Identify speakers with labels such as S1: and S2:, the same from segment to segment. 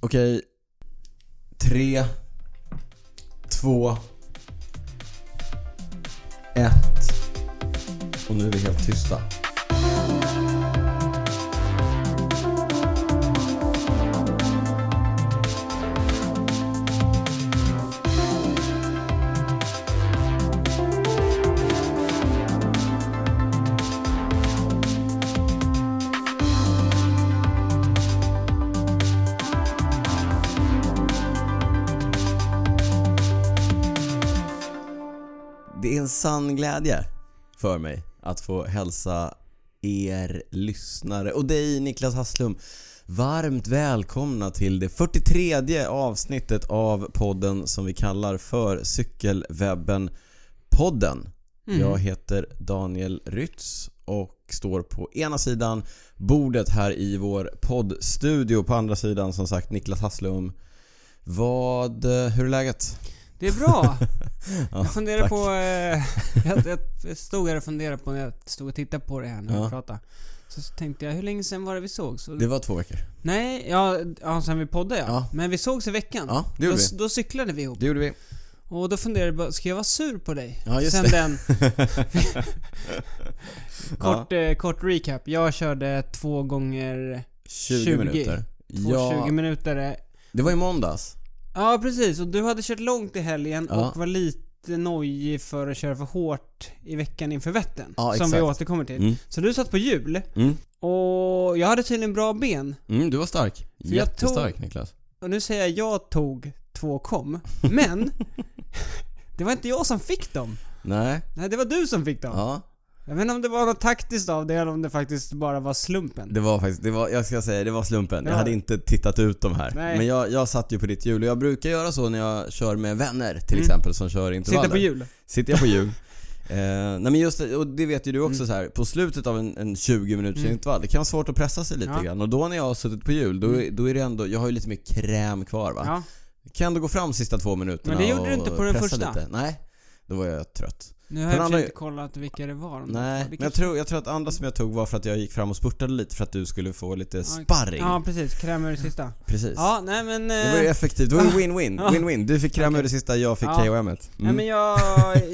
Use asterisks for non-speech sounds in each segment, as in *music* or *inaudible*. S1: Okej. Tre. Två. Ett. Och nu är vi helt tysta. Det är en sann glädje för mig att få hälsa er lyssnare och dig Niklas Hasslum varmt välkomna till det 43 avsnittet av podden som vi kallar för Cykelwebben-podden. Jag heter Daniel Rytz och står på ena sidan bordet här i vår poddstudio. På andra sidan som sagt Niklas Hasslum. Vad, eh, hur är läget?
S2: Det är bra.
S1: *laughs* Ja,
S2: Jag funderar
S1: tack.
S2: på... Eh, jag, jag- jag stod här och funderade på när jag stod och tittade på det här när
S1: Ja.
S2: vi pratade. Så, så tänkte jag, hur länge sedan var det vi såg? Så,
S1: Det var två veckor.
S2: Nej, ja, ja, sen vi poddade ja.
S1: Ja.
S2: Men vi sågs i veckan.
S1: Ja, det gjorde
S2: då,
S1: vi.
S2: då cyklade vi ihop.
S1: Det gjorde vi.
S2: Och då funderade jag bara, ska jag vara sur på dig?
S1: Ja, just
S2: sen
S1: det. *laughs*
S2: den... kort, eh, kort recap. Jag körde två gånger
S1: 20,
S2: 20.
S1: minuter.
S2: två 20 minuter.
S1: det var i måndags.
S2: Ja, precis. Och du hade kört långt i helgen
S1: Ja.
S2: och var lite nojig för att köra för hårt i veckan inför Vättern.
S1: Ja,
S2: som vi
S1: exakt.
S2: återkommer till.
S1: Mm.
S2: Så du satt på hjul
S1: Mm.
S2: och jag hade tydligen bra ben.
S1: Mm, du var stark.
S2: jag
S1: Jättestark
S2: tog-
S1: Niklas.
S2: Och nu säger jag jag tog två kom. Men *laughs* det var inte jag som fick dem.
S1: Nej.
S2: Nej, det var du som fick dem.
S1: Ja.
S2: Jag vet inte om det var något taktiskt av det eller om det faktiskt bara var slumpen.
S1: Det var faktiskt, det var, jag ska säga det var slumpen. Jag
S2: Ja.
S1: hade inte tittat ut de här.
S2: Nej.
S1: Men jag, jag satt ju på ditt hjul och jag brukar göra så när jag kör med vänner till
S2: Mm.
S1: exempel som kör intervaller.
S2: Sitta på hjul.
S1: Sitter jag på
S2: *laughs*
S1: hjul. Eh, nej men just det, och det vet ju du också så här. på slutet av en, en 20 minuters
S2: Mm.
S1: intervall, det kan vara svårt att pressa sig lite
S2: Ja. Mm.
S1: grann. Och då när jag har suttit på hjul, då, är- då är det ändå, jag har ju lite mer kräm kvar va?
S2: Ja.
S1: Kan du gå fram sista två minuterna
S2: Men det gjorde
S1: och
S2: du inte på den
S1: pressa
S2: första.
S1: Lite? Nej, då var jag trött.
S2: Nu har jag i och för
S1: andra-
S2: sig inte kollat vilka det var. de
S1: Nej,
S2: där. Det
S1: men jag
S2: kanske-
S1: tror, jag tror att andra som jag tog var för att jag gick fram och spurtade lite för att du skulle få lite
S2: okej.
S1: sparring.
S2: Ja, precis. Kräm ur det sista.
S1: Precis.
S2: Ja, nej men...
S1: Det var ju
S2: eh,
S1: effektivt, det var ju win-win.
S2: Ja.
S1: Win-win. Du fick kräm ur det sista, jag fick
S2: Ja.
S1: KOMet.
S2: Nej
S1: Mm.
S2: men jag,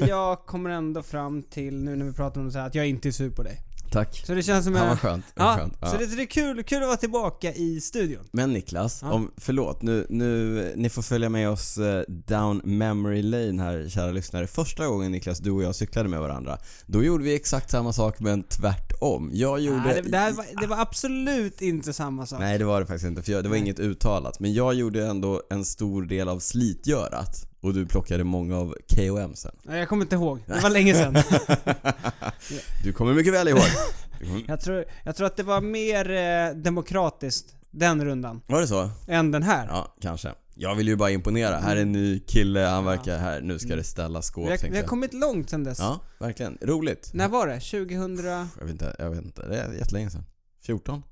S2: jag kommer ändå fram till nu när vi pratar om det så här att jag inte är sur på dig.
S1: Tack.
S2: Så det känns som
S1: Ja, vad
S2: jag...
S1: skönt. Vad
S2: Ja,
S1: skönt.
S2: så
S1: Ja.
S2: det, så det är kul, kul att vara tillbaka i studion.
S1: Men Niklas,
S2: Ja.
S1: om, förlåt, nu, nu, ni får följa med oss eh, down memory lane här kära lyssnare. Första gången Niklas, du och jag cyklade med varandra, då gjorde vi exakt samma sak men tvärtom. Jag gjorde...
S2: Nej, det, det, här var, det var absolut inte samma sak.
S1: Nej det var det faktiskt inte, för jag, det var
S2: Nej.
S1: inget uttalat. Men jag gjorde ändå en stor del av slitgörat och du plockade många av KOM sen.
S2: Nej, Jag kommer inte ihåg, det var
S1: *laughs*
S2: länge sedan.
S1: Du kommer mycket väl ihåg. Du kommer-
S2: Jag tror, jag tror att det var mer eh, demokratiskt den rundan,
S1: Var det så?
S2: än den här.
S1: Ja, kanske. Jag vill ju bara imponera. Här är en ny kille, han verkar här. Nu ska det ställa skåp
S2: vi, har, vi
S1: tänkte
S2: har
S1: jag.
S2: kommit långt sedan dess.
S1: Ja, verkligen. Roligt.
S2: När var det? 2000...
S1: Jag vet inte, jag vet inte. Det är jättelänge sedan. 14?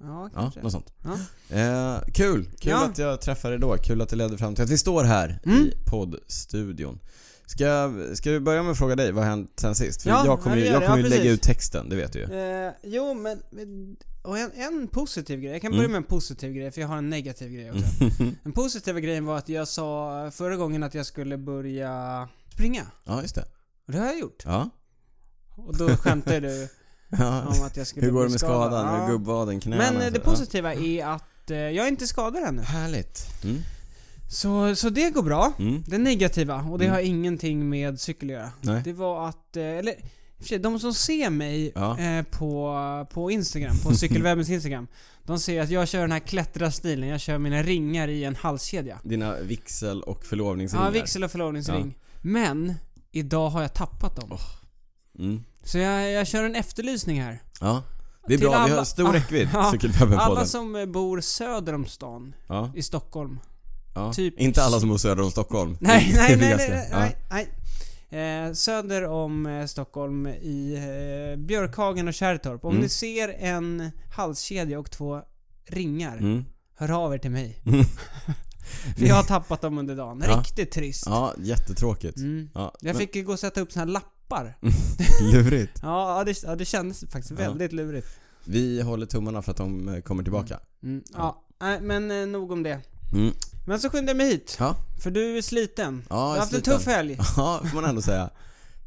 S2: Ja,
S1: Ja,
S2: kanske.
S1: något sånt.
S2: Ja.
S1: Eh, kul! Kul
S2: Ja.
S1: att jag träffade dig då. Kul att det ledde fram till att vi står här
S2: Mm.
S1: i poddstudion. Ska, ska vi börja med att fråga dig, vad har hänt sen sist? För
S2: Ja,
S1: jag kommer
S2: ja,
S1: ju,
S2: det gör
S1: jag
S2: det.
S1: kommer
S2: Ja,
S1: ju lägga
S2: precis.
S1: ut texten, det vet du ju.
S2: Eh, jo, men... men- Och en, en positiv grej. Jag kan
S1: Mm.
S2: börja med en positiv grej, för jag har en negativ
S1: *laughs*
S2: grej också. Den positiva grejen var att jag sa förra gången att jag skulle börja springa.
S1: ja, just det.
S2: Och det har jag gjort.
S1: Ja.
S2: Och då
S1: *laughs*
S2: skämtade du
S1: ja.
S2: om att jag skulle
S1: Hur går
S2: bli
S1: det med
S2: skadad.
S1: skadan?
S2: Ja.
S1: Med gubbvaden, knäna? alltså?
S2: Men eh, det
S1: Ja.
S2: positiva är att eh, jag är inte skadad ännu.
S1: Härligt. Mm.
S2: Så, så det går bra.
S1: Mm.
S2: Det negativa, och det
S1: Mm.
S2: har ingenting med cykel att göra.
S1: Nej.
S2: Det var att, eh, eller i och för sig, de som ser mig
S1: Ja.
S2: eh, på, på Instagram,
S1: *laughs*
S2: på cykelwebbens Instagram. De ser att jag kör den här klättrastilen, jag kör mina ringar i en halskedja.
S1: Dina vixel och förlovningsringar.
S2: Ja, vigsel och förlovningsring. Men, idag har jag tappat dem.
S1: Mm.
S2: Så jag, jag kör en efterlysning här.
S1: Ja. Det är
S2: Till
S1: bra, vi har
S2: alla-
S1: stor räckvidd,
S2: Ja. Alla
S1: Cykelwebben-podden.
S2: som eh, bor söder om stan,
S1: Ja.
S2: i Stockholm.
S1: Ja.
S2: typ-
S1: Inte alla som bor söder om Stockholm.
S2: Nej,
S1: *laughs* Det
S2: nej,
S1: är
S2: nej,
S1: ganska-
S2: nej,
S1: Ja.
S2: nej, nej. Eh, söder om eh, Stockholm i eh, Björkhagen och Kärrtorp. Om
S1: Mm.
S2: ni ser en halskedja och två ringar,
S1: Mm.
S2: hör av er
S1: *laughs*
S2: till mig. För jag har tappat dem under dagen.
S1: Ja.
S2: Riktigt trist.
S1: Ja, jättetråkigt.
S2: Mm.
S1: Ja,
S2: Jag
S1: men-
S2: fick ju gå och sätta upp såna här lappar.
S1: Lurigt.
S2: Ja, ja, det, ja, det kändes faktiskt
S1: Ja.
S2: väldigt lurigt.
S1: Vi håller tummarna för att de eh, kommer tillbaka.
S2: Mm. Ja.
S1: Ja.
S2: nej men eh, nog om det.
S1: Mm.
S2: Men så skyndade jag mig hit.
S1: Ja,
S2: För du är sliten.
S1: ja,
S2: du har
S1: jag
S2: haft en
S1: sliten.
S2: tuff helg.
S1: *laughs* Ja, får man ändå säga.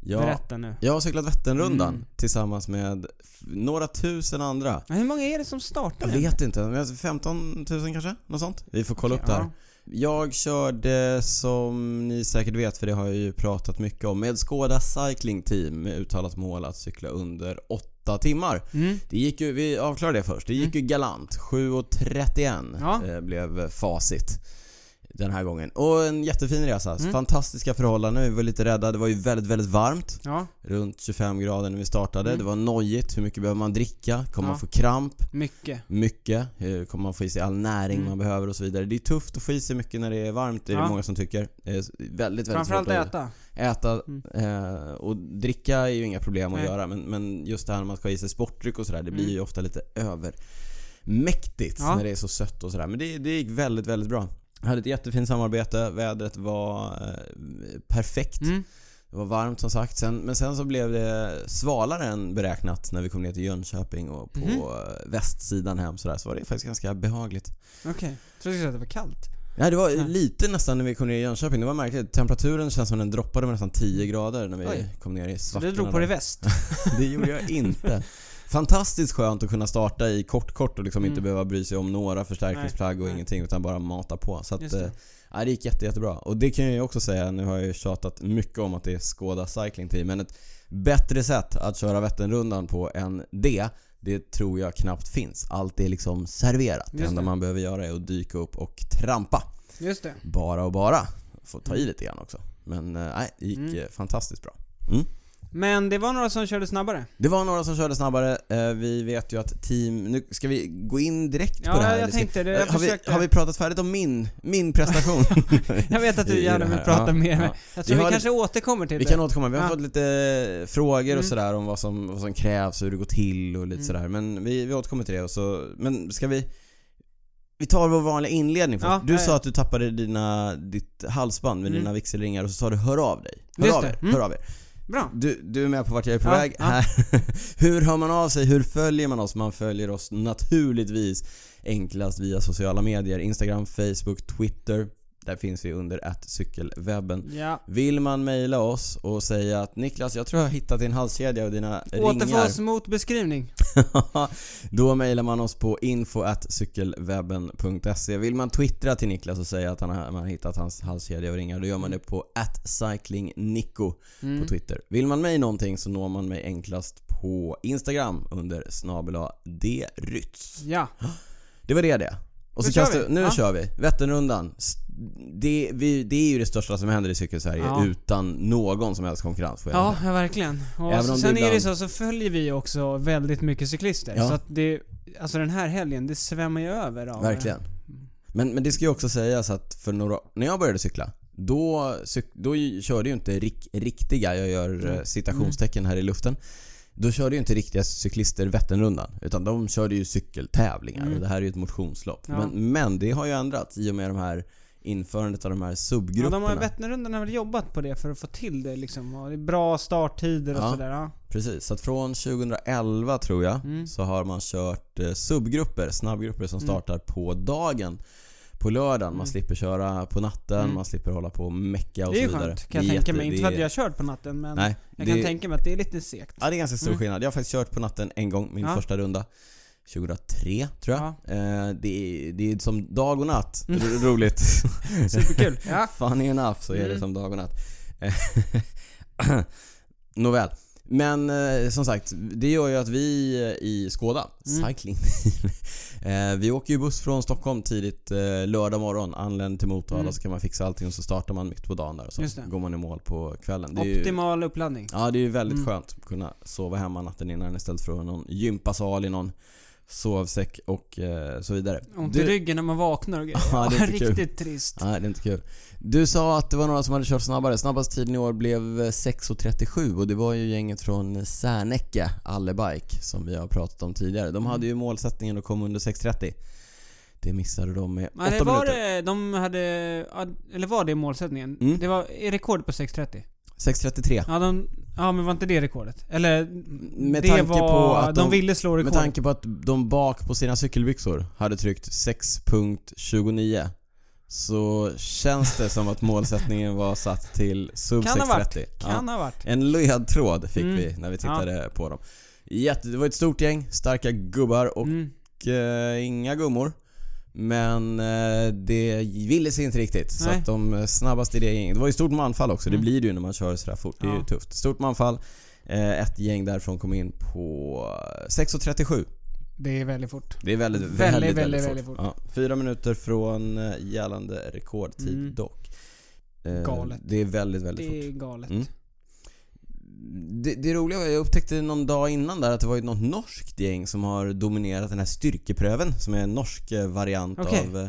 S1: Ja,
S2: Berätta nu.
S1: jag har cyklat Vätternrundan
S2: Mm.
S1: tillsammans med f- några tusen andra.
S2: Ja, Hur många är det som startar
S1: Jag
S2: den?
S1: vet inte, men jag- 15 000 kanske? Något sånt? Vi får kolla
S2: Okej,
S1: upp det här.
S2: ja.
S1: Jag körde, som ni säkert vet för det har jag ju pratat mycket om, med Skoda Cycling Team med uttalat mål att cykla under 8 timmar.
S2: Mm.
S1: Det gick ju, vi avklarar det först. Det gick ju galant. 7.31
S2: Ja.
S1: eh, blev facit den här gången. Och en jättefin resa.
S2: Mm.
S1: Fantastiska förhållanden. Vi var lite rädda. Det var ju väldigt, väldigt varmt.
S2: Ja,
S1: Runt 25 grader när vi startade.
S2: Mm.
S1: Det var nojigt. Hur mycket behöver man dricka? Kommer
S2: Ja.
S1: man få kramp?
S2: mycket.
S1: mycket. Hur kommer man få i sig all näring
S2: Mm.
S1: man behöver och så vidare. Det är tufft att få i sig mycket när det är varmt, det är
S2: Ja.
S1: det många som tycker. Eh, s- Väldigt, väldigt
S2: Framförallt
S1: svårt att-
S2: äta.
S1: Äta
S2: Mm.
S1: eh, och dricka är ju inga problem att
S2: Nej.
S1: göra men, men just det här med att få i sig sportdryck och sådär, det blir
S2: Mm.
S1: ju ofta lite övermäktigt
S2: Ja.
S1: när det är så sött och sådär. Men det, det gick väldigt, väldigt bra. Jag hade ett jättefint samarbete, vädret var eh, perfekt.
S2: Mm.
S1: Det var varmt som sagt, sen, men sen så blev det svalare än beräknat när vi kom ner till Jönköping och på
S2: Mhm.
S1: eh, västsidan hem sådär, så var det faktiskt ganska behagligt.
S2: Okej. Jag trodde du skulle säga att det var kallt.
S1: Nej det var
S2: Ja.
S1: lite nästan när vi kom ner i Jönköping, det var märkligt. Temperaturen känns som den droppade med nästan 10 grader när vi
S2: Oj.
S1: kom ner i
S2: Så
S1: svackorna.
S2: du drog på
S1: där. *laughs*
S2: dig väst.
S1: Det gjorde jag inte. Fantastiskt skönt att kunna starta i kort-kort och liksom inte
S2: Mm.
S1: behöva bry sig om några förstärkningsplagg och
S2: Nej, nej.
S1: ingenting utan bara mata på. Så att,
S2: Just det.
S1: det. Ja, det gick jätte, jättebra. Och det kan jag ju också säga, nu har jag ju tjatat mycket om att det är Skoda Cycling Team, men ett bättre sätt att köra Vätternrundan på än det, det tror jag knappt finns. Allt är liksom serverat. Det
S2: Just
S1: enda
S2: det.
S1: man behöver göra är att dyka upp och trampa.
S2: Just det.
S1: Bara och bara. Får ta i lite grann också. Men eh, nej, det gick
S2: Mm.
S1: eh, fantastiskt bra.
S2: Men det var några som körde snabbare.
S1: Det var några som körde snabbare. Eh, Vi vet ju att team... Nu ska vi gå in direkt på det
S2: Ja,
S1: här.
S2: jag
S1: eller ska- Eh,
S2: tänkte det. Jag
S1: har, vi,
S2: försökte.
S1: har vi pratat färdigt om min, min
S2: *laughs*
S1: prestation?
S2: Jag vet att
S1: i-
S2: du
S1: i
S2: gärna
S1: det
S2: vill
S1: här?
S2: prata
S1: Ja,
S2: mer.
S1: ja.
S2: men Jag tror
S1: Vi
S2: vi,
S1: har-
S2: kanske återkommer till
S1: Vi
S2: det.
S1: kan återkomma. Vi har
S2: Ja.
S1: fått lite eh, frågor och
S2: Mm.
S1: sådär om vad som, vad som krävs och hur det går till och lite
S2: Mm.
S1: sådär. Men vi, vi återkommer till det. Och så, men ska vi... Vi tar vår vanliga inledning först.
S2: Ja,
S1: du
S2: ja,
S1: sa
S2: ja.
S1: att du tappade dina, ditt halsband med
S2: Mm.
S1: dina vigselringar och så sa du hör av dig. Hör
S2: Just
S1: av
S2: det.
S1: er.
S2: Mm.
S1: Hör av er.
S2: Bra.
S1: Du, du är med på vart jag är på
S2: Ja,
S1: väg.
S2: ja.
S1: Här. *laughs* Hur hör man av sig? Hur följer man oss? Man följer oss naturligtvis enklast via sociala medier. Instagram, Facebook, Twitter. Där finns vi under cykelwebben.
S2: Ja.
S1: Vill man mejla oss och säga att Niklas, jag tror jag har hittat din halskedja och dina
S2: Återfå
S1: ringar.
S2: oss mot beskrivning.
S1: *laughs* Då mejlar man oss på info cykelwebben.se. Vill man twittra till Niklas och säga att han har, man har hittat hans halskedja och ringar, då gör man det på cyclingnico
S2: Mm.
S1: på Twitter. Vill man mig någonting så når man mig enklast på Instagram under snabela drytz.
S2: Ja.
S1: Det var det det. Och
S2: Nu
S1: så
S2: kör
S1: kastar,
S2: vi.
S1: nu
S2: Ja.
S1: kör vi. Vätternrundan. S- Det, vi, det är ju det största som händer i cykelsverige
S2: Ja.
S1: utan någon som helst konkurrens får jag
S2: Ja,
S1: säga.
S2: ja verkligen. Och
S1: Även om
S2: sen
S1: det
S2: är det
S1: ibland-
S2: så, så följer vi också väldigt mycket cyklister.
S1: Ja.
S2: Så att det, alltså den här helgen, det svämmar ju över av
S1: Verkligen. Men, men det ska ju också sägas att för några, när jag började cykla då, cyk, då ju- körde ju inte rik, riktiga, jag
S2: Mm.
S1: gör eh, citationstecken här i luften. Då körde ju inte riktiga cyklister Vätternrundan. Utan de körde ju cykeltävlingar
S2: Mm.
S1: och det här är ju ett motionslopp.
S2: Ja.
S1: Men, men det har ju ändrats i och med de här införandet av de här
S2: Ja,
S1: subgrupperna.
S2: de har, Vätternrundan har väl jobbat på det för att få till det liksom. Och det är bra starttider och
S1: Ja.
S2: sådär. Ja.
S1: Precis, så att från 2011 tror jag
S2: Mm.
S1: så har man kört eh, subgrupper, snabbgrupper som startar på dagen. På lördagen, man
S2: Mm.
S1: slipper köra på natten,
S2: Mm.
S1: man slipper hålla på och mecka och
S2: Det är ju
S1: så vidare.
S2: skönt, kan
S1: Det
S2: jag
S1: är
S2: tänka mig.
S1: jätte-
S2: Inte
S1: det
S2: för att
S1: är-
S2: jag har kört på natten men
S1: Nej,
S2: jag
S1: det,
S2: kan tänka mig att det är lite segt. *laughs*
S1: ja, det är ganska stor
S2: Mm.
S1: skillnad. Jag har faktiskt kört på natten en gång, min
S2: Ja.
S1: första runda. 2003 tror jag. Eh, det, är, det är som dag och natt.
S2: Mm.
S1: Ro- Roligt.
S2: *laughs* Superkul.
S1: *laughs*
S2: Ja.
S1: Funny enough så är det
S2: Mm.
S1: som dag och natt. Eh, *laughs* Nåväl. Men eh, som sagt, det gör ju att vi eh, i Skåda,
S2: Mm.
S1: cycling *laughs* eh, Vi åker ju buss från Stockholm tidigt eh, lördag morgon, anländer till Motala
S2: Mm.
S1: så kan man fixa allting och så startar man mitt på dagen där och så
S2: Just det.
S1: går man i mål på kvällen. Det är ju,
S2: Optimal uppladdning.
S1: ja, det är ju väldigt
S2: Mm.
S1: skönt att kunna sova hemma natten innan istället för att ha någon gympasal i någon sovsäck och eh, så vidare.
S2: Ont
S1: Du-
S2: i ryggen när man vaknar och grejer.
S1: *laughs* Ja,
S2: *laughs*
S1: det är inte kul.
S2: Riktigt trist.
S1: Nej, det är inte kul. Du sa att det var några som hade kört snabbare. Snabbast tiden i år blev 6.37 och det var ju gänget från Särnäcke, Allebike, som vi har pratat om tidigare. De hade ju
S2: Mm.
S1: målsättningen att komma under 6.30. Det missade de med 8
S2: Nej, det var
S1: minuter.
S2: det, de hade, ja, eller var det målsättningen?
S1: Mm.
S2: Det var rekord på 6.30.
S1: 6.33.
S2: Ja, de, Ja, men var inte det rekordet? Eller...
S1: Med
S2: det
S1: tanke
S2: var,
S1: på att
S2: de...
S1: de-
S2: ville slå
S1: Med
S2: rekord.
S1: tanke på att de bak på sina cykelbyxor hade tryckt 6.29 så känns det som att målsättningen var satt till sub
S2: Kan ha varit.
S1: 6.30. Ja.
S2: Kan ha varit.
S1: En ledtråd fick
S2: Mm.
S1: vi när vi tittade på dem. Jätte, det var ett stort gäng, starka gubbar och
S2: Mm.
S1: eh, inga gummor. Men eh, det ville sig inte riktigt. Så
S2: Nej.
S1: att de eh, snabbaste i det gänget. Det var ju stort manfall också.
S2: Mm.
S1: Det blir det ju när man kör sådär fort. Det är ju
S2: Ja.
S1: tufft. Stort manfall. Eh, ett gäng därifrån kom in på 6.37.
S2: Det är väldigt fort.
S1: Det är väldigt,
S2: Väldigt,
S1: väldigt, väldigt,
S2: väldigt,
S1: fort.
S2: väldigt fort.
S1: Ja, fyra minuter från eh, gällande rekordtid
S2: Mm.
S1: dock. Eh,
S2: Galet.
S1: Det är väldigt, väldigt fort.
S2: det är galet.
S1: Mm. Det, det roliga var, jag upptäckte någon dag innan där att det var ju något norskt gäng som har dominerat den här styrkepröven som är en norsk eh, variant
S2: Okej.
S1: av eh,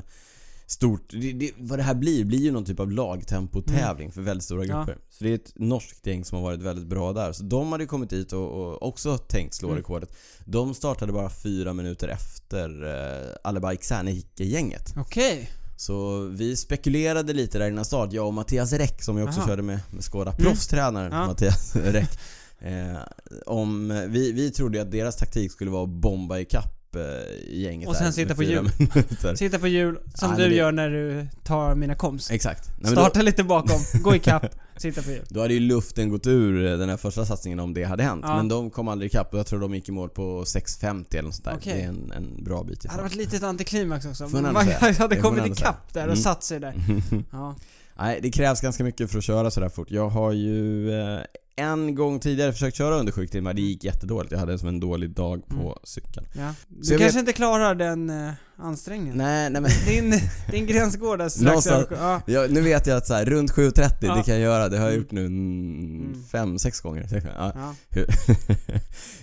S1: stort... Det, det, vad det här blir, blir ju någon typ av lagtempotävling för väldigt stora
S2: Mm. Ja.
S1: grupper. Så det är ett norskt gäng som har varit väldigt bra där. Så de hade ju kommit hit och, och också tänkt slå
S2: Mm.
S1: rekordet. De startade bara fyra minuter efter eh, Aleba Iksanehike-gänget.
S2: Okej.
S1: Så vi spekulerade lite där innan start, jag och Mattias Räck som jag också
S2: Aha. Mm.
S1: körde med, med Skåda, proffstränaren
S2: Ja.
S1: Mattias *laughs* Räck. Eh, om, eh, vi, vi trodde ju att deras taktik skulle vara att bomba ikapp eh, gänget
S2: Och sen
S1: där
S2: sitta
S1: med
S2: på
S1: fyra
S2: hjul. *laughs*
S1: minuter.
S2: Sitta på hjul,
S1: Nej,
S2: som
S1: men
S2: du
S1: det-
S2: gör när du tar mina komps.
S1: Exakt. Nej, men då,
S2: Starta lite bakom,
S1: *laughs*
S2: gå ikapp, sitta på hjul.
S1: då hade ju luften gått ur eh, den här första satsningen om det hade hänt.
S2: Ja.
S1: Men de kom aldrig ikapp och jag tror de gick i mål på 6.50 eller något sånt där.
S2: Okej.
S1: Det är en, en bra bit
S2: Det
S1: ifrån.
S2: hade varit lite ett antiklimax också.
S1: Får man
S2: Man
S1: ändå
S2: *laughs*
S1: säga.
S2: hade
S1: Det får
S2: kommit
S1: man ändå
S2: ikapp där och
S1: Mm.
S2: satt sig där.
S1: *laughs*
S2: Ja.
S1: Nej, det krävs ganska mycket för att köra sådär fort. Jag har ju eh, en gång tidigare försökt köra under sju timmar. Det gick jättedåligt. Jag hade som en dålig dag på
S2: Mm.
S1: cykeln.
S2: Ja. Du
S1: Så jag
S2: kanske inte klarar den eh, ansträngningen.
S1: Nej, nej men.
S2: *laughs* Din, din gräns går där strax
S1: Någonstans-
S2: över. Ja.
S1: Jag, nu vet jag att så här, runt 7.30,
S2: Ja.
S1: det kan jag göra. Det har jag
S2: Mm.
S1: gjort nu mm,
S2: Mm.
S1: fem, sex gånger. Sex gånger. Ja. *laughs*
S2: Ja.
S1: Hur,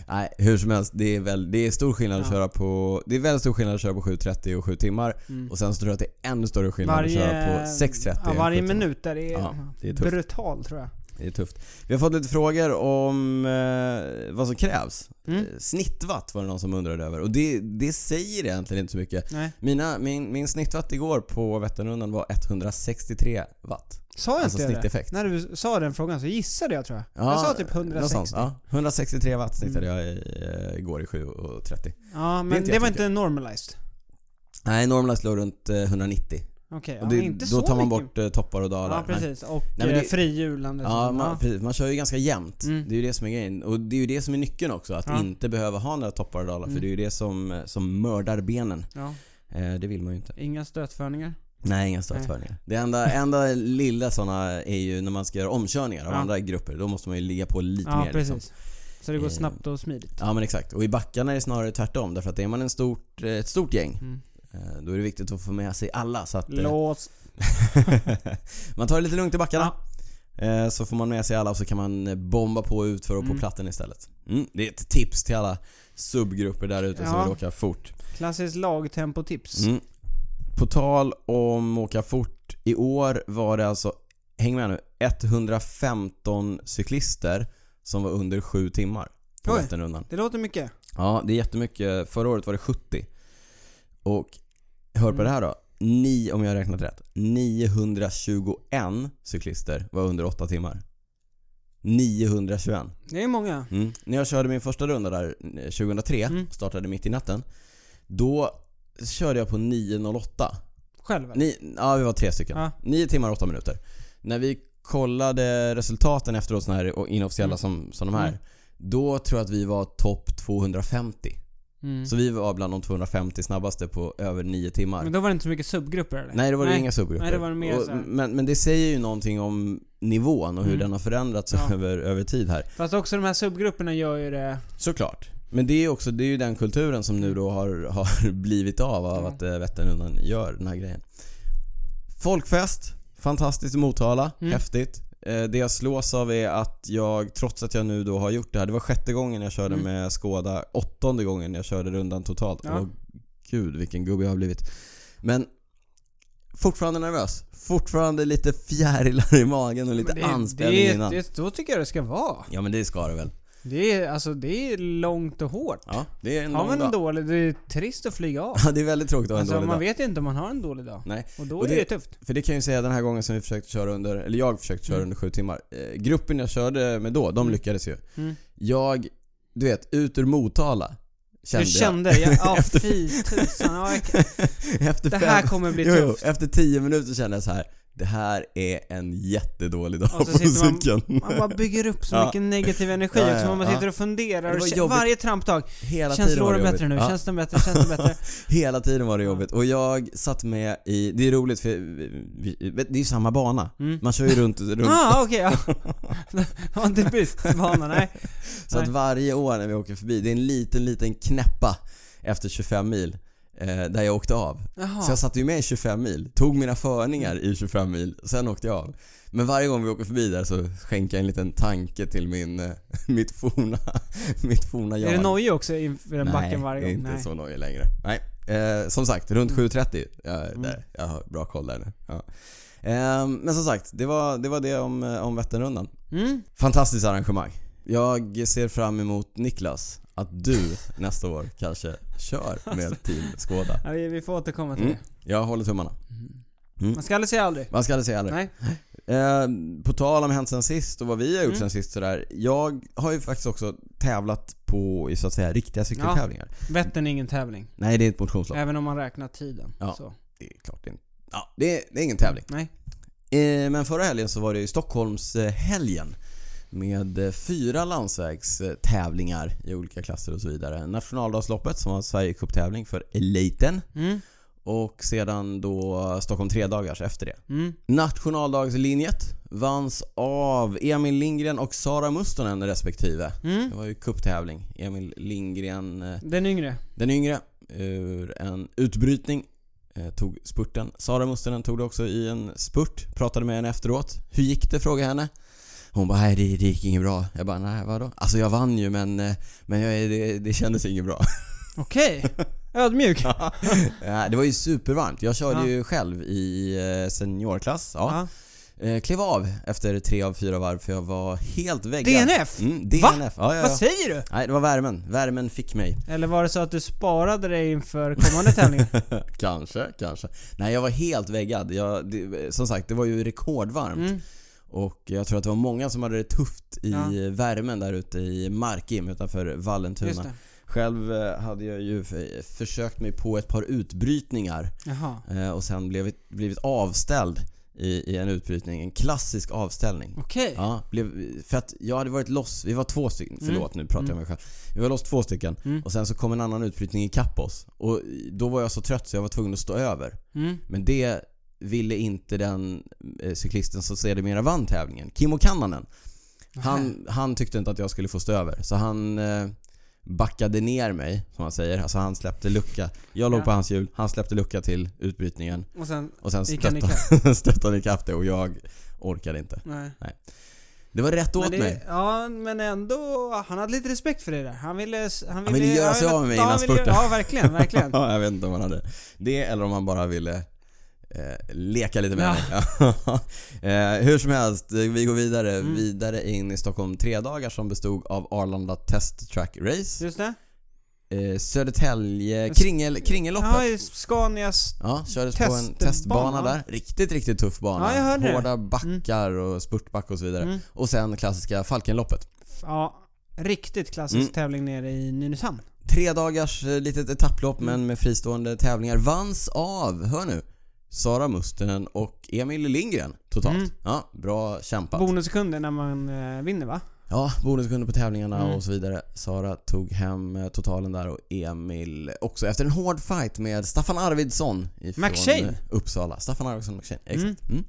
S1: nej, hur som helst. Det är, väl, det är stor skillnad att
S2: Ja.
S1: köra på... Det är väldigt stor skillnad att köra på 7.30 och 7 timmar.
S2: Mm.
S1: Och sen så tror jag att det är ännu större skillnad att köra på 6.30
S2: ja,
S1: och
S2: varje
S1: 7 timmar.
S2: minut där är,
S1: Ja, det är tufft.
S2: brutal tror jag.
S1: Det är tufft. Vi har fått lite frågor om eh, vad som krävs.
S2: Mm.
S1: Eh, Snittwatt var det någon som undrade över och det, det säger egentligen inte så mycket.
S2: Nej.
S1: Mina, min, min snittwatt igår på Vätternrundan var 163 watt.
S2: Sa jag
S1: Alltså
S2: inte det?
S1: snitteffekt.
S2: När du sa den frågan så gissade jag tror jag. jag sa typ Mm. 160.
S1: någonstans. Ja, 163 watt snittade jag i, eh, igår i 7.30. Det
S2: Ja,
S1: är inte
S2: men det var
S1: jättemycket.
S2: inte normalized.
S1: Nej, Norrland låg runt eh, 190.
S2: Okej,
S1: Och
S2: ja,
S1: det,
S2: inte så
S1: då tar man
S2: mycket.
S1: bort eh, toppar och dalar.
S2: Ja,
S1: Nej.
S2: precis. Och
S1: Nej, men
S2: eh, liksom.
S1: det-
S2: frihjulandet.
S1: Ja,
S2: och-
S1: man, precis. man kör ju ganska jämnt.
S2: Mm.
S1: Det är ju det som är grejen. Och det är ju det som är nyckeln också. Att
S2: Ja.
S1: inte behöva ha några toppar och dalar.
S2: Mm.
S1: För det är ju det som, eh, som mördar benen.
S2: ja.
S1: Eh, det vill man ju inte.
S2: Inga stötförningar.
S1: Nej, inga stötföringar. Det enda, enda lilla sådana är ju när man ska göra omkörningar av
S2: Ja.
S1: andra grupper. Då måste man ju ligga på lite
S2: Ja,
S1: mer.
S2: precis.
S1: Liksom.
S2: Så det går
S1: Eh,
S2: snabbt och smidigt.
S1: Ja men exakt. Och i backarna är det snarare tvärtom. Därför att är man en stort, eh, ett stort gäng,
S2: Mm.
S1: eh, då är det viktigt att få med sig alla. Så att, eh,
S2: Lås.
S1: *laughs* man tar det lite lugnt i backarna.
S2: Ja.
S1: Eh, Så får man med sig alla och så kan man eh, bomba på ut för och på
S2: Mm.
S1: platten istället. Mm, det är ett tips till alla subgrupper där ute som
S2: Ja.
S1: vill åka fort.
S2: Klassiskt lagtempotips.
S1: Mm. På tal om åka fort. I år var det alltså, häng med nu, 115 cyklister som var under 7 timmar på
S2: Oj.
S1: Vätternrundan.
S2: Det låter mycket.
S1: Ja, det är jättemycket. Förra året var det 70. Och hör på det här då. Ni, om jag har räknat rätt. 921 cyklister var under 8 timmar. 921.
S2: Det är många.
S1: Mm. När jag körde min första runda där eh, 2003,
S2: Mm.
S1: startade mitt i natten. Då körde jag på 9.08.
S2: Själv eller?
S1: Ni, ja, vi var tre stycken.
S2: Ja.
S1: Nio timmar och åtta minuter. När vi kollade resultaten efteråt, såna här och inofficiella
S2: Mm.
S1: som, som de här.
S2: Mm.
S1: Då tror jag att vi var topp 250.
S2: Mm.
S1: Så vi var bland de 250 snabbaste på över 9 timmar.
S2: Men då var det inte så mycket subgrupper eller?
S1: Nej, det var ju inga subgrupper.
S2: Nej, det var mer så här.
S1: och, men, men det säger ju någonting om nivån och hur
S2: Mm.
S1: den har förändrats
S2: Ja.
S1: *laughs* över, över tid här.
S2: Fast också de här subgrupperna gör ju det...
S1: Såklart. Men det är ju också det är ju den kulturen som nu då har, har *laughs* blivit av, av
S2: Mm.
S1: att eh, Vätternrundan gör den här grejen. Folkfest. Fantastiskt i Motala.
S2: Mm.
S1: Häftigt. Eh, Det jag slås av är att jag, trots att jag nu då har gjort det här, det var sjätte gången jag körde
S2: Mm.
S1: med Skoda, åttonde gången jag körde rundan totalt.
S2: Ja.
S1: Åh gud vilken gubbe jag har blivit. Men fortfarande nervös. Fortfarande lite fjärilar i magen och lite
S2: Men det,
S1: anspänning
S2: det,
S1: innan.
S2: Det, då tycker jag det ska vara.
S1: Ja men det ska det väl.
S2: Det är, alltså, det är långt och hårt.
S1: Ja, det är en
S2: Har
S1: lång
S2: man en
S1: dag.
S2: dålig det är trist att flyga av.
S1: Ja, det är väldigt tråkigt att ha en
S2: Alltså,
S1: dålig
S2: man
S1: dag.
S2: vet ju inte om man har en dålig dag.
S1: Nej.
S2: Och då
S1: Och
S2: är
S1: det-
S2: det tufft.
S1: För det kan jag ju säga den här gången som vi försökte köra under, eller jag försökte köra
S2: Mm.
S1: under sju timmar. Eh, gruppen jag körde med då, de lyckades ju.
S2: Mm.
S1: Jag, du vet, ut ur Motala. Kände
S2: Du kände det? Ja, ja, fy tusan. Ja, jag-
S1: jag. *laughs* Efter
S2: det
S1: fem,
S2: här kommer bli
S1: jo, jo,
S2: tufft.
S1: efter tio minuter kände jag så här. Det här är en jättedålig dag
S2: Och så
S1: på
S2: sitter man-
S1: cykeln.
S2: *laughs* Man bara bygger upp så
S1: Ja.
S2: mycket negativ energi
S1: Ja, ja,
S2: också. Man bara
S1: ja.
S2: sitter och funderar.
S1: Det
S2: Och
S1: var
S2: kä-
S1: jobbigt.
S2: varje tramptag.
S1: Hela
S2: Känns
S1: tiden var
S2: låren
S1: det
S2: bättre
S1: jobbigt.
S2: nu?
S1: Ja.
S2: Känns den bättre? Känns den bättre?
S1: Hela tiden var det jobbigt och jag satt med i, det är roligt för vi, vi, det är ju samma bana.
S2: Mm.
S1: Man kör ju
S2: *laughs*
S1: runt, *laughs* runt.
S2: Ah, okej. ja. Har inte bytt bana, nej.
S1: Så att
S2: nej.
S1: varje år när vi åker förbi, det är en liten, liten knäppa efter 25 mil eh, där jag åkte av.
S2: Jaha.
S1: Så jag satte ju med i 25 mil, tog mina förningar i 25 mil, sen åkte jag av. Men varje gång vi åker förbi där så skänker jag en liten tanke till min, eh, *laughs* mitt forna, *laughs* mitt forna jag.
S2: Är det nojig också inför den backen varje
S1: Nej,
S2: gång?
S1: inte
S2: Nej. Mm.
S1: så nojig längre. Nej. Eh, som sagt, runt 7.30. Jag, där, jag har bra koll där nu. Ja. Ehm, men som sagt, det var det, var det om, eh, om Vätternrundan.
S2: Mm?
S1: Fantastiskt arrangemang. Jag ser fram emot Niklas, att du nästa år kanske kör med Team Skåda.
S2: Ja, vi, vi får återkomma till
S1: Mm. Jag håller tummarna.
S2: det. Man ska aldrig säga aldrig.
S1: Vad ska jag säga aldrig.
S2: Nej.
S1: Eh, på tal om hänt sen sist och vad vi har gjort
S2: Mm.
S1: sen sist sådär. Jag har ju faktiskt också tävlat på i så att säga riktiga cykeltävlingar.
S2: Vättern är ingen tävling.
S1: Nej, det är ett motionslopp.
S2: Även om man räknar tiden.
S1: Ja.
S2: Så.
S1: Det är klart det är, en- ja, det är, det är ingen tävling.
S2: Nej.
S1: Eh, men förra helgen så var det ju Stockholmshelgen. Med eh, fyra landsvägstävlingar i olika klasser och så vidare. Nationaldagsloppet som var en Sverigecup-tävling för eliten.
S2: Mm.
S1: Och sedan då Stockholm tre dagars efter det.
S2: Mm.
S1: Nationaldagslinjet vanns av Emil Lindgren och Sara Mustonen respektive.
S2: Mm.
S1: Det var ju cuptävling. Emil Lindgren, eh,
S2: Den yngre.
S1: den yngre, ur en utbrytning eh, tog spurten. Sara Mustonen tog det också i en spurt. Pratade med henne efteråt. Hur gick det? frågade jag henne. Hon bara, nej det, det gick inget bra. Jag bara, nej vadå? Alltså jag vann ju men, eh, men jag, det, det kändes inget bra. *laughs*
S2: Okej. Ödmjuk. Ja.
S1: Eh, det var ju supervarmt. Jag körde
S2: Ja.
S1: ju själv i eh, seniorklass. Ja. Eh, klev av efter tre av fyra varv för jag var helt väggad.
S2: DNF?
S1: Mm, DNF. Ja, ja,
S2: Vad
S1: ja.
S2: säger du?
S1: Nej, det var värmen. Värmen fick mig.
S2: Eller var det så att du sparade dig inför kommande tävlingar?
S1: *laughs* kanske, kanske. Nej, jag var helt väggad. Jag, det, som sagt, det var ju rekordvarmt.
S2: Mm.
S1: Och jag tror att det var många som hade det tufft i
S2: Ja.
S1: värmen där ute i Markim utanför
S2: Just
S1: Vallentuna.
S2: det.
S1: Själv eh, hade jag ju f- försökt mig på ett par utbrytningar
S2: Jaha.
S1: eh, och sen blivit, blivit avställd i, i en utbrytning. En klassisk avställning.
S2: Okej.
S1: Ja, blev, för att jag hade varit loss, vi var två stycken, förlåt nu pratar jag med mig själv. Vi var loss två stycken
S2: Mm.
S1: och sen så kom en annan utbrytning ikapp oss. Och då var jag så trött så jag var tvungen att stå över.
S2: Mm.
S1: Men det ville inte den eh, cyklisten som sedermera vann tävlingen, Kimmo Kannanen. Han, han tyckte inte att jag skulle få stå över så han eh, backade ner mig som han säger. Alltså han släppte lucka. Jag låg
S2: Ja.
S1: på hans hjul, han släppte lucka till utbrytningen
S2: Och sen...
S1: och sen
S2: Gick han
S1: stöttade, *laughs* stöttade han ikapp det och jag orkade inte. *laughs*
S2: Nej.
S1: Det var rätt åt
S2: men det,
S1: mig.
S2: Ja, men ändå. Han hade lite respekt för det där. Han ville... Han ville,
S1: ville göra
S2: han
S1: sig av med mig
S2: ja, han
S1: innan
S2: ville göra-
S1: spurten.
S2: Ja, verkligen, verkligen.
S1: *laughs* Ja, jag vet inte om han hade det eller om han bara ville eh, leka lite med
S2: Ja.
S1: mig. Ja. *laughs* eh, hur som helst, eh, vi går vidare.
S2: Mm.
S1: Vidare in i Stockholm tre dagar som bestod av Arlanda Test Track Race.
S2: Just det.
S1: Eh, Södertälje
S2: Men-
S1: kringel, Kringelloppet.
S2: Ja,
S1: Ja,
S2: i Scanias...
S1: kördes på en
S2: Testbana.
S1: testbana där. Riktigt, riktigt tuff bana.
S2: Ja, jag hörde det.
S1: Hårda backar och spurtback och så vidare.
S2: Mm.
S1: Och sen klassiska Falkenloppet.
S2: Ja, riktigt klassisk
S1: Mm.
S2: tävling nere i Nynäshamn.
S1: Tre dagars eh, litet etapplopp men med fristående tävlingar vanns av, hör nu, Sara Mustonen och Emil Lindgren totalt.
S2: Mm.
S1: Ja, bra kämpat.
S2: Bonussekunder när man eh, vinner va?
S1: ja, bonuskunder på tävlingarna
S2: Mm.
S1: och så vidare. Sara tog hem eh, totalen där och Emil också efter en hård fight med Staffan Arvidsson ifrån
S2: McShane.
S1: eh, Uppsala. Staffan Arvidsson McShane,
S2: Mm.
S1: exakt. Mm.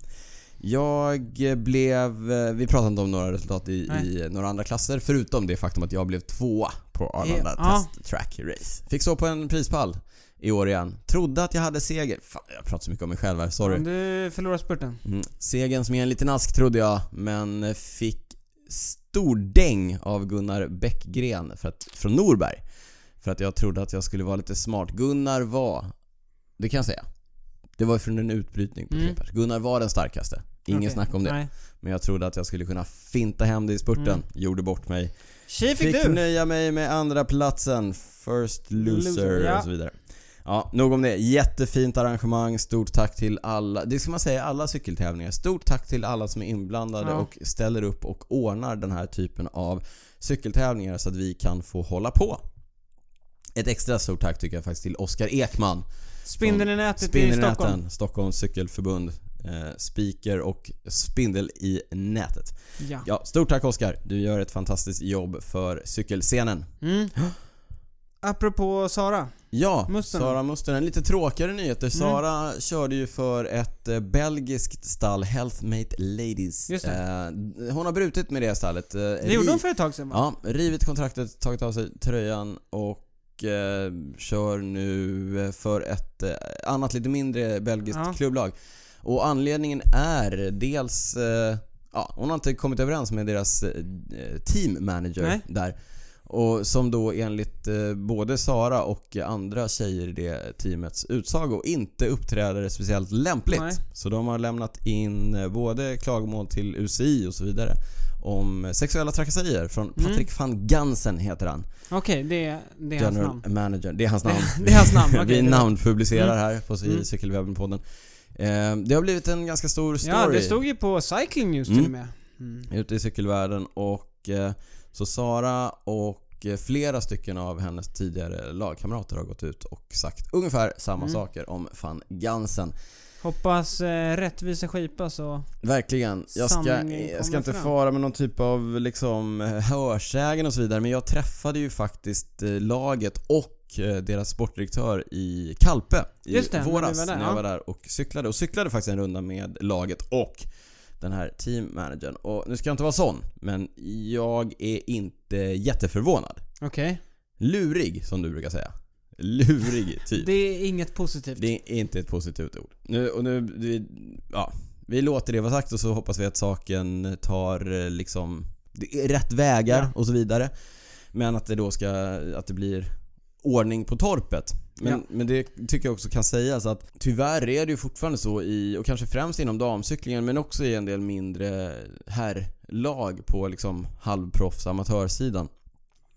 S1: Jag eh, blev, eh, vi pratade inte om några resultat i,
S2: Nej. E-
S1: i några andra klasser förutom det faktum att jag blev tvåa på Arlanda
S2: Ja.
S1: Test Track Race. Fick så på en prispall i år igen. Trodde att jag hade seger. Fan, jag pratar så mycket om mig själv här, sorry.
S2: Om du förlorar spurten.
S1: Mm. Segern som är en liten ask trodde jag, men fick stor däng av Gunnar Bäckgren för att, från Norberg. För att jag trodde att jag skulle vara lite smart. Gunnar var, det kan jag säga, det var från en utbrytning på
S2: Mm.
S1: tre pers. Gunnar var den starkaste. Ingen
S2: Okej.
S1: snack om det.
S2: Nej.
S1: Men jag trodde att jag skulle kunna finta hem det i spurten.
S2: Mm.
S1: Gjorde bort mig.
S2: Tji fick,
S1: Fick
S2: du!
S1: nöja mig med andra platsen First loser,
S2: Loser, ja.
S1: och så vidare. Ja, nog om det. Jättefint arrangemang. Stort tack till alla. Det ska man säga i alla cykeltävlingar. Stort tack till alla som är inblandade
S2: Ja.
S1: och ställer upp och ordnar den här typen av cykeltävlingar så att vi kan få hålla på. Ett extra stort tack tycker jag faktiskt till Oskar Ekman.
S2: Spindeln i nätet i
S1: Spindeln i
S2: Stockholm.
S1: näten, Stockholms cykelförbund. Eh, speaker och spindel i nätet.
S2: Ja.
S1: Ja, stort tack Oskar. Du gör ett fantastiskt jobb för cykelscenen.
S2: Mm. Apropå Sara.
S1: Ja,
S2: Mustonen.
S1: Sara Mustonen. Lite tråkigare nyheter.
S2: Mm.
S1: Sara körde ju för ett eh, belgiskt stall, Healthmate Ladies.
S2: Just
S1: Eh, hon har brutit med det stallet. Eh,
S2: Det gjorde hon för ett tag sedan va?
S1: Ja, rivit kontraktet, tagit av sig tröjan och eh, kör nu eh, för ett eh, annat lite mindre belgiskt
S2: Ja.
S1: klubblag. Och anledningen är dels... Eh, ja, hon har inte kommit överens med deras eh, team manager
S2: Nej.
S1: där. Och som då enligt eh, både Sara och andra tjejer i det teamets utsago inte uppträder speciellt lämpligt.
S2: Nej.
S1: Så de har lämnat in eh, både klagomål till UCI och så vidare om sexuella trakasserier från Patrik van Gansen heter han.
S2: Okej, det, Mm. det är hans
S1: General
S2: namn.
S1: manager. Det är hans
S2: *laughs*
S1: namn.
S2: Det är hans namn, okej.
S1: *laughs* Vi
S2: det-
S1: namnpublicerar här på
S2: Mm.
S1: Cykelwebben-podden. Eh, Det har blivit en ganska stor story
S2: Ja, det stod ju på Cycling News till
S1: Mm.
S2: och med. Mm.
S1: ute i cykelvärlden och eh, så Sara och eh, flera stycken av hennes tidigare lagkamrater har gått ut och sagt ungefär samma
S2: Mm.
S1: saker om van Gansen.
S2: Hoppas eh, rättvisa skipas och...
S1: Verkligen. Jag ska,
S2: Sanningen
S1: jag ska
S2: kommer
S1: inte
S2: fram.
S1: fara med någon typ av liksom, hörsägen och så vidare men jag träffade ju faktiskt eh, laget och eh, deras sportdirektör i Kalpe i
S2: Just det, när du
S1: våras
S2: var där,
S1: när jag
S2: ja.
S1: var där och cyklade. Och cyklade faktiskt en runda med laget och den här teammanagern. Och nu ska jag inte vara sån men jag är inte jätteförvånad.
S2: Okej.
S1: Lurig som du brukar säga. Lurig typ.
S2: Det är inget positivt.
S1: Det är inte ett positivt ord. Nu, och nu, vi, ja, vi låter det vara sagt och så hoppas vi att saken tar eh, liksom det är rätt vägar
S2: Ja.
S1: och så vidare. Men att det då ska, att det blir ordning på torpet. Men,
S2: Ja.
S1: men det tycker jag också kan sägas att tyvärr är det ju fortfarande så i, och kanske främst inom damcyklingen men också i en del mindre herrlag på liksom halvproffs amatörsidan.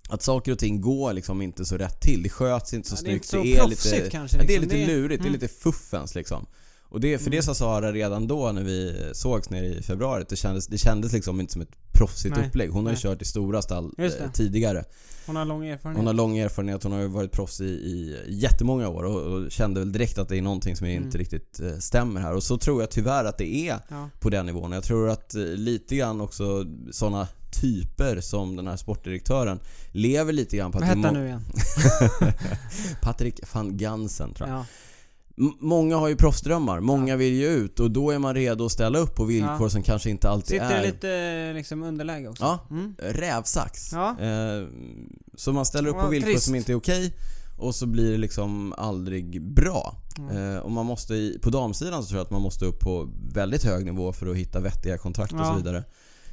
S1: Att saker och ting går liksom inte så rätt till. Det sköts inte så
S2: Ja, det är
S1: snyggt.
S2: inte så proffsigt
S1: lite,
S2: kanske.
S1: Ja, det är
S2: liksom.
S1: lite lurigt,
S2: mm.
S1: det är lite fuffens liksom. Och det, för det sa Sara redan då när vi sågs nere i februari, det kändes, det kändes liksom inte som ett proffsigt
S2: Nej,
S1: upplägg. Hon har ju
S2: nej.
S1: kört i stora stall
S2: Just
S1: eh,
S2: det. Mm.
S1: tidigare.
S2: Hon har lång erfarenhet.
S1: Hon har lång erfarenhet, hon har ju varit proffs i, i jättemånga år och, och kände väl direkt att det är någonting som
S2: Mm.
S1: inte riktigt eh, stämmer här. Och så tror jag tyvärr att det är
S2: Ja.
S1: på den nivån. Jag tror att eh, lite grann också sådana typer som den här sportdirektören lever lite grann på
S2: Vad
S1: att... det är
S2: hette han
S1: må-
S2: nu igen?
S1: Patrik van Gansen tror jag.
S2: Ja.
S1: M- Många har ju proffsdrömmar, många vill ju ut och då är man redo att ställa upp på villkor
S2: Ja.
S1: som kanske inte alltid
S2: Sitter
S1: är...
S2: i lite liksom underläge också.
S1: Ja,
S2: Mm.
S1: rävsax.
S2: Ja.
S1: Eh, så man ställer upp på
S2: Ja,
S1: villkor
S2: trist.
S1: som inte är okej och så blir det liksom aldrig bra.
S2: Mm.
S1: Eh, och man måste, i- på damsidan så tror jag att man måste upp på väldigt hög nivå för att hitta vettiga kontrakt och
S2: Ja,
S1: så vidare.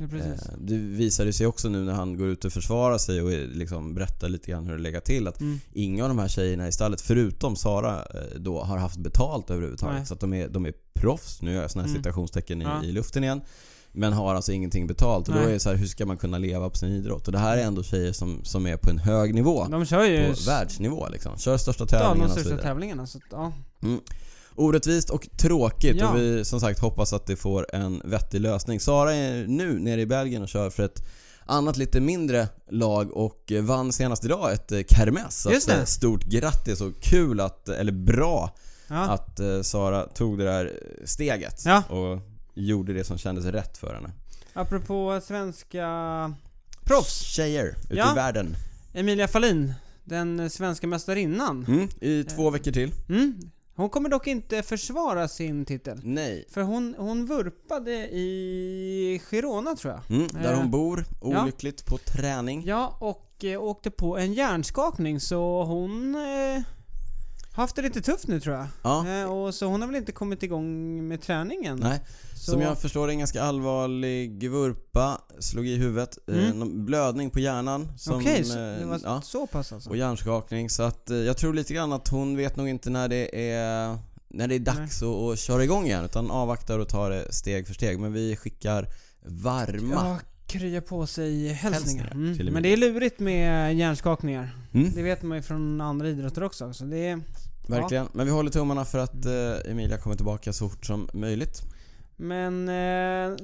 S2: Ja, precis.
S1: Eh, det visade sig också nu när han går ut och försvarar sig och eh, liksom berättar lite grann hur det lägger till att
S2: Mm.
S1: Inga av de här tjejerna i stallet, förutom Sara, eh, då har haft betalt överhuvudtaget.
S2: Nej.
S1: Så att de är, de är proffs, nu gör jag såna här
S2: Mm.
S1: citationstecken i,
S2: Ja.
S1: i luften igen. Men har alltså ingenting betalt. Och då
S2: Nej.
S1: är det så här, hur ska man kunna leva på sin idrott? Och det här är ändå tjejer som, som är på en hög nivå.
S2: De kör
S1: På
S2: ju... s-
S1: världsnivå liksom. Kör största
S2: Ja,
S1: tävlingarna
S2: de
S1: och så
S2: största
S1: vidare.
S2: tävlingarna. Så, att, ja.
S1: Orättvist och tråkigt
S2: Ja.
S1: och vi som sagt hoppas att det får en vettig lösning. Sara är nu nere i Belgien och kör för ett annat lite mindre lag och eh, vann senast idag ett eh, kermess. Så
S2: Just
S1: att,
S2: det.
S1: eh, Stort grattis och kul att, eller bra
S2: Ja.
S1: att eh, Sara tog det där steget
S2: Ja.
S1: och gjorde det som kändes rätt för henne.
S2: Apropå svenska proffs.
S1: Tjejer ute
S2: Ja.
S1: i världen.
S2: Emilia Fahlin, den svenska mästarinnan.
S1: Mm, I två veckor till.
S2: Mm. Hon kommer dock inte försvara sin titel.
S1: Nej.
S2: För hon, hon vurpade i Girona tror jag.
S1: Mm, där
S2: Eh,
S1: hon bor,
S2: ja.
S1: olyckligt på träning.
S2: Ja, och eh, åkte på en hjärnskakning så hon... Eh, haft det lite tufft nu tror jag.
S1: Ja.
S2: Eh, och så hon har väl inte kommit igång med träningen.
S1: Nej.
S2: så,
S1: Som jag förstår det, en ganska allvarlig vurpa. Slog i huvudet.
S2: Mm.
S1: Eh, någon blödning på hjärnan. Som,
S2: Okej, så
S1: eh,
S2: det var
S1: ja,
S2: så pass alltså.
S1: och hjärnskakning. Så att eh, jag tror lite grann att hon vet nog inte när det är, när det är dags att, att köra igång igen. Utan avvaktar och tar det steg för steg. Men vi skickar varma
S2: Ja, krya på sig hälsningar.
S1: Hälsningar, till och
S2: Mm.
S1: med.
S2: Men det är lurigt med hjärnskakningar.
S1: Mm.
S2: Det vet man ju från andra idrotter också. Så det är...
S1: Verkligen. Men vi håller tummarna för att eh, Emilia kommer tillbaka så fort som möjligt.
S2: Men eh,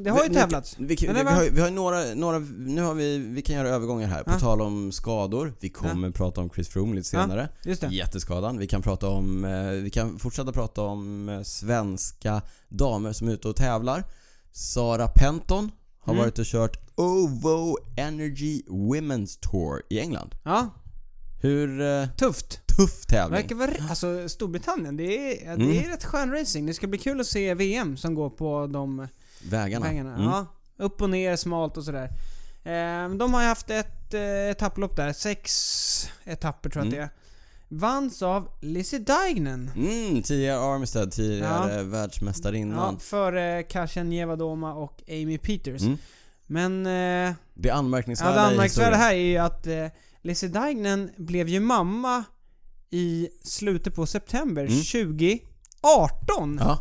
S2: det har ju
S1: Vi-
S2: tävlats.
S1: Vi, vi, vi,
S2: Eller
S1: vi,
S2: vad?
S1: har, ju- vi har ju några, några, nu har vi, vi kan göra övergångar här. På
S2: Ja.
S1: tal om skador. Vi kommer prata om Chris Froome lite
S2: Ja.
S1: senare.
S2: Just det.
S1: Jätteskadan. Vi kan prata om, eh, vi kan fortsätta prata om eh, svenska damer som är ute och tävlar. Sara Penton har
S2: Mm.
S1: varit och kört OVO Energy Women's Tour i England.
S2: Ja,
S1: Hur eh,
S2: tufft.
S1: tuff tävling.
S2: Verkar vara... Alltså Storbritannien, det är, ja, det
S1: Mm.
S2: är rätt skön racing. Det ska bli kul att se VM som går på de
S1: Vägarna.
S2: pengarna.
S1: Mm.
S2: Ja, upp och ner, smalt och sådär. Eh, de har ju haft ett eh, etapplopp där. Sex etapper tror jag
S1: Mm.
S2: att det är. Vanns av Lizzie Deignan.
S1: Mm, tidigare Armstead, tidigare världsmästarinnan.
S2: Ja, före Kasia Nievadoma och Amy Peters.
S1: Mm.
S2: Men eh,
S1: Det
S2: ja,
S1: anmärkningsvärda
S2: det
S1: i
S2: anmärkningsvärda
S1: historien.
S2: här är ju att eh, Lizzie Deignan blev ju mamma i slutet på september
S1: Mm.
S2: 2018. Ja,
S1: Ja.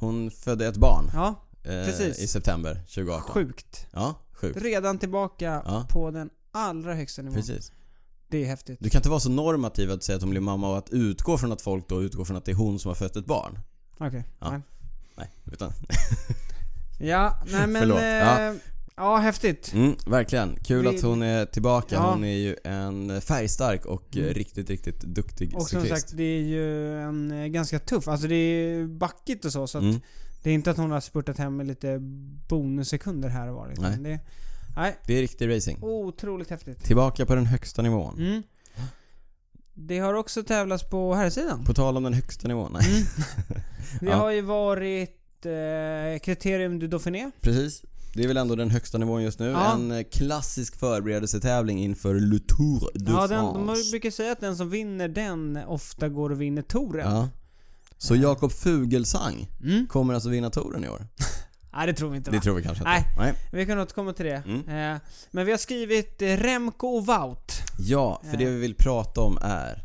S1: Hon födde ett barn eh,
S2: Precis.
S1: i september 2018.
S2: sjukt.
S1: Ja, sjukt.
S2: Redan tillbaka
S1: Ja.
S2: på den allra högsta nivån.
S1: Precis.
S2: Det är häftigt.
S1: Du kan inte vara så normativ att säga att hon blir mamma och att utgå från att folk då utgår från att det är hon som har fött ett barn.
S2: Okej.
S1: Ja.
S2: nej.
S1: Nej, utan...
S2: Ja, nej men...
S1: Förlåt.
S2: eh,
S1: Ja.
S2: ja. häftigt.
S1: Mm, verkligen. Kul
S2: Vi-
S1: att hon är tillbaka.
S2: Ja.
S1: Hon är ju en färgstark och eh,
S2: Mm.
S1: riktigt, riktigt duktig
S2: Och som
S1: Mm, cyklist.
S2: sagt, det är ju en eh, ganska tuff, alltså det är ju backigt och så så att
S1: Mm.
S2: det är inte att hon har spurtat hem med lite bonussekunder här och var liksom.
S1: Nej.
S2: Nej. Det, nej,
S1: Det är riktig racing.
S2: otroligt häftigt.
S1: Tillbaka på den högsta nivån.
S2: Mm. Det har också tävlats på här sidan.
S1: På tal om den högsta nivån. Nej,
S2: Mm. Det
S1: Ja.
S2: har ju varit eh, Criterium du Dauphiné.
S1: precis. Det är väl ändå den högsta nivån just nu.
S2: Ja.
S1: En eh, klassisk förberedelsetävling inför Le Tour de
S2: Ja, den,
S1: France.
S2: de har- brukar säga att den som vinner den ofta går och vinner touren.
S1: ja.
S2: Eh.
S1: Så Jakob Fugelsang
S2: Mm.
S1: kommer alltså vinna touren i år?
S2: Nej, det tror vi inte
S1: Det
S2: va?
S1: tror vi kanske
S2: Nej.
S1: inte. Nej.
S2: Vi kan återkomma till det.
S1: Mm.
S2: Eh, men vi har skrivit eh, Remco och Wout.
S1: Ja, för
S2: Eh.
S1: det vi vill prata om är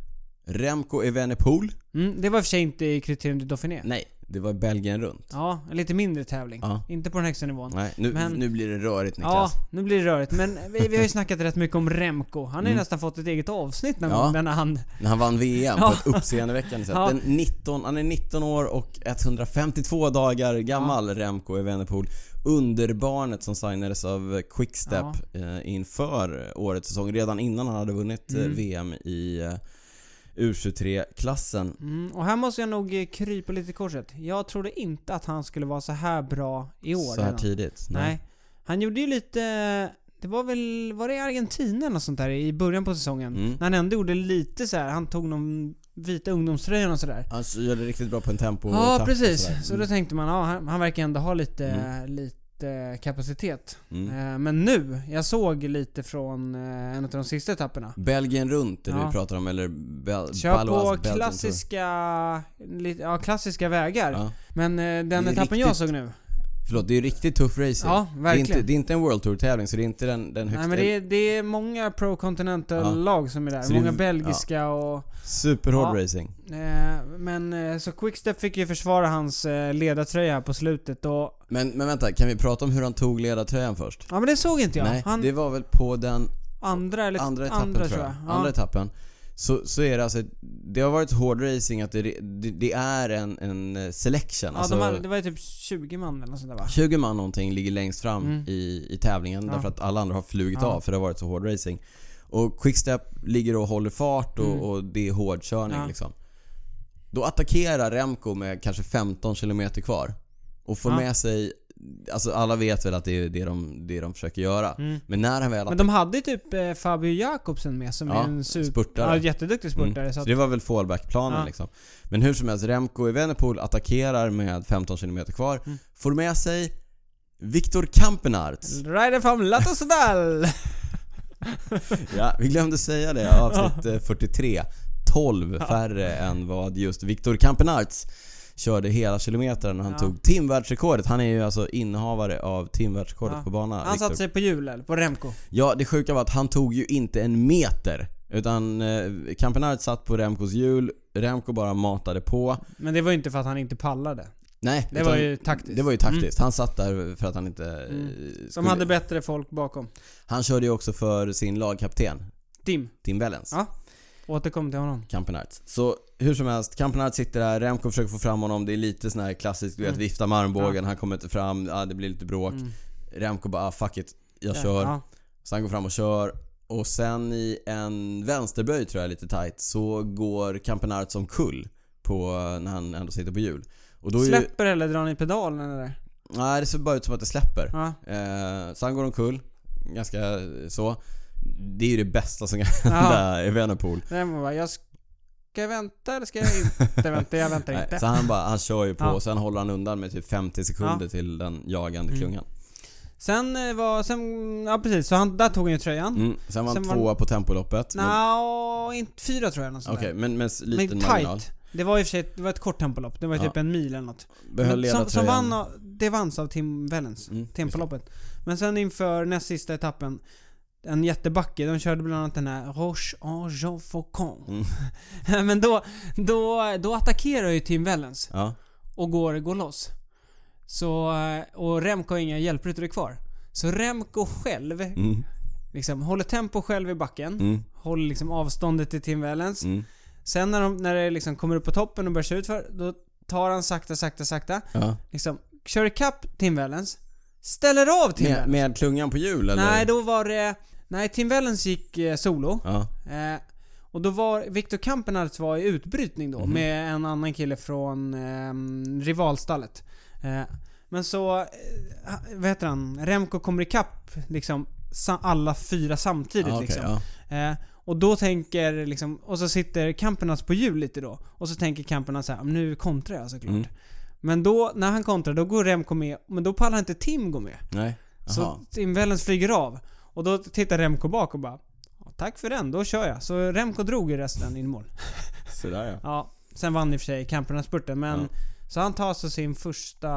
S1: Remco Evenepoel.
S2: Mm, det var i och för sig inte i Criterium du Dauphiné.
S1: Nej, det var Belgien runt.
S2: Ja, en lite mindre tävling.
S1: Ja.
S2: Inte på den högsta nivån.
S1: Nej, nu,
S2: Men-
S1: nu blir det rörigt
S2: Ja,
S1: Niklas.
S2: nu blir det rörigt. Men vi, vi har ju snackat rätt mycket om Remco. Han har ju nästan fått ett eget avsnitt någon
S1: Mm. Ja.
S2: gång där när han...
S1: När han vann VM på
S2: Ja.
S1: ett uppseendeväckande sätt.
S2: Ja.
S1: Den 19, han är 19 år och 152 dagar gammal Remco Evenepoel. Underbarnet som signades av Quickstep eh, inför årets säsong. Redan innan han hade vunnit eh,
S2: Mm.
S1: VM i eh, U23-klassen.
S2: Mm, och här måste jag nog eh, krypa lite i korset. Jag trodde inte att han skulle vara så här bra i år.
S1: Så här
S2: redan.
S1: tidigt.
S2: Nej. Han gjorde ju lite... Det var väl... Var det i Argentina eller något sånt där i början på säsongen?
S1: Mm.
S2: När han ändå gjorde lite så här. Han tog någon vita ungdomströjan och sådär.
S1: Alltså gör det riktigt bra på en tempo
S2: Ja,
S1: takt och sådär. Mm.
S2: precis. Så då tänkte man, ja, han, han verkar ändå ha lite, lite kapacitet.
S1: Mm.
S2: Eh, Men nu, jag såg lite från eh, en av de sista etapperna.
S1: Belgien runt är det
S2: Ja.
S1: vi pratar om eller Bel-
S2: Kör
S1: Balois
S2: på
S1: Belgien, tror jag.
S2: klassiska, lite, ja, klassiska vägar.
S1: Ja.
S2: Men eh, den
S1: Det är
S2: etappen
S1: riktigt
S2: jag såg nu.
S1: Förlåt, det är ju riktigt tuff racing.
S2: Ja,
S1: det, är
S2: verkligen.
S1: inte, det är inte en World Tour-tävligen så det är inte den, den högsta.
S2: Nej men det är, det är många Pro
S1: Ja.
S2: Continental-lag som är där.
S1: Så det är-
S2: många belgiska och...
S1: Superhård
S2: Ja.
S1: racing.
S2: Eh, men eh, så Quickstep fick ju försvara hans eh, ledartröja här på slutet och...
S1: Men, men vänta, kan vi prata om hur han tog ledartröjan först?
S2: Ja men det såg inte jag.
S1: Nej,
S2: han,
S1: det var väl på den
S2: andra eller...
S1: andra etappen tror jag.
S2: Ja.
S1: Andra etappen. Så, så är det alltså, det har varit så hård racing att det, det, det är en, en eh, selection.
S2: Ja,
S1: alltså,
S2: de hade, det var ju typ 20 man eller något sånt där va?
S1: 20 man någonting ligger längst fram
S2: Mm.
S1: i, i tävlingen
S2: Ja.
S1: därför att alla andra har flugit
S2: Ja.
S1: av för det har varit så hård racing. Och Quickstep ligger och håller fart och,
S2: Mm.
S1: och det är hårdkörning
S2: Ja.
S1: liksom. Då attackerar Remco med kanske 15 km kvar och får
S2: Ja.
S1: med sig, alltså alla vet väl att det är det de, det de försöker göra.
S2: Mm.
S1: Men när han väl
S2: Men de hade ju typ eh, Fabio Jakobsen med som
S1: Ja,
S2: är en super...
S1: spurtare.
S2: Ja, jätteduktig
S1: Mm.
S2: spurtare. Så
S1: Så
S2: att,
S1: det var väl fallbackplanen
S2: Ja.
S1: liksom. Men hur som helst, Remco Evenepoel attackerar med 15 km kvar.
S2: Mm.
S1: Får med sig Viktor Kampenarts.
S2: Rider from Latosdal!
S1: Ja, vi glömde säga det. Avsnitt eh, 43. 12 färre än vad just Viktor Kampenarts körde hela kilometern och han
S2: Ja.
S1: tog timvärldsrekordet. Han är ju alltså innehavare av timvärldsrekordet
S2: Ja.
S1: på bana.
S2: Han
S1: Viktor.
S2: satte sig på hjul eller? På Remco.
S1: Ja, det sjuka var att han tog ju inte en meter. Utan eh, Kampenarts satt på Remcos hjul, Remco bara matade på.
S2: Men det var ju inte för att han inte pallade.
S1: Nej,
S2: Det
S1: utan
S2: var ju taktiskt.
S1: det var ju taktiskt. Han satt där för att han inte... eh,
S2: Som
S1: skulle-
S2: hade bättre folk bakom.
S1: Han körde ju också för sin lagkapten,
S2: Tim.
S1: Tim Wellens.
S2: Ja. Återkom till honom.
S1: Campenarts. Så hur som helst, Campenarts sitter där, Remco försöker få fram honom. Det är lite sån här klassiskt, du vet
S2: Mm.
S1: vifta med armbågen, han kommer inte fram, ah, det blir lite bråk.
S2: Mm.
S1: Remco bara ah, 'fuck it, jag kör'
S2: Ja.
S1: Så han går fram och kör. Och sen i en vänsterböj tror jag lite tight så går Campenarts omkull på när han ändå sitter på hjul. Och då är ju...
S2: Släpper eller drar ni pedalen eller?
S1: Nej, det ser bara ut som att det släpper. *laughs*
S2: Ja.
S1: Eh, så han går omkull. Ganska så. Det är ju det bästa som kan
S2: Ja.
S1: hända i Venerpool.
S2: Den var bara, jag ska jag vänta eller ska jag
S1: *laughs*
S2: inte vänta? Jag väntar
S1: Nej,
S2: inte.
S1: så han bara, han kör ju på
S2: *laughs* Ja.
S1: och sen håller han undan med typ 50 sekunder till den jagande
S2: Mm.
S1: klungan.
S2: Sen eh, var, sen, ja precis, så han, där tog han ju tröjan.
S1: Mm. Sen var han
S2: Sen var-
S1: tvåa på tempoloppet. men-
S2: Nja, inte fyra tror jag något sånt
S1: Okej,
S2: där.
S1: men med s- liten
S2: Men
S1: marginal.
S2: tight. Det var i och för sig ett, det var ett kort tempolopp. Det var
S1: Ja.
S2: typ en mil eller något.
S1: Behöll
S2: Men som, som
S1: ledartröjan.
S2: vann, av- det vanns av Tim Wellens.
S1: Mm, just det.
S2: Tempoloppet. Men sen inför näst sista etappen, en jättebacke. De körde bland annat den här Roche Jean Faucon.
S1: Mm.
S2: *laughs* Men då, då, då attackerar ju Tim Wellens
S1: Ja.
S2: och går, går loss. Så, eh, och Remco har inga hjälpryttare kvar. Så Remco själv
S1: Mm,
S2: liksom, håller tempo själv i backen.
S1: mm,
S2: Håller liksom avståndet till Tim Wellens.
S1: mm.
S2: Sen när, de, när det liksom kommer upp på toppen och börjar se utför, då tar han sakta, sakta, sakta.
S1: Ja.
S2: Liksom, kör ikapp Tim Wellens. Ställer av Tim
S1: Med,
S2: Wellens.
S1: med klungan på hjul eller?
S2: Nej, då var det... Nej, Tim Wellens gick eh, solo.
S1: Ja.
S2: Eh, och då var Victor Kampenarts var i utbrytning då
S1: Mhm.
S2: med en annan kille från ehm, rivalstallet. Eh, men så, eh, ha- vad heter han? Remco kommer ikapp liksom sa, alla fyra samtidigt
S1: Ja, okej,
S2: liksom.
S1: ja.
S2: Eh, och då tänker liksom, och så sitter Kampenarts på hjul lite då. Och så tänker Kampenarts så här, "Men nu kontrar jag såklart.
S1: Mm.
S2: Men då, när han kontrar, då går Remco med, men då pallar inte Tim gå med.
S1: Nej. Jaha.
S2: Så Tim Wellens flyger av. Och då tittar Remco bak och bara "Ja, Tack för den, då kör jag. Så Remco drog i resten in i mål.
S1: Sådär ja.
S2: Ja, sen vann i och för sig Kampenarts-spurten men
S1: Ja.
S2: Så han tar alltså sin första,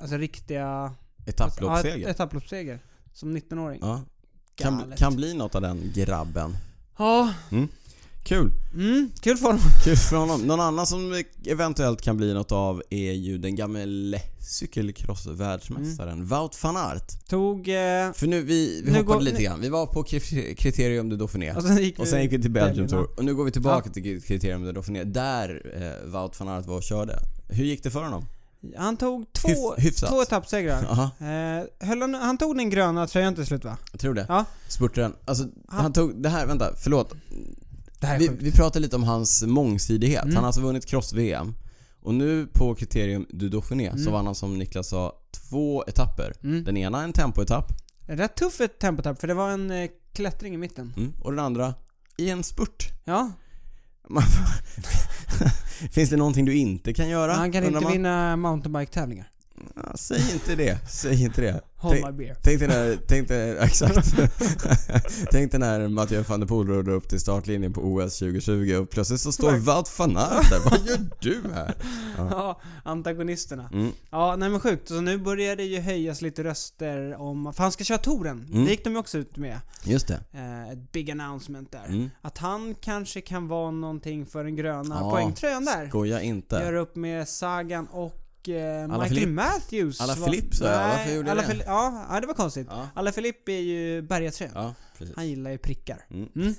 S2: alltså riktiga... Ja,
S1: Etapploppsseger.
S2: ett- etapploppsseger. Som 19-åring. Ja.
S1: Ja. Kan,
S2: Galet.
S1: kan bli något av den grabben.
S2: ja.
S1: Kul.
S2: Mm, kul för honom.
S1: Kul för honom. Någon annan som e- eventuellt kan bli något av är ju den gamle cykelcross-världsmästaren
S2: Mm.
S1: Wout van Aert.
S2: Tog... Eh,
S1: För nu, vi, vi
S2: Nu Alltså,
S1: hoppade
S2: går-
S1: lite grann. Vi var på Kri- Criterium de Dauphiné.
S2: och sen gick
S1: Och sen gick vi till Belgium
S2: Belgien,
S1: Tour. Och nu går vi tillbaka till Criterium de Dauphiné. Där eh, Wout van Aert var och körde. Hur gick det för honom?
S2: Han tog två,
S1: Hyf- hyfsat.
S2: två etappsegrar.
S1: Jaha,
S2: Eh, höll han, han tog den gröna tröjan till slut va?
S1: jag tror det.
S2: Ja.
S1: Spurtaren. Alltså, han,
S2: Han-
S1: tog... Det här, vänta, förlåt.
S2: Det här är
S1: Vi,
S2: sjukt.
S1: vi pratade lite om hans mångsidighet.
S2: Mm.
S1: Han har alltså vunnit Cross-VM. Och nu på Criterium du Dauphiné så
S2: Mm.
S1: vann han som Niklas sa två etapper.
S2: Mm.
S1: Den ena en tempoetapp
S2: Rätt tuff ett tempotapp för det var en eh, klättring i mitten.
S1: mm. och den andra i en spurt.
S2: Ja,
S1: Man- *laughs* Finns det någonting du inte kan göra?
S2: han kan
S1: undrar
S2: inte
S1: man?
S2: vinna mountainbike-tävlingar.
S1: Ja, säg inte det. Säg inte det.
S2: Hold
S1: Tänk-
S2: my beer.
S1: Tänk dig när, tänk dig, *laughs* exakt. tänk dig när Mathieu van der Poel rullar upp till startlinjen på OS 2020 och plötsligt så står Wout van Aert där. Vad gör du här?
S2: Ja, antagonisterna.
S1: Mm.
S2: Ja, nej men sjukt. Så nu börjar det ju höjas lite röster om... För han ska köra touren.
S1: Mm.
S2: Det gick de ju också ut med.
S1: Just det.
S2: Eh, ett big announcement där.
S1: Mm.
S2: Att han kanske kan vara någonting för den gröna
S1: Ja,
S2: poängtröjan där.
S1: Goja inte.
S2: Göra upp med Sagan och eh,
S1: Alla
S2: Michael
S1: Philippe.
S2: Matthews.
S1: Alla
S2: var-
S1: Philippe, sa jag.
S2: Nej,
S1: Varför gjorde
S2: alla
S1: det?
S2: Phil- ja, ja, det var konstigt.
S1: Ja,
S2: Alla Philippe är ju bergatröjan.
S1: ja precis.
S2: Han gillar ju prickar.
S1: Mm. *laughs*
S2: Mm.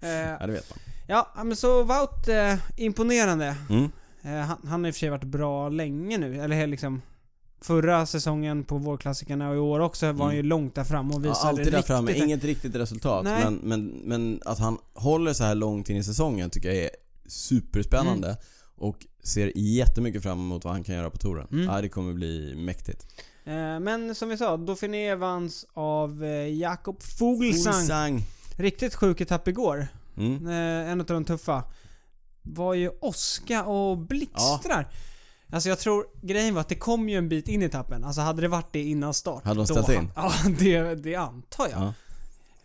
S2: eh,
S1: Ja, det vet man.
S2: ja, men så Wout, eh, imponerande.
S1: Mm.
S2: Eh, han, han har i och för sig varit bra länge nu. Eller liksom... Förra säsongen på vårklassikerna och i år också var han ju långt där fram och
S1: Mm. Ja,
S2: visade
S1: alltid där
S2: riktigt
S1: framme.
S2: en-
S1: Inget riktigt resultat.
S2: Nej.
S1: Men, men, men att han håller så här långt in i säsongen tycker jag är superspännande.
S2: Mm.
S1: Och ser jättemycket fram emot vad han kan göra på touren.
S2: Mm.
S1: Ja, det kommer bli mäktigt.
S2: Eh, Men som vi sa, Dauphiné vanns av eh, Jakob Fuglsang.
S1: Fuglsang.
S2: Riktigt sjuk etapp igår.
S1: Mm.
S2: Eh, En av de tuffa. Var ju åska och blixtrar. Alltså jag tror, grejen var att det kom ju en bit in i etappen. Alltså hade det varit det innan start.
S1: Hade de
S2: då
S1: ställt
S2: han-
S1: in?
S2: *laughs* Ja, det, det antar jag.
S1: Ja.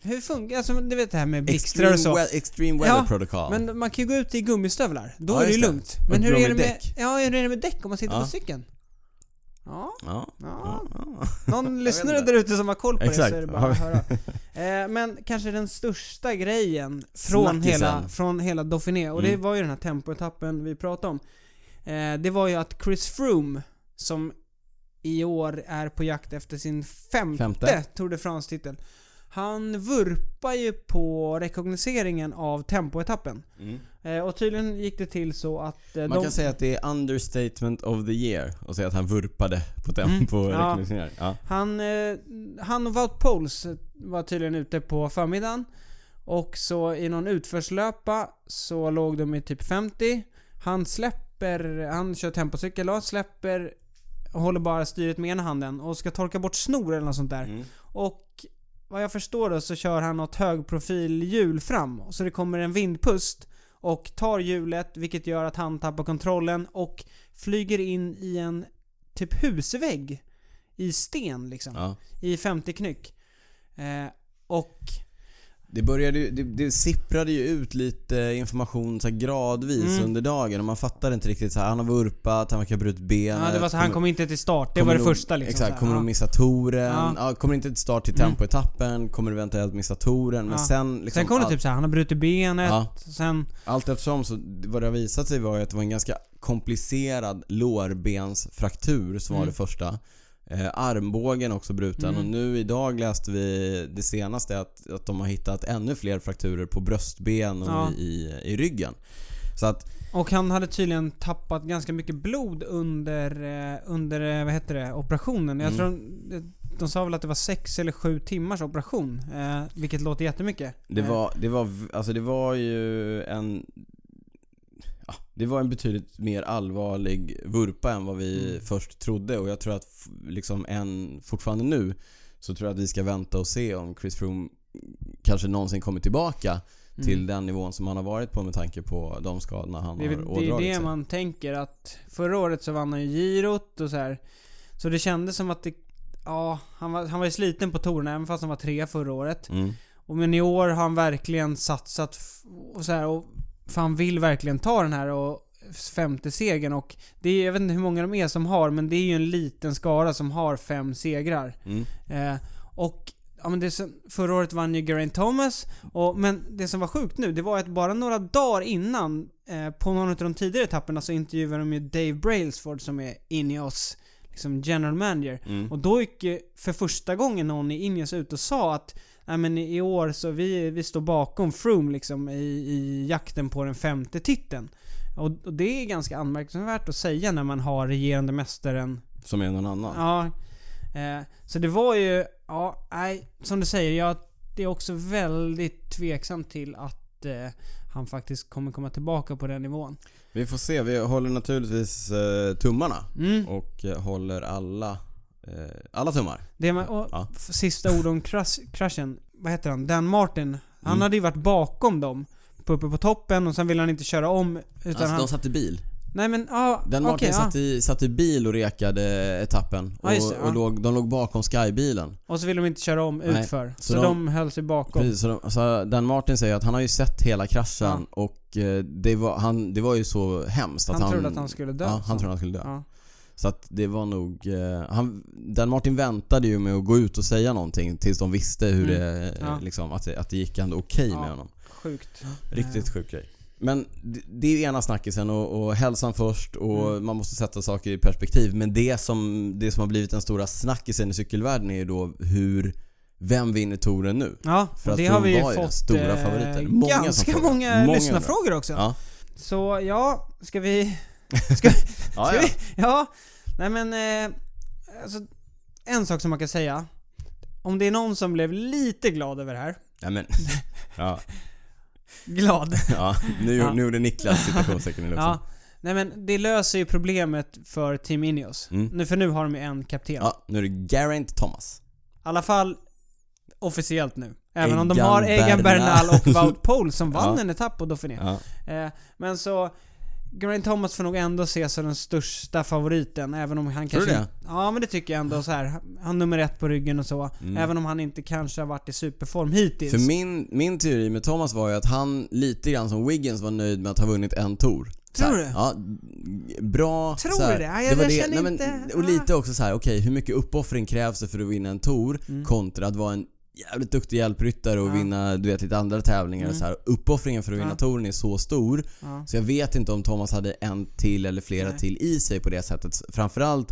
S2: Hur funkar, alltså du vet det här med blixtrar
S1: Extreme,
S2: och så.
S1: we- extreme Weather
S2: Ja,
S1: Protocol.
S2: Men man kan ju gå ut i gummistövlar. Då
S1: Ja,
S2: är det ju
S1: just det.
S2: lugnt.
S1: Och
S2: Men hur är det med,
S1: gummidäck.
S2: ja, hur är det med däck om man sitter
S1: Ja.
S2: på cykeln? Ja,
S1: ja.
S2: ja.
S1: Ja.
S2: Mm.
S1: *laughs*
S2: Någon lyssnare
S1: inte.
S2: där ute som har koll på det
S1: Exakt.
S2: så är det bara att höra. Eh, men kanske den största grejen från
S1: Snackisen.
S2: hela, från hela Dauphiné, och det
S1: Mm.
S2: var ju den här tempoetappen vi pratade om. Eh, det var ju att Chris Froome som i år är på jakt efter sin femte,
S1: Femte.
S2: Tour de France-titel. Han vurpar ju på rekognoseringen av tempoetappen.
S1: Mm.
S2: Eh, och tydligen gick det till så att... Eh,
S1: Man
S2: de,
S1: kan säga att det är understatement of the year och säga att han vurpade på tempo
S2: Mm,
S1: och
S2: ja.
S1: rekognoseringar. Ja.
S2: han, eh, han och Wout Poels var tydligen ute på förmiddagen. Och så i någon utförslöpa så låg de i typ 50. Han släpper, han kör tempocykel och släpper, håller bara styret med ena handen och ska torka bort snor eller något sånt där.
S1: Mm.
S2: Och vad jag förstår då så kör han något högprofilhjul fram. Så det kommer en vindpust och tar hjulet vilket gör att han tappar kontrollen och flyger in i en typ husvägg i sten liksom.
S1: Ja.
S2: I 50 knyck. Eh, och
S1: Det började ju, det, det sipprade ju ut lite information så här gradvis
S2: Mm.
S1: under dagen och man fattade inte riktigt så här, han har vurpat, han verkar ha brutit benet.
S2: ja, det var så, han kom inte till start. Det var det
S1: kommer nog-
S2: första liksom. så
S1: Exakt,
S2: här.
S1: kommer
S2: ja.
S1: de missa touren?
S2: Ja. Mm.
S1: Ja. kommer inte till start till tempoetappen? Kommer du eventuellt missa touren? Men
S2: Ja.
S1: sen liksom,
S2: Sen kom det
S1: allt-
S2: typ så här, han har brutit benet.
S1: Ja.
S2: Sen,
S1: Allt eftersom så, vad det har visat sig var ju att det var en ganska komplicerad lårbensfraktur som var det första. Eh, armbågen också bruten och nu idag läste vi det senaste att, att de har hittat ännu fler frakturer på bröstben och
S2: Ja.
S1: i, i, i ryggen. Så att,
S2: och han hade tydligen tappat ganska mycket blod under, eh, under eh, vad heter det, operationen. Jag
S1: Mm.
S2: tror de, de sa väl att det var sex eller sju timmars operation. Eh, vilket låter jättemycket.
S1: det
S2: Eh,
S1: var, det var, v- alltså det var ju en ja, det var en betydligt mer allvarlig vurpa än vad vi
S2: Mm.
S1: först trodde och jag tror att f- liksom än, fortfarande nu så tror jag att vi ska vänta och se om Chris Froome kanske någonsin kommer tillbaka
S2: Mm.
S1: till den nivån som han har varit på med tanke på de skadorna han
S2: Det är,
S1: har
S2: väl- det, är
S1: ådragit
S2: det
S1: sig.
S2: man tänker att förra året så vann han ju girot och så här. Så det kändes som att det, ja, han var, han var ju sliten på touren även fast han var tre förra året.
S1: Mm.
S2: Och men i år har han verkligen satsat f- och så här, och, för han vill verkligen ta den här och femte segern och det är, jag vet inte hur många de är som har men det är ju en liten skara som har fem segrar.
S1: Mm.
S2: Eh, och ja, men det som, förra året vann ju Geraint Thomas. Och, men det som var sjukt nu, det var att bara några dagar innan, eh, på någon av de tidigare etapperna, så intervjuade de ju Dave Brailsford som är Ineos liksom general manager.
S1: Mm.
S2: Och då gick ju för första gången någon i Ineos ut och sa att Nej men i år så vi, vi står bakom Froome liksom i, i jakten på den femte titeln. Och, och det är ganska anmärkningsvärt att säga när man har regerande mästaren
S1: Som är någon annan.
S2: Ja. Eh, så det var ju, ja, nej, som du säger, jag det är också väldigt tveksam till att eh, han faktiskt kommer komma tillbaka på den nivån.
S1: Vi får se, vi håller naturligtvis eh, tummarna
S2: Mm.
S1: och eh, håller alla, eh, alla tummar.
S2: Det med, och,
S1: Ja.
S2: f- Sista ord om crush, crushen. Vad heter han? Dan Martin. Han
S1: Mm.
S2: hade ju varit bakom dem. på- Uppe på toppen och sen ville han inte köra om. Utan
S1: Alltså
S2: han,
S1: de satt i bil.
S2: nej men ja,
S1: Den
S2: okej,
S1: Martin
S2: ja.
S1: satt, i, satt i bil och rekade etappen.
S2: Ja,
S1: Och,
S2: just det, ja.
S1: och låg, de låg bakom Skybilen.
S2: Och så ville de inte köra om
S1: Nej,
S2: utför. Så,
S1: så de-
S2: de höll sig bakom.
S1: Precis, så, de, så den Martin säger att han har ju sett hela kraschen och eh, det var, han, det var ju så hemskt
S2: Han
S1: att han...
S2: trodde att han skulle dö.
S1: Ja, han
S2: så.
S1: trodde han skulle dö.
S2: Ja.
S1: Så att det var nog... Eh, han, den Martin väntade ju med att gå ut och säga någonting tills de visste hur
S2: Mm.
S1: det, eh,
S2: Ja.
S1: liksom, att, det, att det gick ändå okej
S2: Ja.
S1: med honom.
S2: Sjukt.
S1: Riktigt sjuk grej. Eh. Men det- det är ju ena snackisen och, och hälsan först och
S2: Mm.
S1: man måste sätta saker i perspektiv. Men det som, det som har blivit den stora snackisen i cykelvärlden är ju då hur, vem vinner touren nu?
S2: Ja,
S1: För
S2: och
S1: att
S2: det har vi
S1: Froome
S2: ju
S1: var ju den
S2: fått
S1: stora
S2: eh,
S1: favoriten. Många som
S2: ganska
S1: frågar.
S2: många,
S1: Många
S2: lyssnarfrågor också.
S1: Ja.
S2: Så ja, ska vi...
S1: Ja,
S2: Ska
S1: Ah, ja.
S2: vi *laughs* ja, nej men... Eh, alltså, en sak som man kan säga. Om det är någon som blev lite glad över det här.
S1: ja men. *laughs* Ja,
S2: Glad.
S1: ja. Nu,
S2: Ja.
S1: nu gjorde Niklas citationstecken i luften.
S2: *laughs* ja.
S1: Ja.
S2: Nej men det löser ju problemet för Team Ineos.
S1: Mm.
S2: Nu, för nu har de ju en kapten. I
S1: nu är det Geraint Thomas.
S2: alla fall officiellt nu. Även om de
S1: Egan
S2: har Egan Bernal
S1: Bernal.
S2: och Wout Pohl som
S1: *laughs*
S2: vann
S1: Ja.
S2: en etapp på Dauphiné.
S1: Ja.
S2: Eh, men så... Geraint Thomas får nog ändå ses som den största favoriten, även om han
S1: Tror du
S2: kanske...
S1: det?
S2: Ja, men det tycker jag ändå så här. Han har nummer ett på ryggen och så. Även om han inte kanske har varit i superform hittills.
S1: Mm. För min, min teori med Thomas var ju att han lite grann som Wiggins var nöjd med att ha vunnit en tour. Så här,
S2: Tror du?
S1: Ja, bra.
S2: Tror
S1: så här,
S2: du det? Ja, jag- jag känner inte-
S1: Och lite också så här: okej hur mycket uppoffring krävs det för att vinna en tour kontra att vara en jävligt duktig hjälpryttare och
S2: Mm. Ja.
S1: vinna du vet, lite andra tävlingar och
S2: Mm.
S1: så här. Uppoffringen för att vinna
S2: Ja.
S1: touren är så stor
S2: Ja.
S1: så jag vet inte om Thomas hade en till eller flera
S2: Nej.
S1: till i sig på det sättet. Framförallt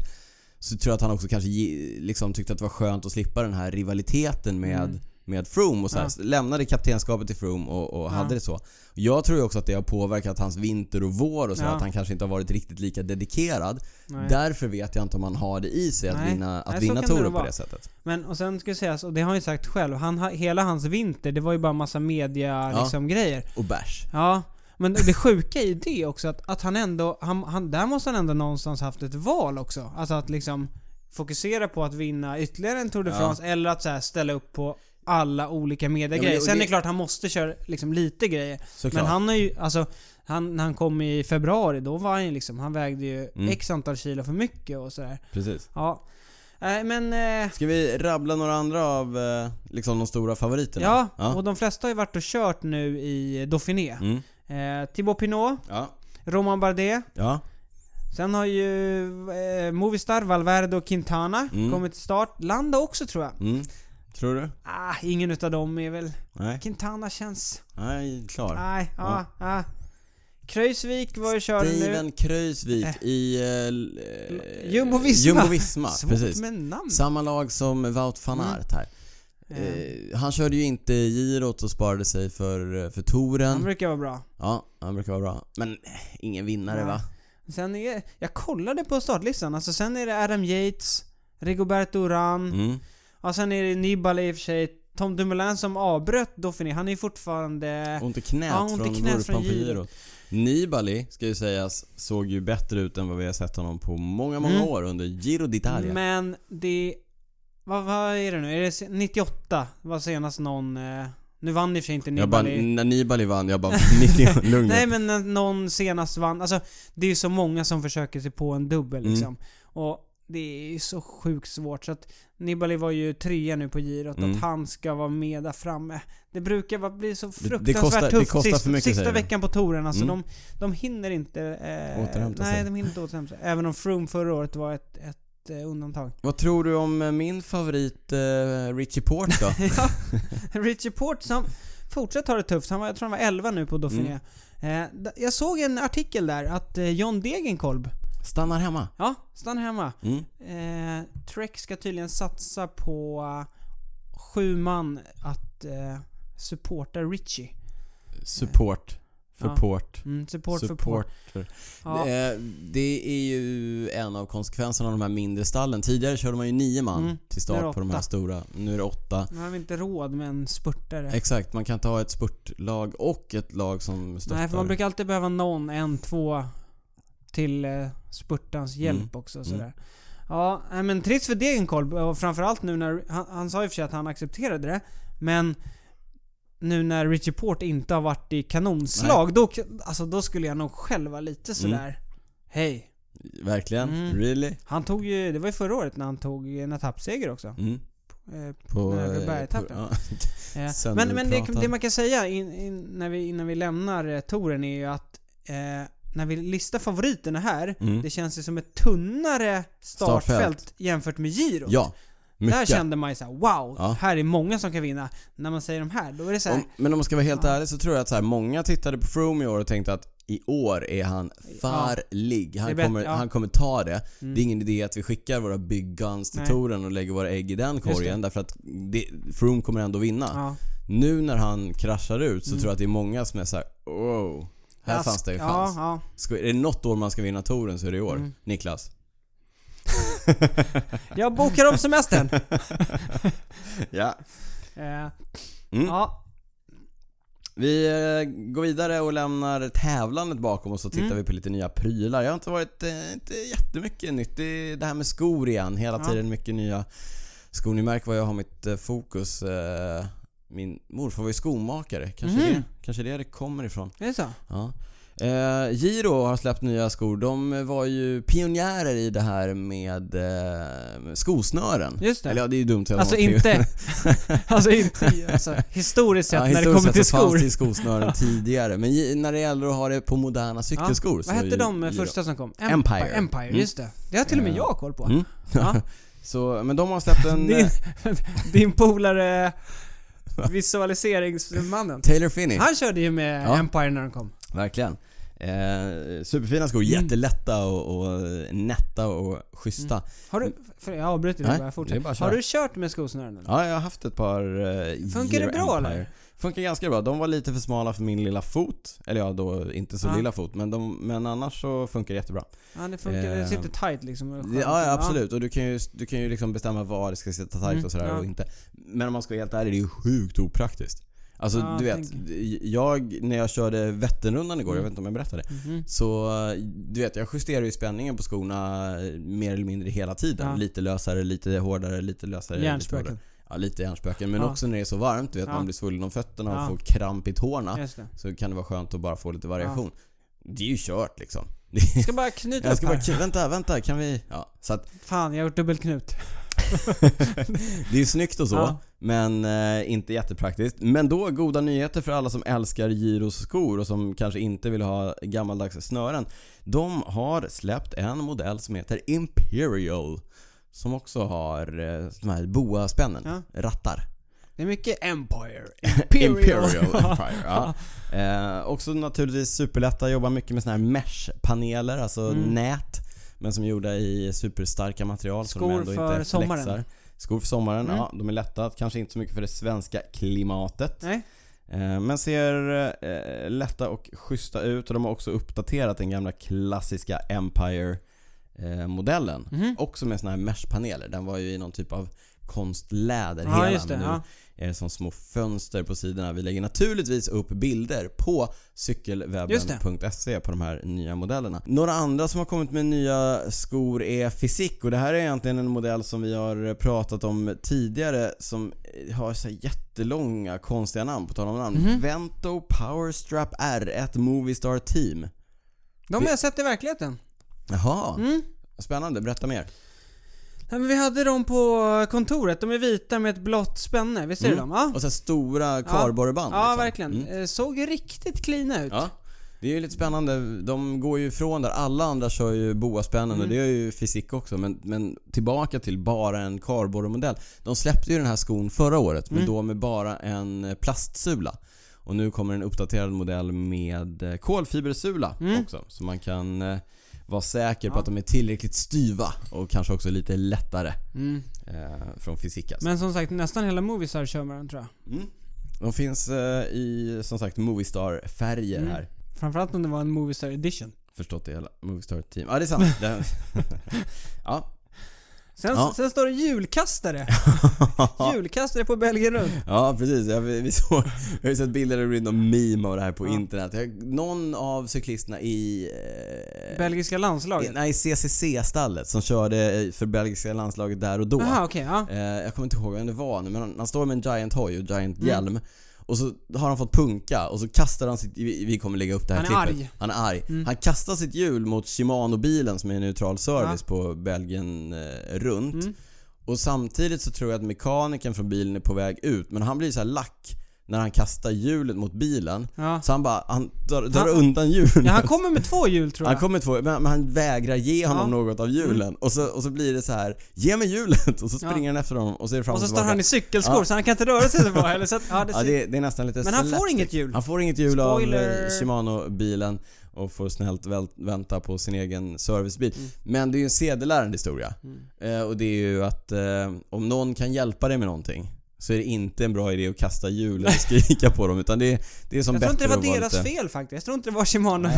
S1: så tror jag att han också kanske ge- liksom tyckte att det var skönt att slippa den här rivaliteten med,
S2: Mm.
S1: med Froome och så här,
S2: Ja.
S1: så lämnade kaptenskapet till Froome och, och
S2: Ja.
S1: hade det så. Jag tror ju också att det har påverkat hans vinter och vår och så här,
S2: Ja.
S1: att han kanske inte har varit riktigt lika dedikerad.
S2: Nej.
S1: Därför vet jag inte om han har det i sig att
S2: Nej.
S1: vinna, att
S2: Nej, så
S1: vinna
S2: kan det nog
S1: touren på
S2: vara.
S1: det sättet.
S2: Men och sen ska sägas, och det har han ju sagt själv, han, ha- hela hans vinter, det var ju bara massa media
S1: Ja.
S2: liksom grejer.
S1: Och bärs.
S2: Ja, men det sjuka i det också att, att han ändå, han, han, där måste han ändå någonstans haft ett val också. Alltså att liksom fokusera på att vinna ytterligare en Tour de
S1: Ja.
S2: France eller att så här ställa upp på alla olika mediegrejer.
S1: Ja, men det-
S2: Sen är
S1: det-
S2: det klart han måste köra liksom lite grejer.
S1: Såklart.
S2: Men han har ju, alltså, han, när han kom i februari då var han ju liksom, han vägde ju
S1: Mm.
S2: x antal kilo för mycket och sådär.
S1: Precis.
S2: Ja. Nej men, eh,
S1: Ska vi rabbla några andra av eh, liksom de stora favoriterna?
S2: ja,
S1: Ja.
S2: Och de flesta har ju varit och kört nu i Dauphiné.
S1: Mm.
S2: Eh, Thibaut Pinot,
S1: Ja.
S2: Roman Bardet.
S1: Ja.
S2: Sen har ju eh, Movistar, Valverde och Quintana
S1: Mm.
S2: kommit till start. Landa också tror jag.
S1: Mm. Tror du?
S2: Ah, ingen utav dem är väl...
S1: Nej.
S2: Quintana känns...
S1: Nej, klar.
S2: Nej, ja, ja. Kreuzvik var ju körd nu.
S1: Steven Kreuzvik i... eh, l- eh,
S2: Jumbo-Visma.
S1: Jumbo-Visma, precis.
S2: Svårt med namn.
S1: Samma lag som Wout van
S2: Mm.
S1: Aert här.
S2: Eh,
S1: Eh, han körde ju inte girot och sparade sig för, eh, för
S2: han
S1: touren.
S2: brukar vara bra.
S1: Ja, han brukar vara bra. Men eh, ingen vinnare
S2: Nej.
S1: va?
S2: Sen är... Jag kollade på startlistan, alltså sen är det Adam Yates, Rigoberto Urán,
S1: Mm.
S2: ja sen är det Nibali i och för sig, Tom Dumoulin som avbröt Dauphiné, han är ju fortfarande...
S1: Ont i knät
S2: Eh. Ja, ont i
S1: från
S2: knät
S1: vurpan
S2: från
S1: på
S2: girot.
S1: girot. Nibali, ska ju sägas, såg ju bättre ut än vad vi har sett honom på många, många
S2: Mm.
S1: år under Giro d'Italia.
S2: Men det... Vad, vad är det nu? Är det se- 98? Var senast någon... Eh, nu vann i och för sig inte
S1: jag bara,
S2: Nibali.
S1: när Nibali vann, jag bara, *laughs* lugn
S2: Nej
S1: nu.
S2: men när någon senast vann. Alltså det är ju så många som försöker sig på en dubbel
S1: Mm.
S2: liksom. Och det är ju så sjukt svårt så att Nibali var ju trea nu på girot.
S1: Mm.
S2: Att han ska vara med där framme. Det brukar vara, bli så
S1: det
S2: fruktansvärt
S1: kostar- det
S2: tufft
S1: kostar
S2: sist,
S1: för mycket,
S2: sista
S1: säger du.
S2: veckan på touren. Alltså
S1: Mm.
S2: de, de hinner inte... Eh,
S1: Återhämta
S2: nej,
S1: sig.
S2: de hinner inte återhämta sig. Även om Froome förra året var ett, ett eh, undantag.
S1: Vad tror du om eh, min favorit eh, Richie Port
S2: *laughs*
S1: då?
S2: Ja. *laughs* Richie Port som fortsatt har det tufft. Han var, jag tror han var 11 nu på Dauphiné.
S1: Mm.
S2: Eh, d- jag såg en artikel där att eh, John Degenkolb,
S1: Stannar hemma.
S2: ja, stanna hemma.
S1: Mm.
S2: Eh, Trek ska tydligen satsa på eh, sju man att eh, supporta Richie.
S1: Support. För
S2: Ja.
S1: Port.
S2: Mm, support, för Port.
S1: Support. för-
S2: Ja.
S1: Eh, Det är ju en av konsekvenserna av de här mindre stallen. Tidigare körde man ju nio man till
S2: Mm. Nu är det
S1: start på de här
S2: åtta. Mm.
S1: stora. Nu är det åtta.
S2: Man har väl inte råd med en spurtare.
S1: Exakt, man kan inte ha ett spurtlag och ett lag som stöttar.
S2: Nej, för man brukar alltid behöva någon, en, två till eh, spurtans hjälp
S1: Mm.
S2: också. Sådär. Ja, nej, men trist för Degenkolb och framförallt nu när... Han, han sa ju för sig att han accepterade det, men nu när Richie Port inte har varit i kanonslag, då, alltså, då skulle jag nog själv vara
S1: Mm.
S2: lite sådär... Hej.
S1: Verkligen?
S2: Mm.
S1: Really?
S2: Han tog ju... Det var ju förra året när han tog en etappseger också.
S1: Mm.
S2: Eh,
S1: På...
S2: Nej,
S1: eh,
S2: Bergetappen.
S1: på- ja.
S2: Eh,
S1: Sen
S2: men
S1: du
S2: men det,
S1: pratar.
S2: det man kan säga in, in, när vi, innan vi lämnar eh, touren är ju att eh, när vi listar favoriterna här,
S1: Mm.
S2: det känns ju som ett tunnare startfält,
S1: Startfält.
S2: jämfört med Giro.
S1: Ja,
S2: Där
S1: mycket.
S2: kände man ju såhär wow,
S1: Ja.
S2: här är många som kan vinna. När man säger de här, då är det såhär,
S1: Om, men om man ska vara helt
S2: Ja.
S1: ärlig så tror jag att så här, många tittade på Froome i år och tänkte att i år är han farlig.
S2: Det
S1: Han,
S2: är bättre,
S1: kommer,
S2: ja.
S1: han kommer ta det.
S2: Mm.
S1: Det är ingen idé att vi skickar våra big guns till
S2: Nej.
S1: touren och lägger våra ägg i den
S2: det.
S1: korgen därför att det, Froome kommer ändå vinna.
S2: ja.
S1: Nu när han kraschar ut så
S2: Mm.
S1: tror jag att det är många som är såhär wow. Här
S2: Ask-
S1: fanns det ju
S2: ja,
S1: chans.
S2: ja.
S1: Ska, är det något år man ska vinna touren så är det i år.
S2: Mm.
S1: Niklas.
S2: *laughs*
S1: *laughs*
S2: Jag bokar
S1: *laughs*
S2: om semestern.
S1: Ja.
S2: eh,
S1: Mm.
S2: ja,
S1: Vi eh, går vidare och lämnar tävlandet bakom oss och tittar
S2: Mm.
S1: vi på lite nya prylar. Jag har inte varit eh, inte jättemycket nytt. Det är det här med skor igen. Hela
S2: Ja.
S1: tiden mycket nya skor. Ni märker var jag har mitt eh, fokus. Eh, Min morfar var ju skomakare. Kanske,
S2: Mhm.
S1: det, kanske det det kommer ifrån.
S2: det är så.
S1: Ja. Eh, Giro har släppt nya skor. De var ju pionjärer i det här med eh, skosnören.
S2: Just
S1: Eller
S2: det.
S1: ja, det är ju dumt. att jag
S2: Alltså
S1: var pionjär. *laughs*
S2: inte, alltså inte, alltså historiskt sett när det
S1: historiskt
S2: kommer
S1: sett
S2: till
S1: så fanns
S2: skor.
S1: det ju
S2: *laughs*
S1: skosnören tidigare. Men i- när det gäller att ha det på moderna cykelskor så
S2: Vad
S1: är
S2: hette
S1: ju
S2: de eh,
S1: Giro.
S2: första som kom?
S1: Empire.
S2: Empire,
S1: Mm.
S2: just det. Det har till och med
S1: Eh,
S2: jag koll på.
S1: Mm.
S2: Ja.
S1: Så, *laughs* men de har släppt
S2: *laughs*
S1: en...
S2: Din,
S1: eh, *laughs*
S2: din polare visualiseringsmannen.
S1: Taylor Finney.
S2: Han körde ju med
S1: Ja.
S2: Empire när den kom.
S1: Verkligen. Eh, superfina skor,
S2: Mm.
S1: jättelätta och, och eh, nätta och schyssta.
S2: Har du... För jag avbryter
S1: Mm. Nej,
S2: dig Mm, bara,
S1: det är
S2: fortsätt.
S1: bara att
S2: Har
S1: köra.
S2: du kört med skosnören? eller?
S1: Ja, jag har haft ett par eh,
S2: Funkar det
S1: Year
S2: bra,
S1: Empire.
S2: eller?
S1: Funkar ganska bra. De var lite för smala för min lilla fot. Eller ja, då inte så
S2: Ja.
S1: lilla fot. Men, de, men annars så funkar det jättebra.
S2: Ja, det funkar.
S1: Eh,
S2: Det sitter tight liksom. och skönt.
S1: Ja, ja, absolut. Och du kan ju, du kan ju liksom bestämma var det ska sitta tajt
S2: Mm,
S1: och sådär
S2: ja.
S1: och inte. Men om man ska vara helt ärlig, det är ju sjukt opraktiskt. Alltså
S2: Ja,
S1: du
S2: jag
S1: vet, jag, när jag körde Vätternrundan igår, jag
S2: Mm.
S1: vet inte om jag berättade.
S2: Mhm.
S1: Så du vet, jag justerar ju spänningen på skorna mer eller mindre hela tiden.
S2: Ja.
S1: Lite lösare, lite hårdare, lite lösare. lite hårdare.
S2: Hjärnspöken.
S1: Ja, lite hjärnspöken. Men
S2: Ja.
S1: också när det är så varmt, du vet,
S2: Ja.
S1: man blir svullen om fötterna och
S2: Ja.
S1: får kramp i tårna.
S2: Just det.
S1: Så kan det vara skönt att bara få lite variation. Det är ju kört liksom. *laughs* Det-
S2: Jag ska bara knyta
S1: Jag ska
S2: upp
S1: bara,
S2: här.
S1: "Okej, vänta, vänta, kan vi... Ja, så att
S2: Fan, jag har gjort dubbelknut.
S1: det är ju snyggt och så,
S2: Ja.
S1: men eh, inte jättepraktiskt. Men då, goda nyheter för alla som älskar Giros skor och som kanske inte vill ha gammaldags snören. De har släppt en modell som heter Imperial. Som också har eh, de här boaspännen,
S2: Ja.
S1: rattar.
S2: Det är mycket
S1: *laughs*
S2: Empire. Imperial. *laughs*
S1: Empire, ja. eh, också naturligtvis superlätta, jobbar mycket med såna här mesh-paneler, alltså
S2: Mm.
S1: nät. Men som är gjorda i superstarka material. så de
S2: Skor
S1: ändå
S2: för
S1: inte
S2: sommaren.
S1: flexar. Skor för sommaren,
S2: Mm.
S1: ja. De är lätta, kanske inte så mycket för det svenska klimatet.
S2: Nej.
S1: Eh, men ser eh, lätta och schyssta ut och de har också uppdaterat den gamla klassiska Empire eh, modellen.
S2: Mhm.
S1: Också med såna här meshpaneler. Den var ju i någon typ av konstläder
S2: Ja,
S1: hela,
S2: just det.
S1: men nu
S2: Ja.
S1: är det som små fönster på sidorna. Vi lägger naturligtvis upp bilder på
S2: Just det.
S1: cykelwebben.se på de här nya modellerna. Några andra som har kommit med nya skor är Fysik och det här är egentligen en modell som vi har pratat om tidigare som har så här jättelånga konstiga namn på tal om namn.
S2: Mhm.
S1: Vento Power Strap R1 Movistar Team.
S2: De har jag sett i verkligheten.
S1: Jaha,
S2: Mm.
S1: spännande. Berätta mer.
S2: Nej, men vi hade dem på kontoret. De är vita med ett blått spänne. Visst är det
S1: Mm.
S2: dem? Ja,
S1: Och så här stora kardborreband.
S2: ja
S1: liksom.
S2: verkligen.
S1: Mm.
S2: Eh, Såg riktigt cleana ut.
S1: Ja. Det är ju lite spännande. De går ju ifrån där. Alla andra kör ju boaspännen
S2: Mm.
S1: och det gör ju fysik också. Men, men tillbaka till bara en kardborremodell. De släppte ju den här skon förra året men
S2: Mm.
S1: då med bara en plastsula. Och nu kommer en uppdaterad modell med eh, kolfibersula
S2: Mm.
S1: också. Så man kan eh, vara säker på att de är tillräckligt styva och kanske också lite lättare
S2: Mm.
S1: eh, från fysik alltså.
S2: Men som sagt, nästan hela Movistar kör med den tror jag.
S1: mm. De finns eh, i som sagt Movistar-färger
S2: Mm.
S1: här.
S2: Framförallt om det var en Movistar edition.
S1: förstått det hela. Movistar team. Ja, det är sant. Det... ja.
S2: Sen,
S1: Ja.
S2: sen står
S1: *laughs*
S2: det julkastare. julkastare på Belgien runt.
S1: ja, precis. Ja, vi, vi såg, jag har ju sett bilder och random meme av det här på
S2: Ja.
S1: internet. Jag, någon av cyklisterna i... Eh,
S2: Belgiska
S1: i-
S2: landslaget.
S1: nej, i CCC-stallet som körde för belgiska landslaget där och då.
S2: Jaha, okej. ja.
S1: Eh, jag kommer inte ihåg vem det var nu, men han, han står med en Giant Hoy och Giant
S2: Mm.
S1: Hjälm. Och så har han fått punka och så kastar han sitt... Vi vi kommer lägga upp det här
S2: Han är
S1: klippet.
S2: arg. Mm.
S1: Han är arg. Han kastar sitt hjul mot Shimano-bilen som är en neutral service på Belgien eh, runt.
S2: Mm.
S1: Och samtidigt så tror jag att mekanikern från bilen är på väg ut, men han blir så här lack när han kastar hjulet mot bilen.
S2: Ja.
S1: Så han bara, han drar, drar
S2: Han-
S1: undan hjulet.
S2: ja. Han kommer med två hjul tror
S1: Han
S2: jag.
S1: kommer två, men men han vägrar ge honom
S2: Ja. Mm.
S1: något av hjulen. Och, så, och så blir det så här ge mig hjulet! *laughs* Och så springer han efter honom och så är det fram
S2: Och
S1: och
S2: så står
S1: tillbaka.
S2: han i cykelskor
S1: Ja.
S2: så han kan inte röra sig så bra heller. Så att, ja, det
S1: Ja,
S2: ser-
S1: det, det är nästan lite
S2: Men han får
S1: slapstick.
S2: inget hjul.
S1: Han får inget hjul av
S2: Spoiler.
S1: eh, Shimano-bilen och får snällt väl, vänta på sin egen servicebil.
S2: Mm.
S1: Men det är ju en sedelärande historia. Eh, och det är ju att eh, om någon kan hjälpa dig med någonting så är det inte en bra idé att kasta hjul eller skrika på dem utan det är, det är som
S2: Jag
S1: bättre
S2: tror inte det var
S1: att vara
S2: deras
S1: lite-
S2: fel faktiskt. Jag tror inte det var Shimano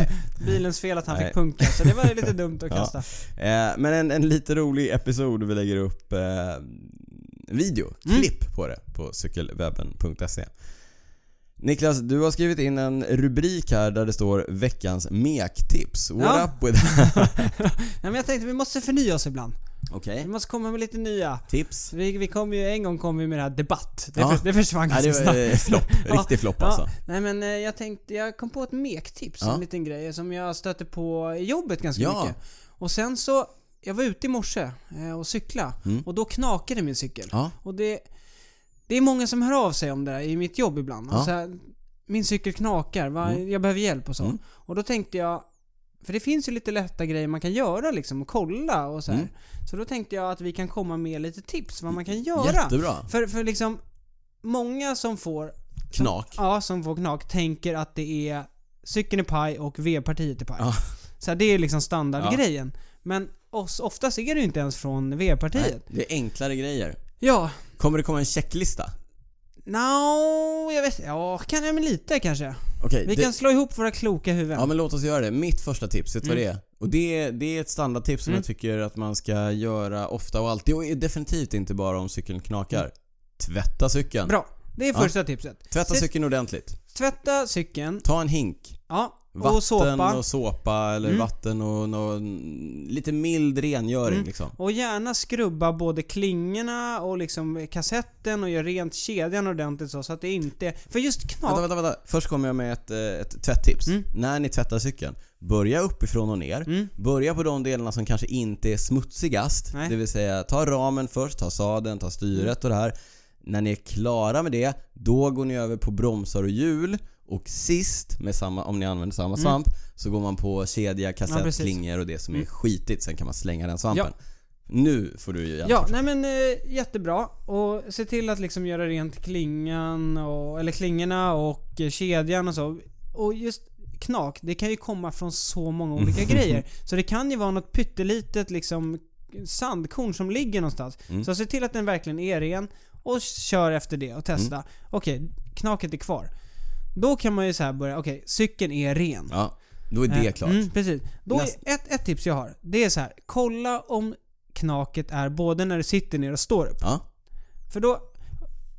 S2: bilens fel att han
S1: Nej.
S2: fick punka. Så det
S1: *laughs*
S2: var lite dumt att
S1: Ja.
S2: kasta.
S1: Eh, men en, en lite rolig episod vi lägger upp eh, video, klipp på det på cykelwebben.se. Niklas, du har skrivit in en rubrik här där det står veckans mektips. What
S2: Ja.
S1: up with that?
S2: Nej, men jag tänkte vi måste förnya oss ibland.
S1: *laughs* Okej.
S2: Vi måste komma med lite nya.
S1: Tips?
S2: Vi, vi kom ju, en gång kom vi med det här debatt. Det,
S1: Ja.
S2: för, det
S1: *laughs*
S2: försvann
S1: Nej, det
S2: ganska
S1: var
S2: snabbt.
S1: eh, flopp. Riktig flopp alltså.
S2: Ja, nej men eh, jag tänkte, jag kom på ett mektips,
S1: Ja.
S2: en liten grej som jag stötte på i jobbet ganska
S1: Ja.
S2: mycket. Och sen så, jag var ute i morse eh, och cykla
S1: Mm.
S2: och då knakade min cykel.
S1: Ja.
S2: Och det, det är många som hör av sig om det där i mitt jobb ibland. Alltså,
S1: Ja. Mm.
S2: Och så här, min cykel knakar, va? jag behöver hjälp och så. Och då tänkte jag, För det finns ju lite lätta grejer man kan göra liksom och kolla och så här.
S1: Mm.
S2: Så då tänkte jag att vi kan komma med lite tips vad man kan göra.
S1: Jättebra.
S2: För, för liksom, många som får,
S1: Knak.
S2: ja som får knak tänker att det är cykeln är paj och V-partiet är paj.
S1: Ja.
S2: Så här, det är liksom standardgrejen. Men oss, oftast är det ju inte ens från
S1: Nej,
S2: V-partiet.
S1: det är enklare grejer.
S2: Ja,
S1: Kommer det komma en checklista?
S2: no, jag vet Ja, kan jag men lite kanske.
S1: Okej,
S2: Vi
S1: det-
S2: kan slå ihop våra kloka huvuden.
S1: Ja men låt oss göra det. Mitt första tips, vet du
S2: Mm.
S1: vad det är? Och det är, det är ett standardtips som jag tycker att man ska göra ofta och alltid. Och är definitivt inte bara om cykeln knakar. Tvätta cykeln.
S2: Mm. Bra. Det är
S1: Ja.
S2: första tipset.
S1: Tvätta
S2: Se-
S1: cykeln ordentligt.
S2: Tvätta cykeln.
S1: Ta en hink.
S2: Ja.
S1: Vatten
S2: och såpa. Mm.
S1: och såpa eller vatten och någon, lite mild rengöring liksom.
S2: Och gärna skrubba både klingorna och liksom kassetten och göra rent kedjan ordentligt så, så att det inte... För just
S1: Vänta,
S2: knak...
S1: vänta, vänta. Först kommer jag med ett, eh, ett tvätttips.
S2: Mm.
S1: När ni tvättar cykeln, börja uppifrån och ner. Börja på de delarna som kanske inte är smutsigast.
S2: Nej. Mm.
S1: Det vill säga, ta ramen först, ta sadeln, ta styret och det här. När ni är klara med det, då går ni över på bromsar och hjul. Och sist, med samma, om ni använder samma svamp, så går man på kedja,
S2: Mm. Ja,
S1: kassett,
S2: precis. Mm.
S1: klingor och det som är skitigt. Sen kan man slänga den svampen. Nu får du göra
S2: Ja, nej men eh, jättebra. Och se till att liksom göra rent klingan och... Eller klingorna och eh, kedjan och så. Och just knak, det kan ju komma från så många olika grejer. Så det kan ju vara något pyttelitet liksom sandkorn som ligger någonstans. Så se till att den verkligen är ren och kör efter det och testa. Okej, knaket är kvar. Då kan man ju så här börja, okej, cykeln är ren.
S1: ja. Då är det
S2: Eh,
S1: klart.
S2: Mm, precis. Då
S1: Näst-
S2: är ett, ett tips jag har, det är så här, kolla om knaket är både när du sitter ner och står upp.
S1: Ja.
S2: För då,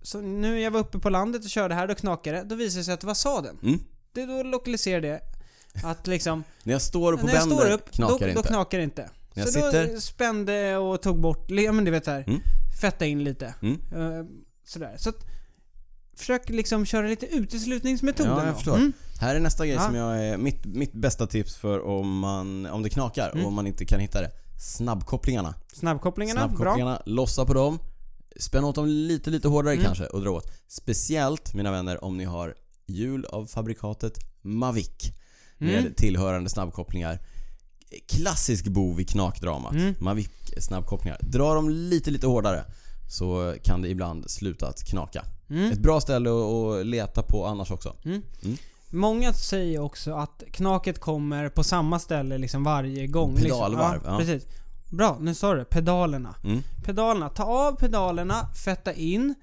S2: så nu jag var uppe på landet och körde här, då knakade det. Då visade det sig att det var sadeln.
S1: Mm.
S2: Det, då lokaliserar det
S1: *laughs*
S2: att liksom,
S1: När jag står upp på
S2: när jag
S1: bänder
S2: står upp,
S1: knakar det
S2: då,
S1: inte.
S2: då knakar det inte.
S1: När jag
S2: så
S1: sitter-
S2: då spände och tog bort, ja men du vet här,
S1: Mm.
S2: fetta in lite.
S1: Mm.
S2: Eh, sådär. Så att, försök liksom köra lite uteslutningsmetoder.
S1: Ja,
S2: då.
S1: jag förstår.
S2: Mm.
S1: Här är nästa grej
S2: Ja.
S1: som jag är, mitt, mitt bästa tips för om, man, om det knakar och om man inte kan hitta det. Snabbkopplingarna.
S2: Snabbkopplingarna, Mm. bra.
S1: Snabbkopplingarna, lossa på dem. Spänn åt dem lite, lite hårdare
S2: Mm.
S1: kanske och dra åt. Speciellt mina vänner om ni har hjul av fabrikatet Mavic med
S2: Mm.
S1: tillhörande snabbkopplingar. Klassisk bov i knakdramat.
S2: Mm.
S1: Mavic snabbkopplingar. Dra dem lite, lite hårdare så kan det ibland sluta att knaka.
S2: Mm.
S1: Ett bra ställe att, att leta på annars också.
S2: Många säger också att knaket kommer på samma ställe liksom varje gång.
S1: Pedalvarv,
S2: liksom.
S1: ja.
S2: Precis. Bra, nu sa du pedalerna.
S1: Mm.
S2: Pedalerna, ta av pedalerna, fetta in.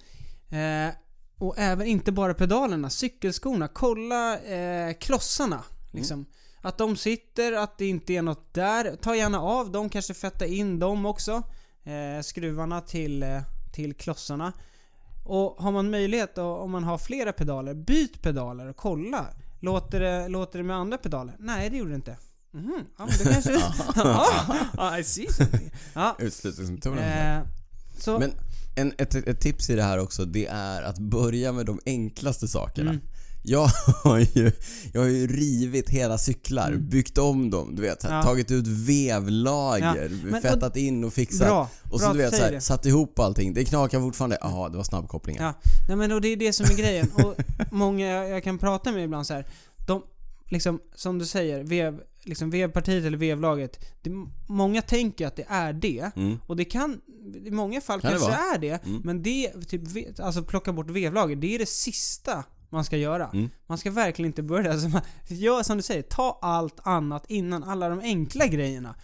S2: Eh, och även inte bara pedalerna, cykelskorna. Kolla eh, klossarna. Liksom. Att de sitter, att det inte är något där. Ta gärna av dem, kanske fetta in dem också. Eh, skruvarna till, eh, till klossarna. Och har man möjlighet och om man har flera pedaler, byt pedaler och kolla. Låter det, låter det med andra pedaler? Nej, det gjorde det inte. Mhm, ja, men då *laughs* kanske... ah, I see something. Ja,
S1: Utslutningsmetoden.
S2: eh, så...
S1: Men en, ett, ett tips i det här också, det är att börja med de enklaste sakerna.
S2: Mm.
S1: Jag *laughs* har, ju, jag har ju rivit hela cyklar, byggt om dem, du vet.
S2: Mm. Ja.
S1: Tagit ut vevlager,
S2: Ja, men- och-
S1: fettat in och fixat.
S2: Bra,
S1: och så
S2: bra
S1: du
S2: att
S1: vet
S2: du
S1: så här,
S2: säger det. Mm.
S1: satt ihop allting. Det knakar fortfarande. Jaha, det var snabbkopplingen.
S2: Ja, nej men och det är det som är grejen.
S1: *laughs*
S2: Och många jag, jag kan prata med ibland så här, de, liksom, som du säger, vev, liksom vevpartiet eller vevlaget. Det, många tänker att det är det. Och det kan, i många fall
S1: Mm. Kan det
S2: kanske det
S1: vara. Mm.
S2: är det. Men det, typ, ve- alltså plocka bort vevlaget, det är det sista man ska göra.
S1: Mm.
S2: Man ska verkligen inte börja *laughs* där. Så man- Gör som du säger, ta allt annat innan, alla de enkla grejerna.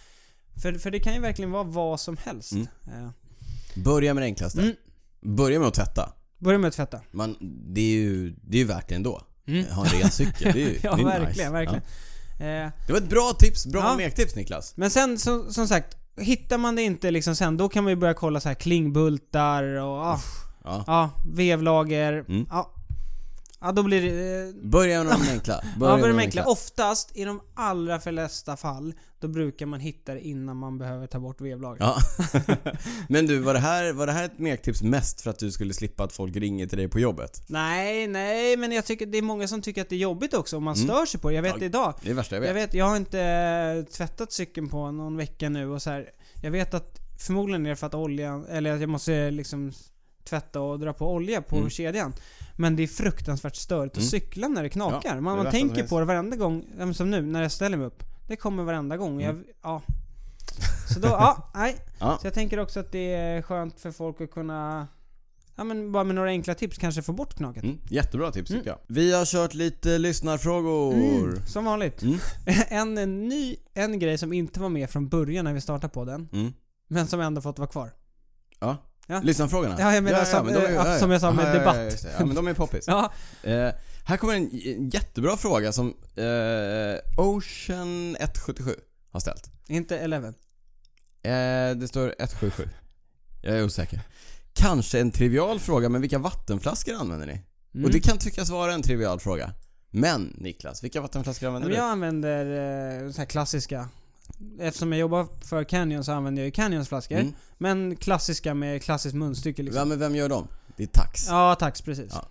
S2: För, för det kan ju verkligen vara vad som helst.
S1: Mm.
S2: Eh,
S1: Börja med det enklaste.
S2: Mm.
S1: Börja med att tvätta.
S2: börja med att tvätta.
S1: Man, det, är ju, det är ju värt det ändå. Ha en ren cykel. Det är ju
S2: Mm. *laughs* Ja,
S1: det är
S2: verkligen,
S1: nice.
S2: verkligen.
S1: Ja.
S2: Eh,
S1: Det var ett bra tips. Bra
S2: Ja.
S1: lektips Niklas.
S2: Men sen som, som sagt, hittar man det inte liksom sen, då kan man ju börja kolla så här klingbultar och ah,
S1: Ja.
S2: ja, vevlager.
S1: Mm.
S2: Ja. ja, då blir det... Eh,
S1: Börja med de enkla.
S2: *laughs* ja, börja med enkla. Oftast, i de allra flesta fall, då brukar man hitta det innan man behöver ta bort vevlager.
S1: Ja. *laughs* Men du, var det, här, var det här ett mektips mest för att du skulle slippa att folk ringer till dig på jobbet?
S2: Nej, nej, men jag tycker det är många som tycker att det är jobbigt också om man stör sig på det. Jag vet
S1: Mm. Ja,
S2: idag.
S1: Det är det värsta jag vet.
S2: Jag vet, jag har inte eh, tvättat cykeln på någon vecka nu och så här. Jag vet att förmodligen är det för att oljan, eller att jag måste eh, liksom tvätta och dra på olja på
S1: Mm.
S2: kedjan. Men det är fruktansvärt störigt att cykla när det knakar.
S1: Ja, det är
S2: man man
S1: värsta som
S2: tänker
S1: finns.
S2: på det varenda gång, ja, men som nu när jag ställer mig upp. Det kommer varenda gång. Jag, ja. Så
S1: *laughs*
S2: då, ja, nej.
S1: Mm. Ja.
S2: Så jag tänker också att det är skönt för folk att kunna... Ja men bara med några enkla tips kanske få bort knaket.
S1: Mm, jättebra tips tycker jag. Vi har kört lite lyssnarfrågor. Mm.
S2: Som vanligt.
S1: Mm.
S2: En, *laughs* en ny en grej som inte var med från början när vi startade podden,
S1: Mm.
S2: men som ändå fått vara kvar.
S1: Ja.
S2: Ja.
S1: Lyssnarfrågorna?
S2: Ja, jag menar som-
S1: de är-
S2: ja, som jag sa med
S1: ja, ja,
S2: debatt.
S1: Ja, just det. ja, men de är poppis.
S2: *laughs* Ja,
S1: Eh, här kommer en j- en jättebra fråga som eh, Ocean177 har ställt.
S2: inte Eleven.
S1: Eh, det står 177. Jag är osäker. Kanske en trivial fråga, men vilka vattenflaskor använder ni?
S2: Mm.
S1: Och det kan tyckas vara en trivial fråga. Men Niklas, vilka vattenflaskor använder
S2: Men jag använder eh, så här klassiska. Eftersom jag jobbar för Canyon så använder jag ju Canyons
S1: du?
S2: flaskor.
S1: Mm.
S2: Men klassiska med klassiskt munstycke liksom.
S1: Vem, vem gör dem? Det är Tax.
S2: Ja, tax precis.
S1: Ja.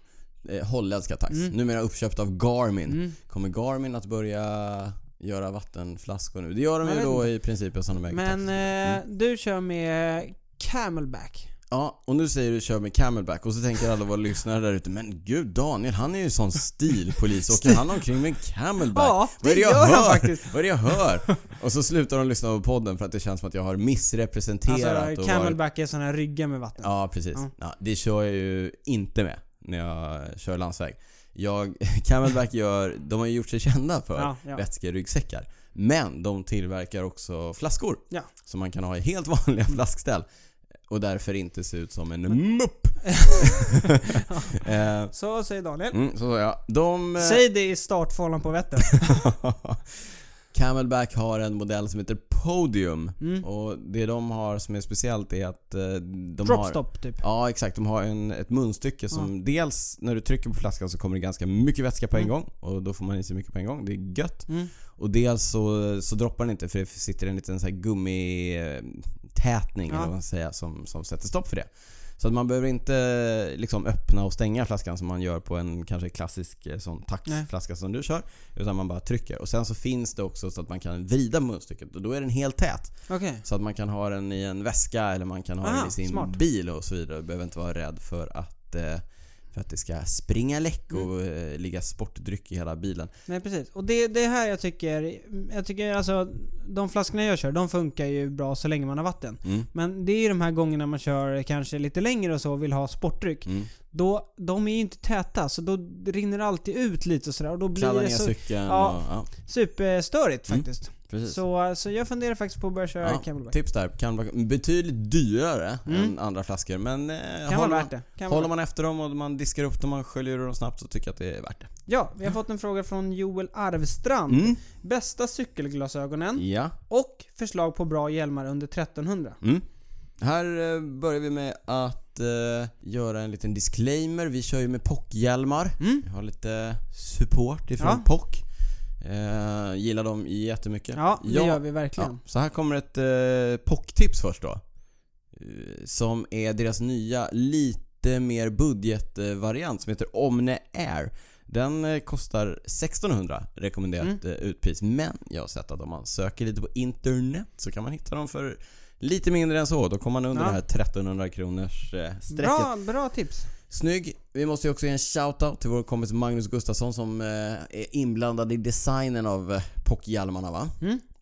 S1: Eh, holländska Tax.
S2: Mm.
S1: Numera uppköpt av Garmin.
S2: Mm.
S1: Kommer Garmin att börja göra vattenflaskor nu? Det gör de
S2: Jag
S1: ju
S2: vet
S1: då i princip som de äger
S2: Men
S1: Tax.
S2: eh,
S1: Mm.
S2: du kör med Camelback.
S1: Ja, och nu säger du kör med camelback och så tänker alla våra lyssnare där ute Men gud Daniel, han är ju sån stilpolis. Åker han omkring med en camelback?
S2: Ja,
S1: Vad är det jag
S2: gör han
S1: hör? *laughs*
S2: faktiskt.
S1: Vad är det jag hör? Och så slutar de lyssna på podden för att det känns som att jag har missrepresenterat
S2: Alltså
S1: och varit...
S2: Camelback är såna här ryggar med vatten.
S1: Ja, precis.
S2: Ja.
S1: Ja, det kör jag ju inte med när jag kör landsväg. Jag, *laughs* camelback gör, de har ju gjort sig kända för
S2: Ja, ja.
S1: vätskeryggsäckar. Men de tillverkar också flaskor.
S2: Ja.
S1: Som man kan ha i helt *laughs* vanliga flaskställ. Och därför inte se ut som en
S2: Mm. *laughs*
S1: mupp. *laughs* Eh,
S2: Så säger Daniel.
S1: mm, så sa jag. De... eh,
S2: Säg det i startfållan på Vättern.
S1: *laughs* Camelback har en modell som heter Podium.
S2: Mm.
S1: Och det de har som är speciellt är att eh, de har...
S2: Dropstop typ.
S1: Ja, exakt. De har en, ett munstycke som dels när du trycker på flaskan så kommer det ganska mycket vätska på en gång och då får man i sig mycket på en gång. Det är gött.
S2: Mm.
S1: Och dels så, så droppar den inte för det sitter en liten så här gummitätning eller
S2: Ja.
S1: vad man ska säga som, som sätter stopp för det. Så att man behöver inte liksom öppna och stänga flaskan som man gör på en kanske klassisk eh, sån
S2: Nej.
S1: taxflaska som du kör. Utan man bara trycker. Och sen så finns det också så att man kan vrida munstycket och då är den helt tät.
S2: Okej.
S1: Så att man kan ha den i en väska eller man kan ha den
S2: Aha,
S1: i sin
S2: smart.
S1: bil och så vidare. Du behöver inte vara rädd för att, eh, för att det ska springa läck
S2: Mm.
S1: och eh, ligga sportdryck i hela bilen.
S2: Nej precis. Och det, det är här jag tycker... Jag tycker alltså... De flaskorna jag kör, de funkar ju bra så länge man har vatten.
S1: Mm.
S2: Men det är ju de här gångerna man kör kanske lite längre och så och vill ha sportdryck.
S1: Mm.
S2: Då, de är ju inte täta så då rinner det alltid ut lite och sådär och då blir
S1: Kladda ner
S2: det så
S1: cykeln
S2: ja.
S1: och... Ja,
S2: superstörigt
S1: Mm.
S2: faktiskt.
S1: precis.
S2: Så, eh, så jag funderar faktiskt på att börja köra
S1: Ja, Typ-
S2: Camelback.
S1: tips där. Kan, betydligt dyrare
S2: Mm.
S1: än andra flaskor men eh,
S2: Kan
S1: håller,
S2: vara
S1: man,
S2: värt det. Kan vara
S1: håller man efter dem och man diskar upp dem och man sköljer ur dem snabbt så tycker jag att det är värt det.
S2: Ja, vi har fått en fråga från Joel Arvstrand.
S1: Mm.
S2: Bästa cykelglasögonen
S1: Ja.
S2: och förslag på bra hjälmar under 1300.
S1: Mm. Här eh, börjar vi med att eh, göra en liten disclaimer. Vi kör ju med POC-hjälmar.
S2: Mm.
S1: Jag har lite support ifrån
S2: Ja.
S1: POC. Eh, gillar dem jättemycket.
S2: Ja, det
S1: Jag-
S2: gör vi verkligen.
S1: så här kommer ett eh, POC-tips först då. Eh, Som är deras nya, lite mer budgetvariant som heter Omne Air. Den eh, kostar 1600 rekommenderat
S2: Mm.
S1: eh, utpris. Men jag har sett att om man söker lite på internet så kan man hitta dem för lite mindre än så. Då kommer man under
S2: Ja.
S1: det här 1300 kronors eh, strecket.
S2: Bra, bra tips.
S1: Snygg. Vi måste ju också ge en shoutout till vår kompis Magnus Gustafsson som eh, är inblandad i designen av eh, POC-hjälmarna va?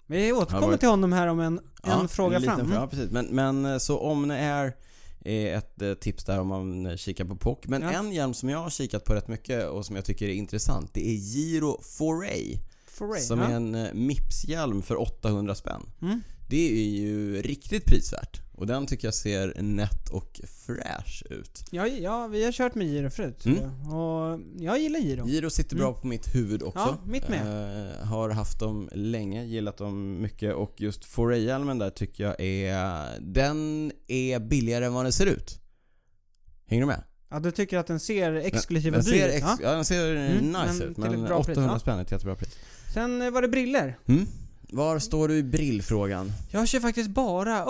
S2: Vi
S1: Har
S2: återkommer
S1: varit-
S2: till honom här om en, en fråga
S1: liten
S2: fram. Mm.
S1: fråga, Ja, precis. Men, men eh, så Omne Air är ett eh, tips där om man eh, kikar på POC. Men
S2: Ja.
S1: en hjälm som jag har kikat på rätt mycket och som jag tycker är intressant det är Giro Foray.
S2: Foray,
S1: Som
S2: ja.
S1: är en eh, Mips-hjälm för 800 spänn.
S2: Mm.
S1: Det är ju riktigt prisvärt. Och den tycker jag ser nätt och fräsch ut.
S2: Ja, ja, vi har kört med Giro förut.
S1: Mm.
S2: Och jag gillar Giro.
S1: Giro sitter bra på mitt huvud också.
S2: Mm. Ja, mitt
S1: Eh, har haft dem länge, gillat dem mycket och just Foray-hjälmen där tycker jag är... Den är billigare än vad den ser ut. Hänger du med?
S2: Ja, du tycker att den ser exklusiv
S1: den
S2: och dyr
S1: ser,
S2: ut?
S1: ex-
S2: ja.
S1: ja, den ser
S2: Mm, men
S1: nice ut
S2: till ett
S1: men
S2: bra pris,
S1: 800
S2: ja.
S1: spänn är ett jättebra pris.
S2: Sen eh, var det briller.
S1: Mm. Var står du i brillfrågan?
S2: Jag kör faktiskt bara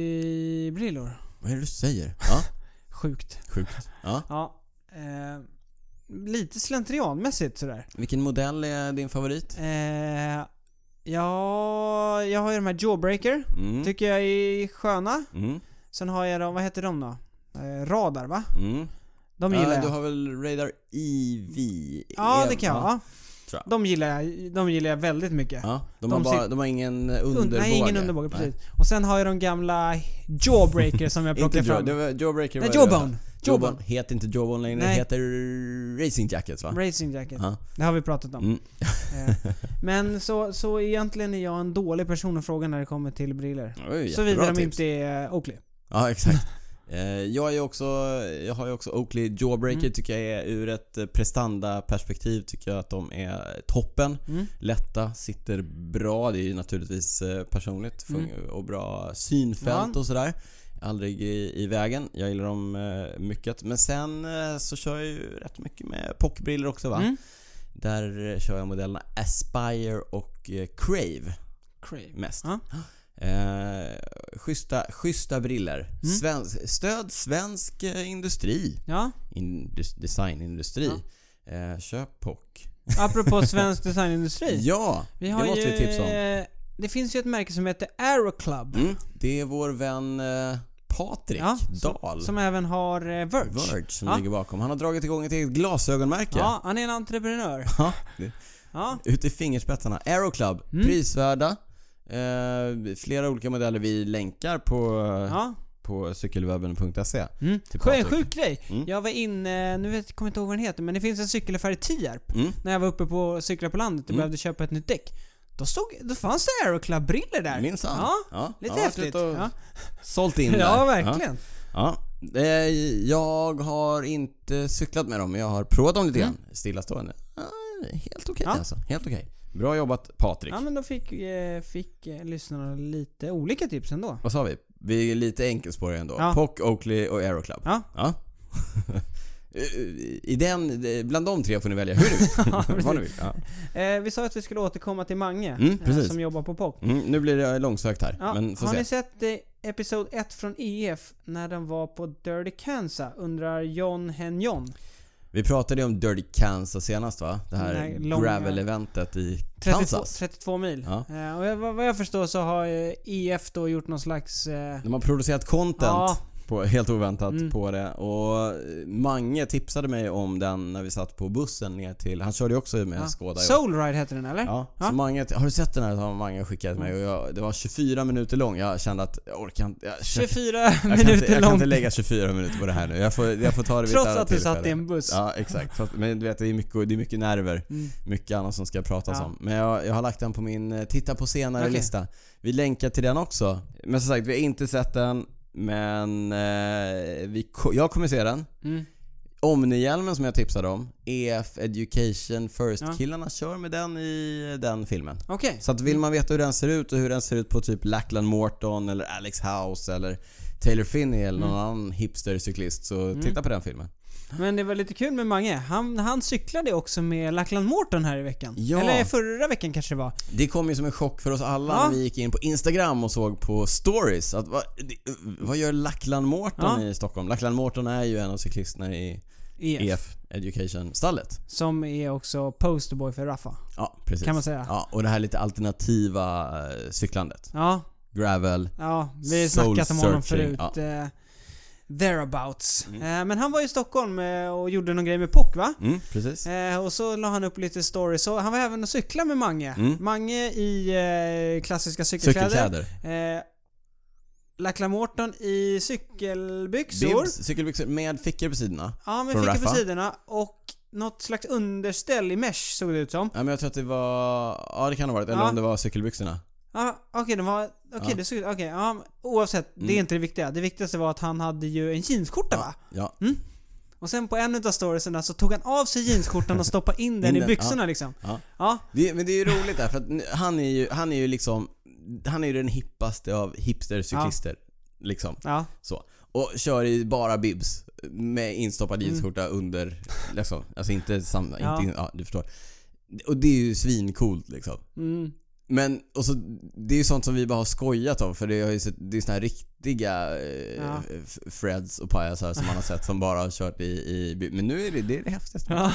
S2: Oakley-brillor.
S1: Vad är det du säger? Ja,
S2: Sjukt.
S1: sjukt. Ja.
S2: Ja. Eh, lite slentrianmässigt sådär.
S1: Vilken modell är din favorit?
S2: Eh, ja, jag har ju de här Jawbreaker.
S1: Mm.
S2: Tycker jag är sköna.
S1: Mm.
S2: Sen har jag de, vad heter de då? Eh, radar va?
S1: Mm.
S2: De
S1: Ja,
S2: gillar jag.
S1: E du har väl Radar EV?
S2: Ja, det kan jag. Ja.
S1: Tror jag.
S2: De gillar jag, de gillar jag väldigt mycket.
S1: Ja, de,
S2: De
S1: har bara,
S2: sit-
S1: de har ingen
S2: Und-
S1: underbåge.
S2: Nej, ingen underbåge. Precis. Och sen har jag de gamla Jawbreaker som jag
S1: Nej. *laughs* Inte
S2: plockade
S1: jaw,
S2: fram.
S1: det var Jawbreaker
S2: Nej,
S1: var det
S2: Jawbone.
S1: röda.
S2: Jawbone.
S1: Jawbone. Heter inte Jawbone längre,
S2: Nej.
S1: heter Racing Jackets va?
S2: Racing Jacket.
S1: Ja.
S2: Det har vi pratat om.
S1: Mm.
S2: Eh, Men så, så egentligen är jag en dålig person att fråga när det kommer till briller
S1: Det var ju
S2: Såvida
S1: jättebra
S2: de
S1: tips.
S2: inte är Oakley.
S1: Ja, exakt. *laughs* Eh, jag, är också, jag har ju också Oakley Jawbreaker
S2: Mm.
S1: tycker jag är ur ett eh, prestanda-perspektiv tycker jag att de är toppen.
S2: Mm.
S1: Lätta, sitter bra. Det är ju naturligtvis eh, personligt fun- och bra synfält
S2: Mm. Ja.
S1: och sådär. Aldrig i, i vägen. Jag gillar dem eh, mycket. Men sen eh, så kör jag ju rätt mycket med pockbriller också va?
S2: Mm.
S1: Där eh, kör jag modellerna Aspire och eh, Crave
S2: Crave.
S1: mest.
S2: Ja.
S1: Eh, schyssta, schyssta briller.
S2: Mm.
S1: Svensk, stöd svensk eh, industri.
S2: Ja,
S1: Indus, designindustri. Eh, köp POC.
S2: apropå svensk designindustri.
S1: *laughs* Ja,
S2: vi har
S1: det måste
S2: ju,
S1: vi tipsa om.
S2: eh, Det finns ju ett märke som heter Aero Club.
S1: Mm, det är vår vän eh, Patrik
S2: Ja,
S1: Dahl.
S2: Som även har eh, Verge.
S1: Verge som
S2: Ja.
S1: ligger bakom. Han har dragit igång ett eget glasögonmärke.
S2: Ja, han är en entreprenör.
S1: Ja, det-
S2: Ja,
S1: Ut i fingerspetsarna. Aero Club.
S2: Mm.
S1: Prisvärda. Eh, flera olika modeller vi länkar på,
S2: ja.
S1: på cykelwebben.se.
S2: Mm.
S1: Till
S2: Sjö- En
S1: Patrik.
S2: sjuk grej.
S1: Mm.
S2: Jag var inne, nu vet, kommer jag inte ihåg vad den heter, men det finns en cykelaffär i Tierp.
S1: Mm.
S2: När jag var uppe på och cyklade på landet och
S1: Mm.
S2: behövde köpa ett nytt däck. Då, stod, då fanns det Aeroclub-briller där.
S1: Minsann.
S2: Ja,
S1: Ja, han
S2: lite
S1: har varit
S2: häftigt.
S1: ute och
S2: Ja.
S1: Sålt in där.
S2: ja, verkligen.
S1: Ja. Ja. Eh, Jag har inte cyklat med dem, men jag har provat dem lite grann. Stillastående. Eh, Helt okej
S2: Mm. Ja.
S1: alltså. Helt okej. Bra jobbat Patrik.
S2: Ja, men då fick, eh, fick eh, lyssnarna lite olika tips ändå.
S1: Vad sa vi? Vi är lite enkelspåriga ändå.
S2: Ja.
S1: Pock, Oakley och Aero Club.
S2: Ja.
S1: *laughs* I den, bland de tre får ni välja hur ni vill.
S2: *laughs* Ja, precis.
S1: Vad ni vill. Ja.
S2: Eh, vi sa att vi skulle återkomma till Mange,
S1: Mm,
S2: eh,
S1: precis.
S2: som jobbar på POC.
S1: Mm, nu blir det långsökt här,
S2: Ja,
S1: men får
S2: har
S1: se.
S2: ni sett eh, Episod 1 från EF när de var på Dirty Kansas? Undrar John Henjon.
S1: Vi pratade ju om Dirty Kansas senast va? Det
S2: Den
S1: här
S2: här långa-
S1: gravel-eventet i
S2: 32,
S1: Kansas.
S2: 32 mil.
S1: Ja.
S2: Eh, och jag, vad vad jag förstår så har eh, EF då gjort någon slags... Eh,
S1: De har producerat content
S2: Ja.
S1: på, helt oväntat
S2: Mm.
S1: på det och eh, Mange tipsade mig om den när vi satt på bussen ner till, han körde ju också med
S2: ja.
S1: Skoda.
S2: Soulride heter den eller?
S1: Ja,
S2: Ja. Mm.
S1: så Mange, har du sett den här har Mange skickat mig och jag, det var 24 minuter lång. Jag kände att jag orkar inte, jag,
S2: 24
S1: jag, kan, inte,
S2: minuter
S1: jag kan inte
S2: lång.
S1: lägga 24 minuter på det här nu. Jag får, jag får ta det vid ett
S2: Trots
S1: annat
S2: att du satt i
S1: tillfälle.
S2: en buss.
S1: Ja, exakt. Fast- Men du vet, det är mycket, det är mycket nerver.
S2: Mm.
S1: Mycket annat som ska pratas
S2: Ja.
S1: om. Men jag, jag har lagt den på min eh, titta på
S2: Okej.
S1: senare-lista. Vi länkar till den också. Men som sagt, vi har inte sett den. Men eh, vi, ko- jag kommer se den.
S2: Mm.
S1: Omni-hjälmen som jag tipsade om, EF Education
S2: Ja.
S1: First-killarna kör med den i den filmen.
S2: Okej.
S1: Så att vill man veta hur den ser ut och hur den ser ut på typ Lackland Morton eller Alex House eller Taylor Finney eller
S2: Mm.
S1: någon annan hipstercyklist så titta på den filmen.
S2: Men det var lite kul med Mange. Han, han cyklade också med Lackland Morton här i veckan.
S1: Ja.
S2: Eller förra veckan kanske det var.
S1: Det kom ju som en chock för oss alla
S2: Ja.
S1: när vi gick in på Instagram och såg på stories. Att, vad, det- vad gör Lackland Morton i Stockholm? Lackland Morton är ju en av cyklisterna i E
S2: EF.
S1: EF Education-stallet.
S2: E Som är också posterboy för Raffa.
S1: Ja, precis.
S2: Kan man säga.
S1: Ja, och det här lite alternativa eh, cyklandet.
S2: Ja,
S1: Gravel.
S2: ja. Vi har
S1: Soul
S2: snackat om honom
S1: searching,
S2: förut. Eh, thereabouts. Eh, men han var i Stockholm eh, och gjorde någon grej med POC va?
S1: Mm, precis.
S2: Eh, och så la han upp lite stories. Så han var även och cykla med Mange.
S1: Mm.
S2: Mange i eh, klassiska cykelkläder.
S1: Cykelkläder.
S2: Eh, Lackland Morton i cykelbyxor.
S1: Bibs, cykelbyxor med fickor på sidorna.
S2: Ja, med
S1: Från
S2: fickor på
S1: Rafa.
S2: sidorna och något slags underställ i mesh såg det ut som.
S1: Ja, men jag tror att det var... Ja, det kan ha varit. Eller
S2: Ja.
S1: om det var cykelbyxorna.
S2: Ja, okej, de var... Okej,
S1: Ja. Mm.
S2: det såg ut... Okej, ja, men oavsett. Det är inte det viktiga. Det viktigaste var att han hade ju en jeansskjorta va?
S1: Ja.
S2: Och sen på en utav storiesarna så tog han av sig jeansskjortan
S1: *laughs*
S2: och stoppade in den
S1: In
S2: i
S1: den,
S2: byxorna
S1: ja.
S2: liksom.
S1: Ja.
S2: Ja,
S1: Det, men det är ju roligt där, för att nu- han är ju, han är ju liksom... Han är ju den hippaste av hipstercyklister. Liksom.
S2: ja.
S1: Så. Och kör i bara bibs. Med instoppad jeansskjorta under... Liksom. Alltså inte samma...
S2: Mm. Ja.
S1: Inte, ja, du förstår. Och det är ju svincoolt liksom.
S2: Mm.
S1: Men, och så, det är ju sånt som vi bara har skojat om för det, har ju sett, det är såna här riktiga eh,
S2: Ja.
S1: f- Freds och pajasar som man har sett som bara har kört i, i by- Men nu är det det, är det häftigaste.
S2: Ja.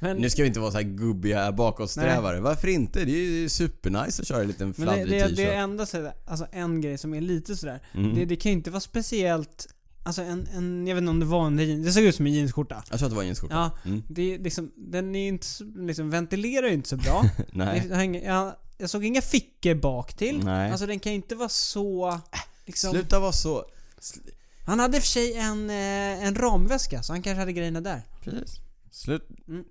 S2: Men,
S1: Nu ska vi inte vara så här gubbiga bakåtsträvare. Varför inte? Det är ju supernice att köra i en liten
S2: men det,
S1: fladdrig
S2: det,
S1: t-shirt.
S2: det är enda sådär, alltså en grej som är lite sådär.
S1: Mm.
S2: Det, det kan ju inte vara speciellt Alltså en, en, jag vet inte om det var en jeans, det såg ut som en jeansskjorta.
S1: Jag tror att det var jeansskjorta.
S2: Ja,
S1: Mm.
S2: det är liksom, den är inte så, liksom ventilerar ju inte så bra.
S1: *laughs* Nej.
S2: Det liksom- hänger, jag, jag såg inga fickor bak till.
S1: Nej. Äh,
S2: Alltså den kan ju inte vara så... Liksom.
S1: Sluta vara så...
S2: Han hade i och för sig en, eh, en ramväska, så han kanske hade grejerna där.
S1: Precis. Slut.
S2: Mm.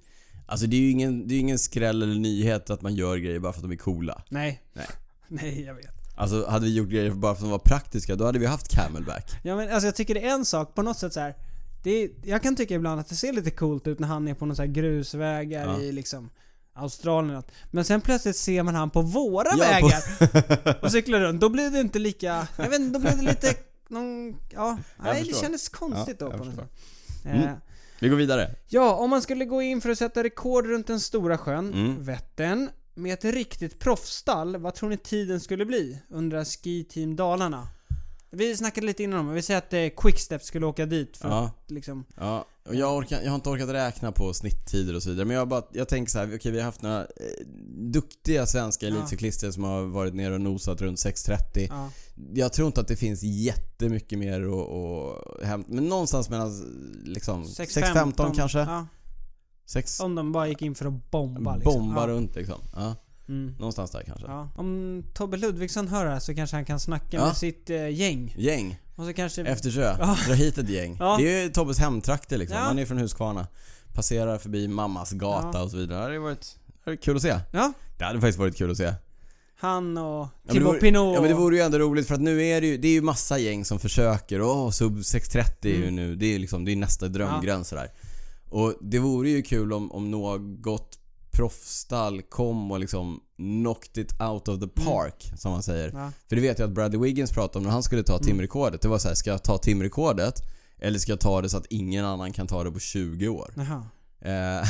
S1: Alltså det är ju ingen, det är ju ingen skräll eller nyhet att man gör grejer bara för att de är coola.
S2: Nej.
S1: Nej.
S2: *laughs* Nej, jag vet.
S1: Alltså hade vi gjort grejer bara för att de var praktiska, då hade vi haft camelback.
S2: Ja, men, alltså, jag tycker det är en sak, på något sätt så här. Det är, jag kan tycka ibland att det ser lite coolt ut när han är på några så här grusvägar
S1: Ja.
S2: i liksom Australien och allt. Men sen plötsligt ser man han på våra
S1: Ja, på-
S2: vägar
S1: *laughs*
S2: och cyklar runt. Då blir det inte lika... Jag vet inte, då blir det lite... Någon, ja, nej, det
S1: förstår.
S2: kändes konstigt
S1: Ja,
S2: då
S1: jag
S2: på något
S1: förstår.
S2: sätt. Eh,
S1: Mm. Vi går vidare.
S2: Ja, om man skulle gå in för att sätta rekord runt den stora sjön,
S1: Mm.
S2: Vättern, med ett riktigt proffsstall, vad tror ni tiden skulle bli? Undrar Ski Team Dalarna. Vi snackade lite innan om det, vi säger att eh, Quickstep skulle åka dit för
S1: Ja.
S2: att liksom...
S1: Ja, och jag, orkar, jag har inte orkat räkna på snitttider och så vidare men jag, bara, jag tänker så här, okej vi har haft några eh, duktiga svenska
S2: Ja.
S1: elitcyklister som har varit nere och nosat runt 6.30.
S2: Ja.
S1: Jag tror inte att det finns jättemycket mer att att hämta, men någonstans mellan liksom 6.15 kanske?
S2: Ja,
S1: 6
S2: om de bara gick in för att bomba
S1: bomba,
S2: liksom. ja.
S1: runt liksom. Ja,
S2: Mm.
S1: någonstans där kanske.
S2: Ja. Om Tobbe Ludvigsson hör det här så kanske han kan snacka
S1: Ja.
S2: med sitt eh, gäng.
S1: Gäng,
S2: Och så kanske...
S1: Eftersjö,
S2: Ja.
S1: dra hit ett gäng.
S2: Ja.
S1: Det är ju Tobbes hemtrakter liksom,
S2: Ja.
S1: han är ju från Huskvarna. Passerar förbi mammas gata
S2: Ja.
S1: och så vidare. Det hade varit det hade varit kul att se.
S2: Ja.
S1: Det hade faktiskt varit kul att se.
S2: Han och
S1: Ja, men det
S2: Thibaut
S1: vore-
S2: Pinot.
S1: Ja men det vore ju ändå roligt för att nu är det ju, det är ju massa gäng som försöker. Åh, sub 630 är ju
S2: Mm.
S1: nu, det är ju liksom, det är nästa drömgräns sådär. Och det vore ju kul om, om något proffsstall kom och liksom knocked it out of the park, som man säger.
S2: Mm. Ja. Mm.
S1: För det vet jag att Bradley Wiggins pratade om när han skulle ta timrekordet. Det var så här, ska jag ta timrekordet? Eller ska jag ta det så att ingen annan kan ta det på 20 år?
S2: Jaha.
S1: Eh,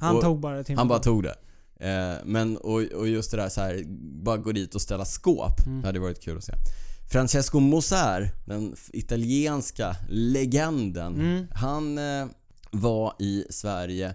S2: Han
S1: Och-
S2: tog bara timmen.
S1: han bara tog det. Eh, men och, och just det där så här, bara gå dit och ställa skåp. Det hade varit kul att se. Francesco Moser, den f- italienska legenden. Han eh, var i Sverige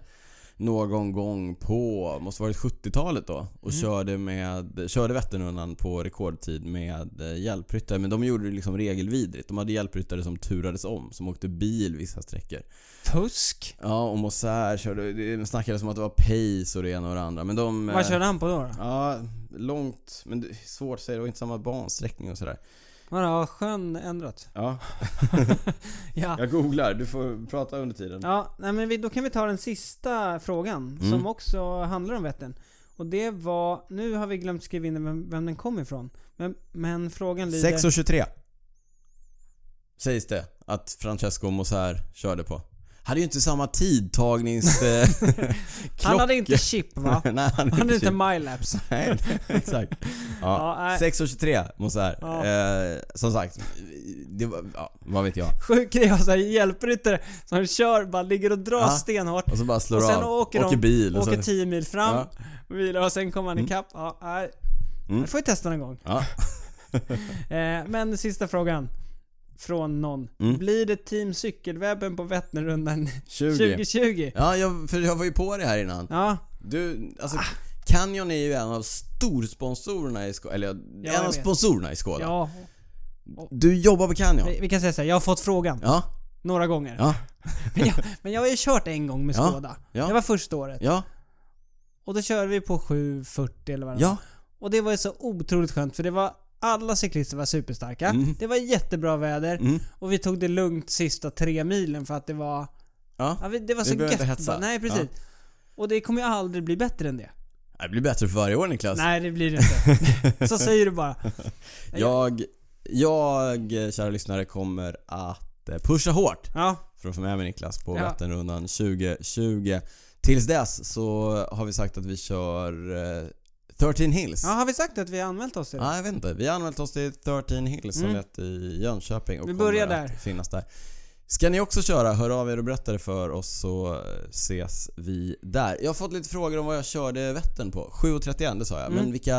S1: någon gång på, måste varit 70-talet då och körde, med, körde Vätternrundan på rekordtid med eh, hjälpryttare. Men de gjorde det liksom regelvidrigt. De hade hjälpryttare som turades om, som åkte bil vissa sträckor.
S2: Fusk?
S1: Ja, och Moser körde, det snackades om att det var pace och det ena och det andra. Men de... eh,
S2: Vad körde han på då? då?
S1: Ja, långt, men det är svårt att säga. Det var inte samma bansträckning och sådär.
S2: Vadå, har sjön ändrat?
S1: Ja,
S2: Ja.
S1: jag googlar. Du får prata under tiden.
S2: Ah. Ja, nej men vi, då kan vi ta den sista frågan
S1: Mm.
S2: som också handlar om Vättern. Och det var, nu har vi glömt skriva in vem, vem den kom ifrån. Men, men frågan lyder...
S1: 6.23. Sägs det att Francesco Moser körde på. Hade ju inte samma tidtagnings... eh,
S2: *laughs* han hade
S1: klock-
S2: inte chip va?
S1: Nej, han
S2: Han hade
S1: hade *laughs*
S2: inte
S1: inte...
S2: mylaps.
S1: Nej, exakt. Ja.
S2: Ja, nej.
S1: 6.23 Moser.
S2: Ja.
S1: Eh, som sagt, det var, ja, vad vet jag.
S2: Sjuk grej att ha så här alltså hjälpryttare som kör, bara ligger och drar
S1: Ja.
S2: stenhårt.
S1: Och så bara slår
S2: Och sen
S1: av.
S2: åker de-
S1: bil. och
S2: åker
S1: så-
S2: 10 mil fram,
S1: Ja.
S2: vilar och sen kommer han
S1: Mm.
S2: ikapp. Ja, nej.
S1: Mm.
S2: Det får vi testa någon gång.
S1: Ja.
S2: Eh, men sista frågan. Från någon.
S1: Mm.
S2: Blir det Team Cykelwebben
S1: *laughs*
S2: på Vätternrundan
S1: 20.
S2: 2020?
S1: Ja, jag, för jag var ju på det här innan.
S2: Ja,
S1: Du, alltså Canyon är ju en av storsponsorerna i Skåne. Eller
S2: jag
S1: en av
S2: vet.
S1: sponsorerna i Skåne.
S2: ja.
S1: Du jobbar på Canyon.
S2: Vi, vi kan säga så här, jag har fått frågan
S1: Ja,
S2: några gånger.
S1: Ja.
S2: men, jag, men jag har ju kört en gång med
S1: Ja,
S2: Skoda.
S1: ja.
S2: Det var första året.
S1: ja,
S2: Och då körde vi på 7.40 eller vad det var.
S1: ja.
S2: Och det var ju så otroligt skönt för det var alla cyklister var superstarka.
S1: Mm.
S2: Det var jättebra väder
S1: Mm.
S2: och vi tog det lugnt sista tre milen för att det var...
S1: ja.
S2: Ja, vi- det var
S1: Vi
S2: så
S1: behöver
S2: gött.
S1: inte hetsa.
S2: bara. Nej, precis. Och det kommer ju aldrig bli bättre än det.
S1: Det blir bättre för varje år Niklas.
S2: Nej, det blir det
S1: *laughs*
S2: inte. så säger du bara.
S1: Jag, jag, kära lyssnare, kommer att eh, pusha hårt
S2: Ja,
S1: för att få med mig Niklas på
S2: Ja.
S1: Vätternrundan 2020. Tills dess så har vi sagt att vi kör eh, 13 Hills.
S2: ja har vi sagt att vi har anmält oss till det?
S1: Ja, jag vet inte. Vi har anmält oss till 13 Hills som
S2: Mm.
S1: heter i Jönköping och
S2: Vi börjar
S1: kommer att
S2: där.
S1: finnas där. Ska ni också köra, hör av er och berätta det för oss så ses vi där. Jag har fått lite frågor om vad jag körde Vättern på. 7.31, det sa jag.
S2: Mm.
S1: Men vilka,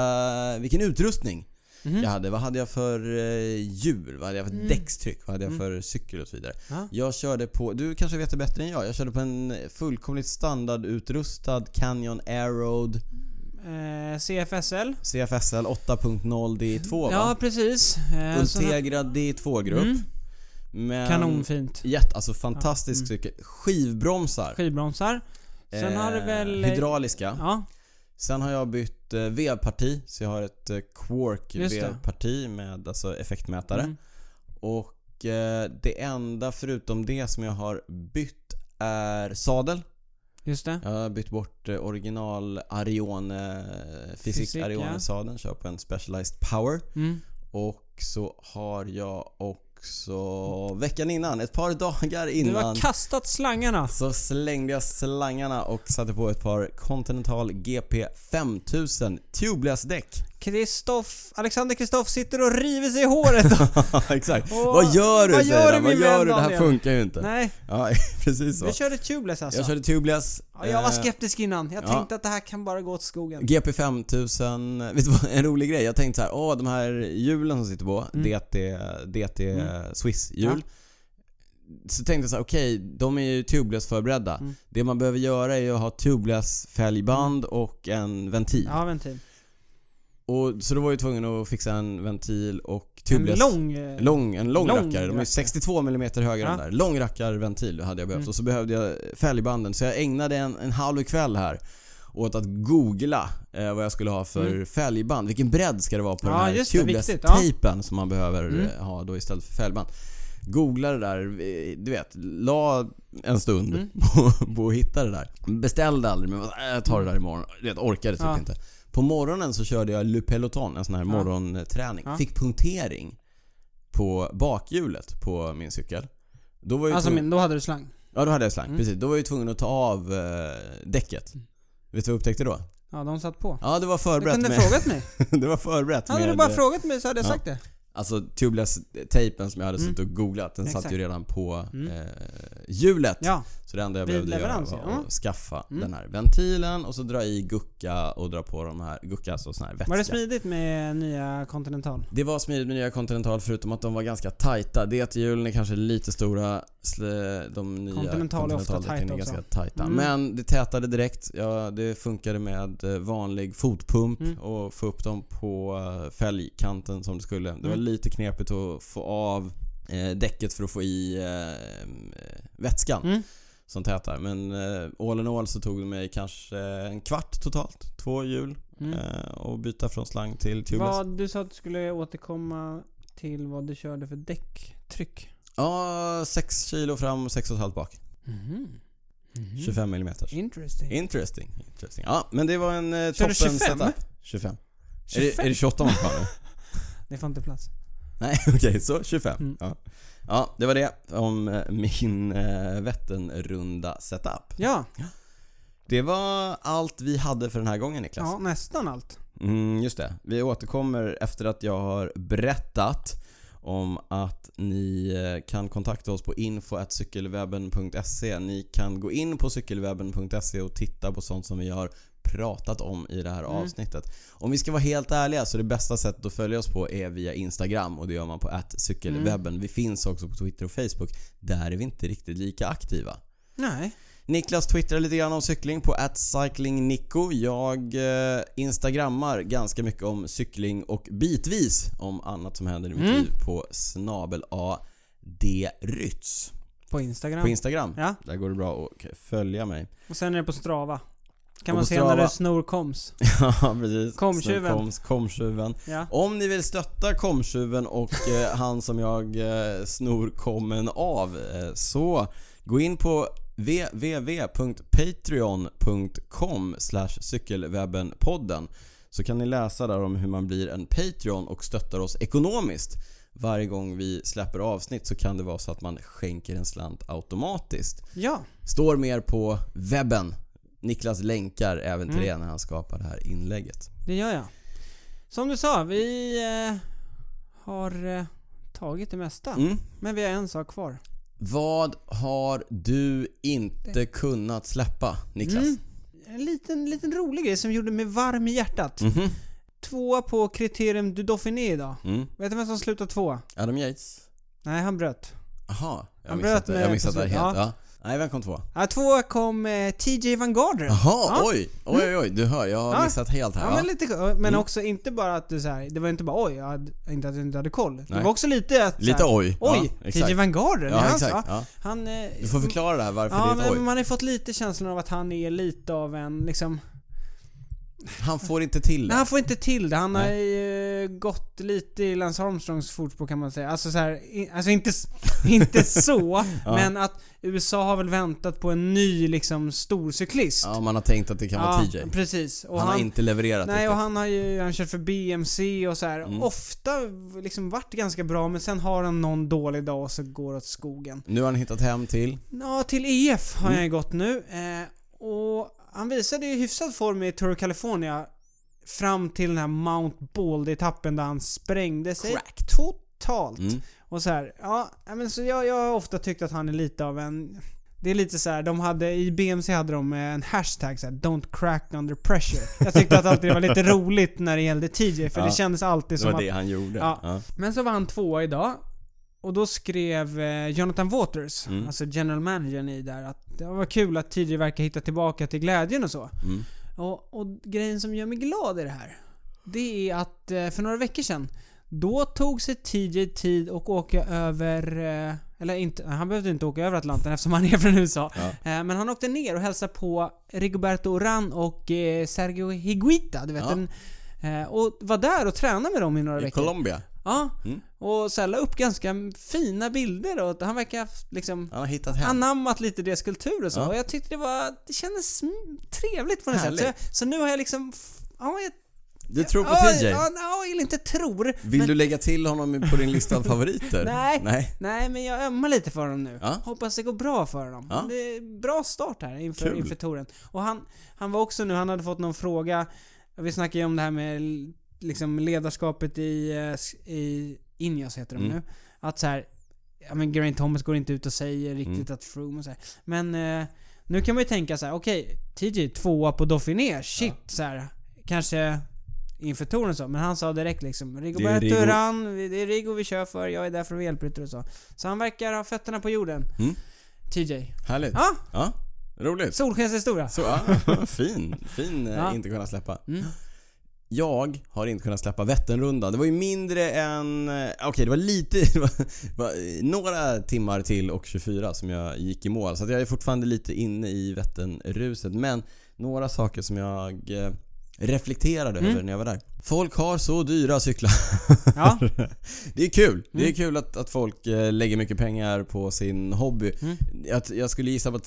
S1: vilken utrustning
S2: Mhm.
S1: jag hade. Vad hade jag för eh, hjul? Vad hade jag för däckstryck? Vad hade jag för cykel och så vidare.
S2: Mm. Ja.
S1: Jag körde på, du kanske vet det bättre än jag. Jag körde på en fullkomligt standardutrustad Canyon Aeroad
S2: Eh, CFSL.
S1: CFSL 8.0 D2 va?
S2: Ja, precis. Eh, så- Mm,
S1: Ultegra D2-grupp. Men,
S2: Kanonfint.
S1: Jätte, alltså fantastisk cykel. Skivbromsar.
S2: Skivbromsar. Mm. Sen har det
S1: Eh,
S2: väl...
S1: Hydrauliska.
S2: Ja,
S1: Sen har jag bytt eh, vevparti, så jag har ett eh, Quark
S2: Just det.
S1: vevparti med alltså effektmätare.
S2: Mm.
S1: Och eh, det enda förutom det som jag har bytt är sadel.
S2: just det.
S1: Jag har bytt bort eh, original Arione, Fysik
S2: Fysik, ja.
S1: Arione-sadeln, kör på en Specialized Power.
S2: Mm.
S1: Och så har jag också veckan innan, ett par dagar
S2: Du
S1: innan
S2: har kastat slangarna.
S1: så slängde jag slangarna och satte på ett par Continental GP 5000 tubeless däck. *laughs*
S2: Kristoff, Alexander Kristoff sitter och river sig i
S1: *laughs*
S2: håret.
S1: Exakt.
S2: Åh,
S1: vad gör du
S2: vad
S1: säger
S2: gör
S1: han.
S2: du,
S1: Vad
S2: min
S1: gör
S2: vän
S1: du? Det här
S2: Daniel?
S1: funkar ju inte.
S2: Nej,
S1: Ja, *laughs* precis så.
S2: du körde tubeless alltså.
S1: Jag
S2: Jag,
S1: körde tubeless.
S2: ja, jag var
S1: eh,
S2: skeptisk innan. Jag
S1: ja.
S2: tänkte att det här kan bara gå åt skogen.
S1: GP 5000, vet du vad, en rolig grej. Jag tänkte så här, åh de här hjulen som sitter på,
S2: Mm.
S1: DT, DT Swiss-hjul. Så tänkte jag så här, okej, de är ju tubeless förberedda.
S2: Mm.
S1: Det man behöver göra är ju att ha tubeless fälgband och en ventil.
S2: Mm. Ja, ventil.
S1: Och, så då var jag ju tvungen att fixa en ventil och
S2: En
S1: tubeless.
S2: lång... eh,
S1: Lång, en lång,
S2: Lång
S1: rackare. De är
S2: rackare.
S1: 62 mm högre
S2: Ja.
S1: än där. Lång rackarventil hade jag behövt.
S2: Mm.
S1: Och så behövde jag fälgbanden. Så jag ägnade en, en halv kväll här åt att googla eh, vad jag skulle ha för fälgband. Vilken bredd ska det vara på
S2: Mm. Ja,
S1: den här
S2: just det, viktigt.
S1: tubeless-tejpen som man behöver
S2: Mm.
S1: eh, ha då istället för fälgband. Googla det där, eh, du vet, la en stund
S2: Mm.
S1: *laughs* på, på att hitta det där. Beställde aldrig men äh, jag tar det där imorgon. Du vet, orkade typ
S2: Ja.
S1: inte. På morgonen så körde jag Le Peloton, en sån här morgonträning.
S2: Ja.
S1: Fick punktering på bakhjulet på min cykel. Då var jag ju
S2: Alltså
S1: tvungen...
S2: men då hade du slang.
S1: Ja, då hade jag slang.
S2: Mm.
S1: Precis. Då var jag ju tvungen att ta av eh, däcket. Vet du vad jag upptäckte då?
S2: Ja, de satt på.
S1: Ja, det var
S2: Du
S1: förberett
S2: kunde
S1: med...
S2: frågat mig.
S1: *laughs* det var förberett
S2: Hade
S1: med...
S2: du bara
S1: eh,
S2: frågat mig så hade jag
S1: ja.
S2: sagt det.
S1: Alltså tubeless-tejpen som jag hade
S2: Mm.
S1: suttit och googlat, den satt
S2: Exakt.
S1: ju redan på
S2: Mm.
S1: eh, hjulet.
S2: Ja,
S1: Så det enda jag
S2: Vid
S1: behövde göra
S2: leverans,
S1: var
S2: ja.
S1: att skaffa
S2: Mm.
S1: den här ventilen och så dra i gucka och dra på de här, gucka alltså sån här vätska.
S2: var det smidigt med nya Continental?
S1: Det var smidigt med nya Continental förutom att de var ganska tajta. DT-hjulen är kanske lite stora. Sl- De nya
S2: Continental är ofta
S1: Continental-däcken
S2: tajta också.
S1: ganska tajta.
S2: Mm.
S1: Men det tätade direkt. Ja, det funkade med eh, vanlig fotpump
S2: Mm.
S1: och få upp dem på eh, fälgkanten som det skulle. Det var
S2: Mm.
S1: lite knepigt att få av eh, däcket för att få i eh, vätskan
S2: Mm.
S1: som tätar. Men eh, all in all så tog det mig kanske eh, en kvart totalt. Två hjul
S2: Mm.
S1: eh, och byta från slang till tubeless.
S2: Vad, du sa att du skulle återkomma till vad du körde för däcktryck.
S1: Ja, 6 kilo fram och 6,5 bak.
S2: Mhm. Mhm.
S1: 25 mm.
S2: Interesting.
S1: Interesting. Interesting. Ja, men det var en eh,
S2: Kör
S1: toppen
S2: du 25?
S1: setup. 25. Är,
S2: 25?
S1: det, är det 28 man ska
S2: *laughs*
S1: ha nu?
S2: Det får inte plats.
S1: Nej, *laughs* okej. så 25.
S2: Mm.
S1: Ja. ja, det var det om eh, min eh, Vätternrunda setup.
S2: Ja,
S1: Det var allt vi hade för den här gången Niklas.
S2: ja nästan allt.
S1: Mm, just det. Vi återkommer efter att jag har berättat om att ni eh, kan kontakta oss på info.cykelwebben.se. Ni kan gå in på cykelwebben.se och titta på sånt som vi har pratat om i det här
S2: Mm.
S1: avsnittet. Om vi ska vara helt ärliga så det bästa sättet att följa oss på är via Instagram och det gör man på cykelwebben. Vi finns också på Twitter och Facebook. Där är vi inte riktigt lika aktiva.
S2: Nej.
S1: Niklas twittrar lite grann om cykling på @cyclingnico. Jag eh, instagrammar ganska mycket om cykling och bitvis om annat som händer i mitt
S2: Mm.
S1: liv på snabel a d rytz
S2: På Instagram.
S1: på Instagram.
S2: Ja.
S1: Där går det bra att k- följa
S2: *laughs*
S1: mig.
S2: Och sen är det på Strava.
S1: Och
S2: Kan man
S1: på
S2: se
S1: Strava.
S2: när du snor
S1: *laughs*
S2: koms.
S1: Ja, precis.
S2: Komtjuven.
S1: Koms- Komtjuven.
S2: Ja.
S1: Om ni vill stötta komtjuven och eh, han som jag eh, snor kommen av eh, så gå in på www.patreon.com cykelwebbenpodden så kan ni läsa där om hur man blir en Patreon och stöttar oss ekonomiskt. Varje gång vi släpper avsnitt så kan det vara så att man skänker en slant automatiskt.
S2: ja.
S1: Står mer på webben. Niklas länkar även till det när han skapar det här inlägget.
S2: Det gör jag. Som du sa, vi eh, har eh, tagit det mesta.
S1: Mm.
S2: Men vi har en sak kvar.
S1: Vad har du inte kunnat släppa, Niklas?
S2: Mm. En liten, liten rolig grej som gjorde mig varm i hjärtat.
S1: Mhm.
S2: Tvåa på kriterium du Dauphiné idag.
S1: Mm.
S2: Vet du vem som slutade tvåa?
S1: Adam Yates?
S2: Nej, han bröt.
S1: Aha, jag har
S2: Han
S1: missat
S2: bröt
S1: det. Jag
S2: med
S1: har missat det
S2: på
S1: helt.
S2: slutet.
S1: Ja. Nej, vem kom två?
S2: Ja, två kom eh, TJ Van Gardner.
S1: Jaha,
S2: Ja. Mm.
S1: oj! Oj, oj, oj. Du hör, jag har
S2: Ja.
S1: missat helt här.
S2: Ja,
S1: Ja, Mm.
S2: men lite Men också inte bara att du så här, det var inte bara oj, jag hade, inte att du inte hade koll. Det
S1: Nej.
S2: var också lite att så
S1: Lite
S2: här,
S1: oj.
S2: Oj,
S1: ja, exakt.
S2: TJ Van Gardner.
S1: Ja,
S2: det är han,
S1: exakt.
S2: sa.
S1: Ja.
S2: Han... eh,
S1: Du får förklara det här varför
S2: Ja,
S1: det är ett
S2: men
S1: oj.
S2: man har ju fått lite känslan av att han är lite av en liksom...
S1: Han får inte till
S2: Nej,
S1: det.
S2: han får inte till det. Han har ju eh, gått lite i Lance Armstrongs fotspår kan man säga. Alltså så här, i- alltså inte, s- *laughs*
S1: *laughs*
S2: inte så, men att USA har väl väntat på en ny liksom stor cyklist.
S1: Ja, man har tänkt att det kan vara TJ.
S2: precis. Och
S1: Han har inte levererat
S2: Nej,
S1: riktigt. Mm.
S2: och han har ju han kört för BMC och så här. Ofta liksom varit ganska bra, men sen har han någon dålig dag och så går det åt skogen.
S1: Nu har han hittat hem till...
S2: Ja, till EF
S1: Mm.
S2: har jag ju gått nu. Eh, och han visade ju hyfsad form i Tour of California fram till den här Mount Baldy-etappen där han sprängde sig totalt.
S1: Mm.
S2: Och så här, ja, ja, men så jag, jag har ofta tyckt att han är lite av en... Det är lite så här, de hade, i BMC hade de eh, en hashtag så här, 'Don't crack under pressure' Jag tyckte att alltid det
S1: *laughs*
S2: var lite roligt när det gällde TJ, för
S1: Ja,
S2: det kändes alltid
S1: Det
S2: som
S1: var
S2: att...
S1: det han gjorde.
S2: Ja.
S1: Ja. Mm.
S2: Men så var han tvåa idag. Och då skrev eh, Jonathan Waters,
S1: Mm.
S2: alltså general managern i där, att det var kul att TJ verkar hitta tillbaka till glädjen och så.
S1: Mm.
S2: Och, och grejen som gör mig glad i det här, det är att eh, för några veckor sedan, då tog sig TJ tid och åka över, eh, eller inte, han behövde inte åka över Atlanten eftersom han är från USA.
S1: Ja.
S2: Eh, men han åkte ner och hälsade på Rigoberto Oran och eh, Sergio Higuita, du vet.
S1: Ja.
S2: En, eh, och var där och tränade med dem i några
S1: I
S2: veckor.
S1: Colombia.
S2: Ja,
S1: Mm.
S2: och så här, la upp ganska fina bilder och han verkar ha haft, liksom
S1: Han har hittat hem.
S2: anammat lite deras kultur och så.
S1: Ja.
S2: Och jag tyckte det var, det kändes mm, trevligt på något sätt.
S1: Härligt.
S2: Så, jag, så nu har jag liksom, f- ja jag
S1: Du tror på
S2: ja,
S1: TJ.
S2: Ja, ja, eller inte tror.
S1: Vill du lägga till honom på din lista av favoriter?
S2: *laughs* Nej.
S1: Nej.
S2: Nej men jag ömmar lite för honom nu.
S1: Ja.
S2: Hoppas det går bra för honom.
S1: Ja.
S2: Det är bra start här inför,
S1: Kul.
S2: inför touren. Och han, han var också nu, han hade fått någon fråga. Vi snackade ju om det här med l- liksom ledarskapet i, eh, s- i Ineos heter de
S1: Mm.
S2: nu. Att så här, ja men Geraint Thomas går inte ut och säger
S1: Mm.
S2: riktigt att Froome och så här. Men eh, nu kan man ju tänka så här: okej, TJ tvåa på Dauphiné, shit så här. Kanske inför touren och så, men han sa direkt liksom Rigoberto
S1: Rigo.
S2: Urán, vi- det är Rigo vi kör för, jag är där för att vara hjälpryttare och så. Så han verkar ha fötterna på jorden.
S1: Mm.
S2: TJ.
S1: Härligt.
S2: Ja,
S1: Ja. Roligt.
S2: solskenshistoria.
S1: Så, ja. Fin. Fin eh,
S2: Ja.
S1: inte kunna släppa.
S2: Mm.
S1: Jag har inte kunnat släppa Vätternrundan. Det var ju mindre än... eh, Okej, det var lite... *laughs* Det var, det var eh, några timmar till och 24 som jag gick i mål. Så att jag är fortfarande lite inne i Vätternruset. Men några saker som jag eh, reflekterade
S2: Mm.
S1: över när jag var där. Folk har så dyra cyklar. *laughs*
S2: Ja.
S1: Det är kul. Det är
S2: Mm.
S1: kul att, att folk eh, lägger mycket pengar på sin hobby.
S2: Mm.
S1: Jag, jag skulle gissa på att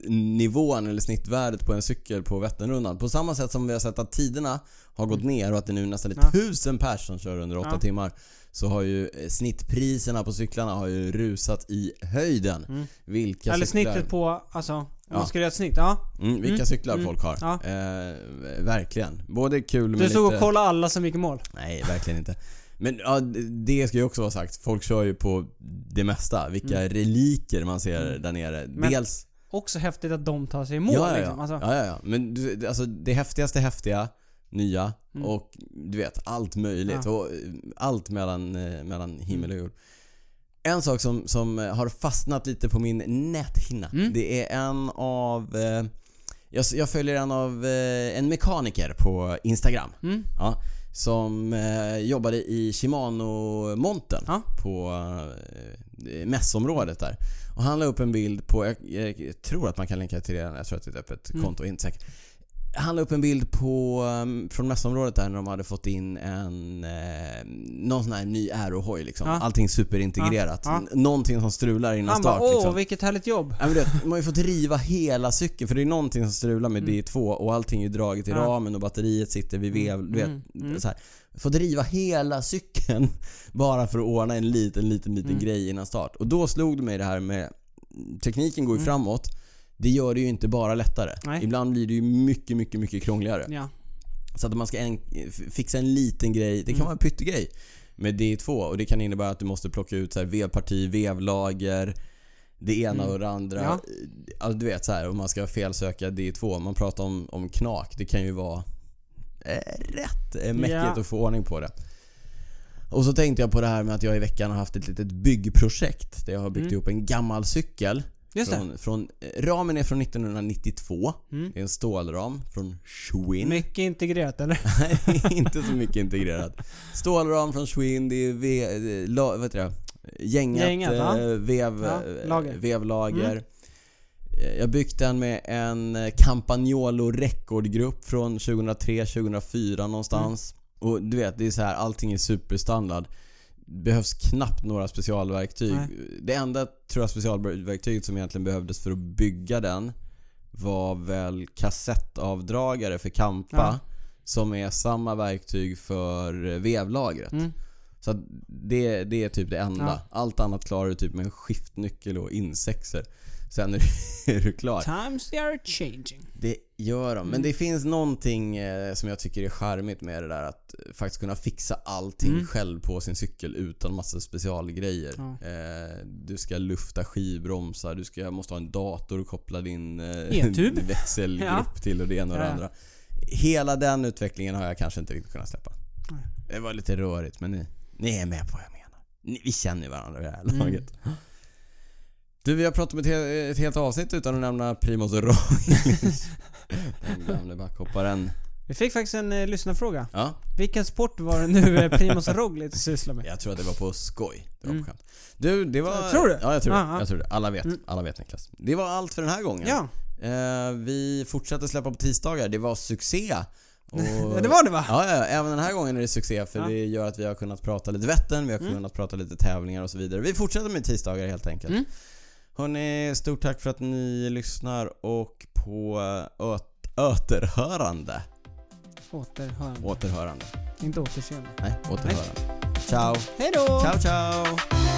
S1: snittnivån eller snittvärdet på en cykel på Vätternrundan, på samma sätt som vi har sett att tiderna har gått ner och att det nu nästan är
S2: Mm. Ja.
S1: tusen pers som kör under åtta
S2: Ja.
S1: timmar. Så har ju eh, snittpriserna på cyklarna har ju rusat i höjden. Vilka
S2: Mm. Eller
S1: cyklar,
S2: snittet på, alltså, om
S1: Ja.
S2: man skulle göra ett snitt. Ja.
S1: mm, vilka cyklar folk har.
S2: Ja.
S1: Eh, verkligen. Både kul men
S2: Du stod
S1: lite...
S2: och kollade alla som gick i mål.
S1: Nej, verkligen inte. Men ja, det ska ju också vara sagt. Folk kör ju på det mesta. Vilka reliker man ser där nere.
S2: Mm. Men-
S1: Dels...
S2: Också häftigt att de tar sig i mål
S1: ja, ja, ja.
S2: liksom. Alltså,
S1: ja, ja, ja. Men du, det- alltså, det häftigaste häftiga, nya
S2: Mm.
S1: och du vet, allt möjligt. Och eh, allt mellan, eh, mellan himmel och
S2: Mm.
S1: jord. En sak som, som eh, har fastnat lite på min näthinna.
S2: Mm.
S1: Det är en av... Eh, jag, s- jag följer en av eh, en mekaniker på Instagram.
S2: Mm.
S1: Ja, som eh, jobbade i Shimano-montern
S2: Ja.
S1: på eh, mässområdet där. Och han la upp en bild på, jag, jag tror att man kan länka till det, jag tror att det är ett öppet
S2: Mm.
S1: konto, inte säker. Han la upp en bild på, um, från mässområdet där när de hade fått in en, eh, någon sån här ny aerohoj liksom.
S2: Ja.
S1: Allting superintegrerat.
S2: Ja, ja.
S1: N- Någonting som strular innan
S2: han
S1: start
S2: bara åh
S1: liksom.
S2: vilket härligt jobb.
S1: Ja, men du vet, man har ju fått riva hela cykeln för det är någonting som strular med D2 och allting är ju draget i
S2: Mm. Ja.
S1: ramen och batteriet sitter vid vev. Du vet,
S2: Mm, mm.
S1: Så här. Fått riva hela cykeln *laughs* bara för att ordna en liten, liten, liten
S2: Mm.
S1: grej innan start. Och då slog det mig det här med tekniken går ju framåt. Det gör det ju inte bara lättare.
S2: Mm. Nej.
S1: Ibland blir det ju mycket, mycket, mycket krångligare.
S2: Ja.
S1: Så att om man ska en, f- fixa en liten grej, det kan
S2: Mm.
S1: vara en pyttegrej med D2 och det kan innebära att du måste plocka ut så här vevparti, vevlager, det ena och det andra.
S2: Mm. Ja.
S1: Alltså, du vet så här, om man ska felsöka D2, man pratar om, om knak, det kan ju vara eh, rätt eh, mäckigt
S2: Ja.
S1: att få ordning på det. Och så tänkte jag på det här med att jag i veckan har haft ett litet byggprojekt där jag har byggt ihop en gammal cykel
S2: Mm. Just det.
S1: Från, från, eh, ramen är från 1992.
S2: Mm.
S1: Det är en stålram från Schwinn.
S2: Mycket integrerat eller?
S1: Nej, *laughs* inte så mycket integrerat. Stålram från Schwinn, det är ve, eh, la, vad heter det? Gängat,
S2: Gängat, ja.
S1: eh, vev,
S2: Ja,
S1: eh,
S2: lager. Mm.
S1: vevlager. Eh, Jag byggt den med en eh, Campagnolo rekordgrupp från 2003-2004 någonstans.
S2: Mm.
S1: Och du vet, det är så här, allting är superstandard. Behövs knappt några specialverktyg.
S2: Nej.
S1: Det enda tror jag specialverktyget som egentligen behövdes för att bygga den var väl kassettavdragare för kampa.
S2: Ja.
S1: Som är samma verktyg för vevlagret.
S2: Mm.
S1: Så att det, det är typ det enda.
S2: Ja.
S1: Allt annat klarar du typ med en skiftnyckel och insexer. Sen är *laughs* du, är du klar.
S2: Times they are changing.
S1: Det gör de.
S2: Mm.
S1: Men det finns någonting eh, som jag tycker är charmigt med det där att eh, faktiskt kunna fixa allting själv på sin cykel utan massa specialgrejer.
S2: Mm. Ja.
S1: Eh, du ska lufta skivbromsar, du ska, måste ha en dator och koppla din eh,
S2: E-tub.
S1: *laughs* växelgrupp
S2: *laughs* Ja.
S1: till och det ena och det
S2: Ja.
S1: andra. Hela den utvecklingen har jag kanske inte riktigt kunnat släppa.
S2: Nej.
S1: Det var lite rörigt men ni, ni är med på vad jag menar. Ni, vi känner ju varandra i det
S2: Mm.
S1: här laget. Du, vi har pratat med ett, he- ett helt avsnitt utan att nämna Primoz
S2: *laughs*
S1: Roglic. Den gamle backhopparen.
S2: Vi fick faktiskt en eh, lyssnarfråga.
S1: Ja,
S2: Vilken sport var det nu eh, Primoz Roglic sysslar med?
S1: jag tror att det var på skoj. Det var
S2: Mm.
S1: på skämt. Du, det var...
S2: Tror du?
S1: Ja, jag tror det.
S2: Ja, ja.
S1: Jag tror det. Alla vet.
S2: Mm.
S1: Alla vet Niklas. Det var allt för den här gången.
S2: Ja,
S1: Eh, vi fortsätter släppa på tisdagar. Det var
S2: *laughs*
S1: succé. Och...
S2: det var det va?
S1: Ja, ja, även den här gången är det succé för
S2: Ah. Ja. Mm.
S1: det gör att vi har kunnat prata lite Vättern, vi har kunnat prata lite tävlingar och så vidare. Vi fortsätter med tisdagar helt enkelt.
S2: Mm.
S1: Hörni, stort tack för att ni lyssnar och på öt- återhörande.
S2: Återhörande.
S1: Återhörande.
S2: Inte återseende.
S1: Nej, återhörande. Ciao.
S2: Hej då!
S1: Ciao, ciao.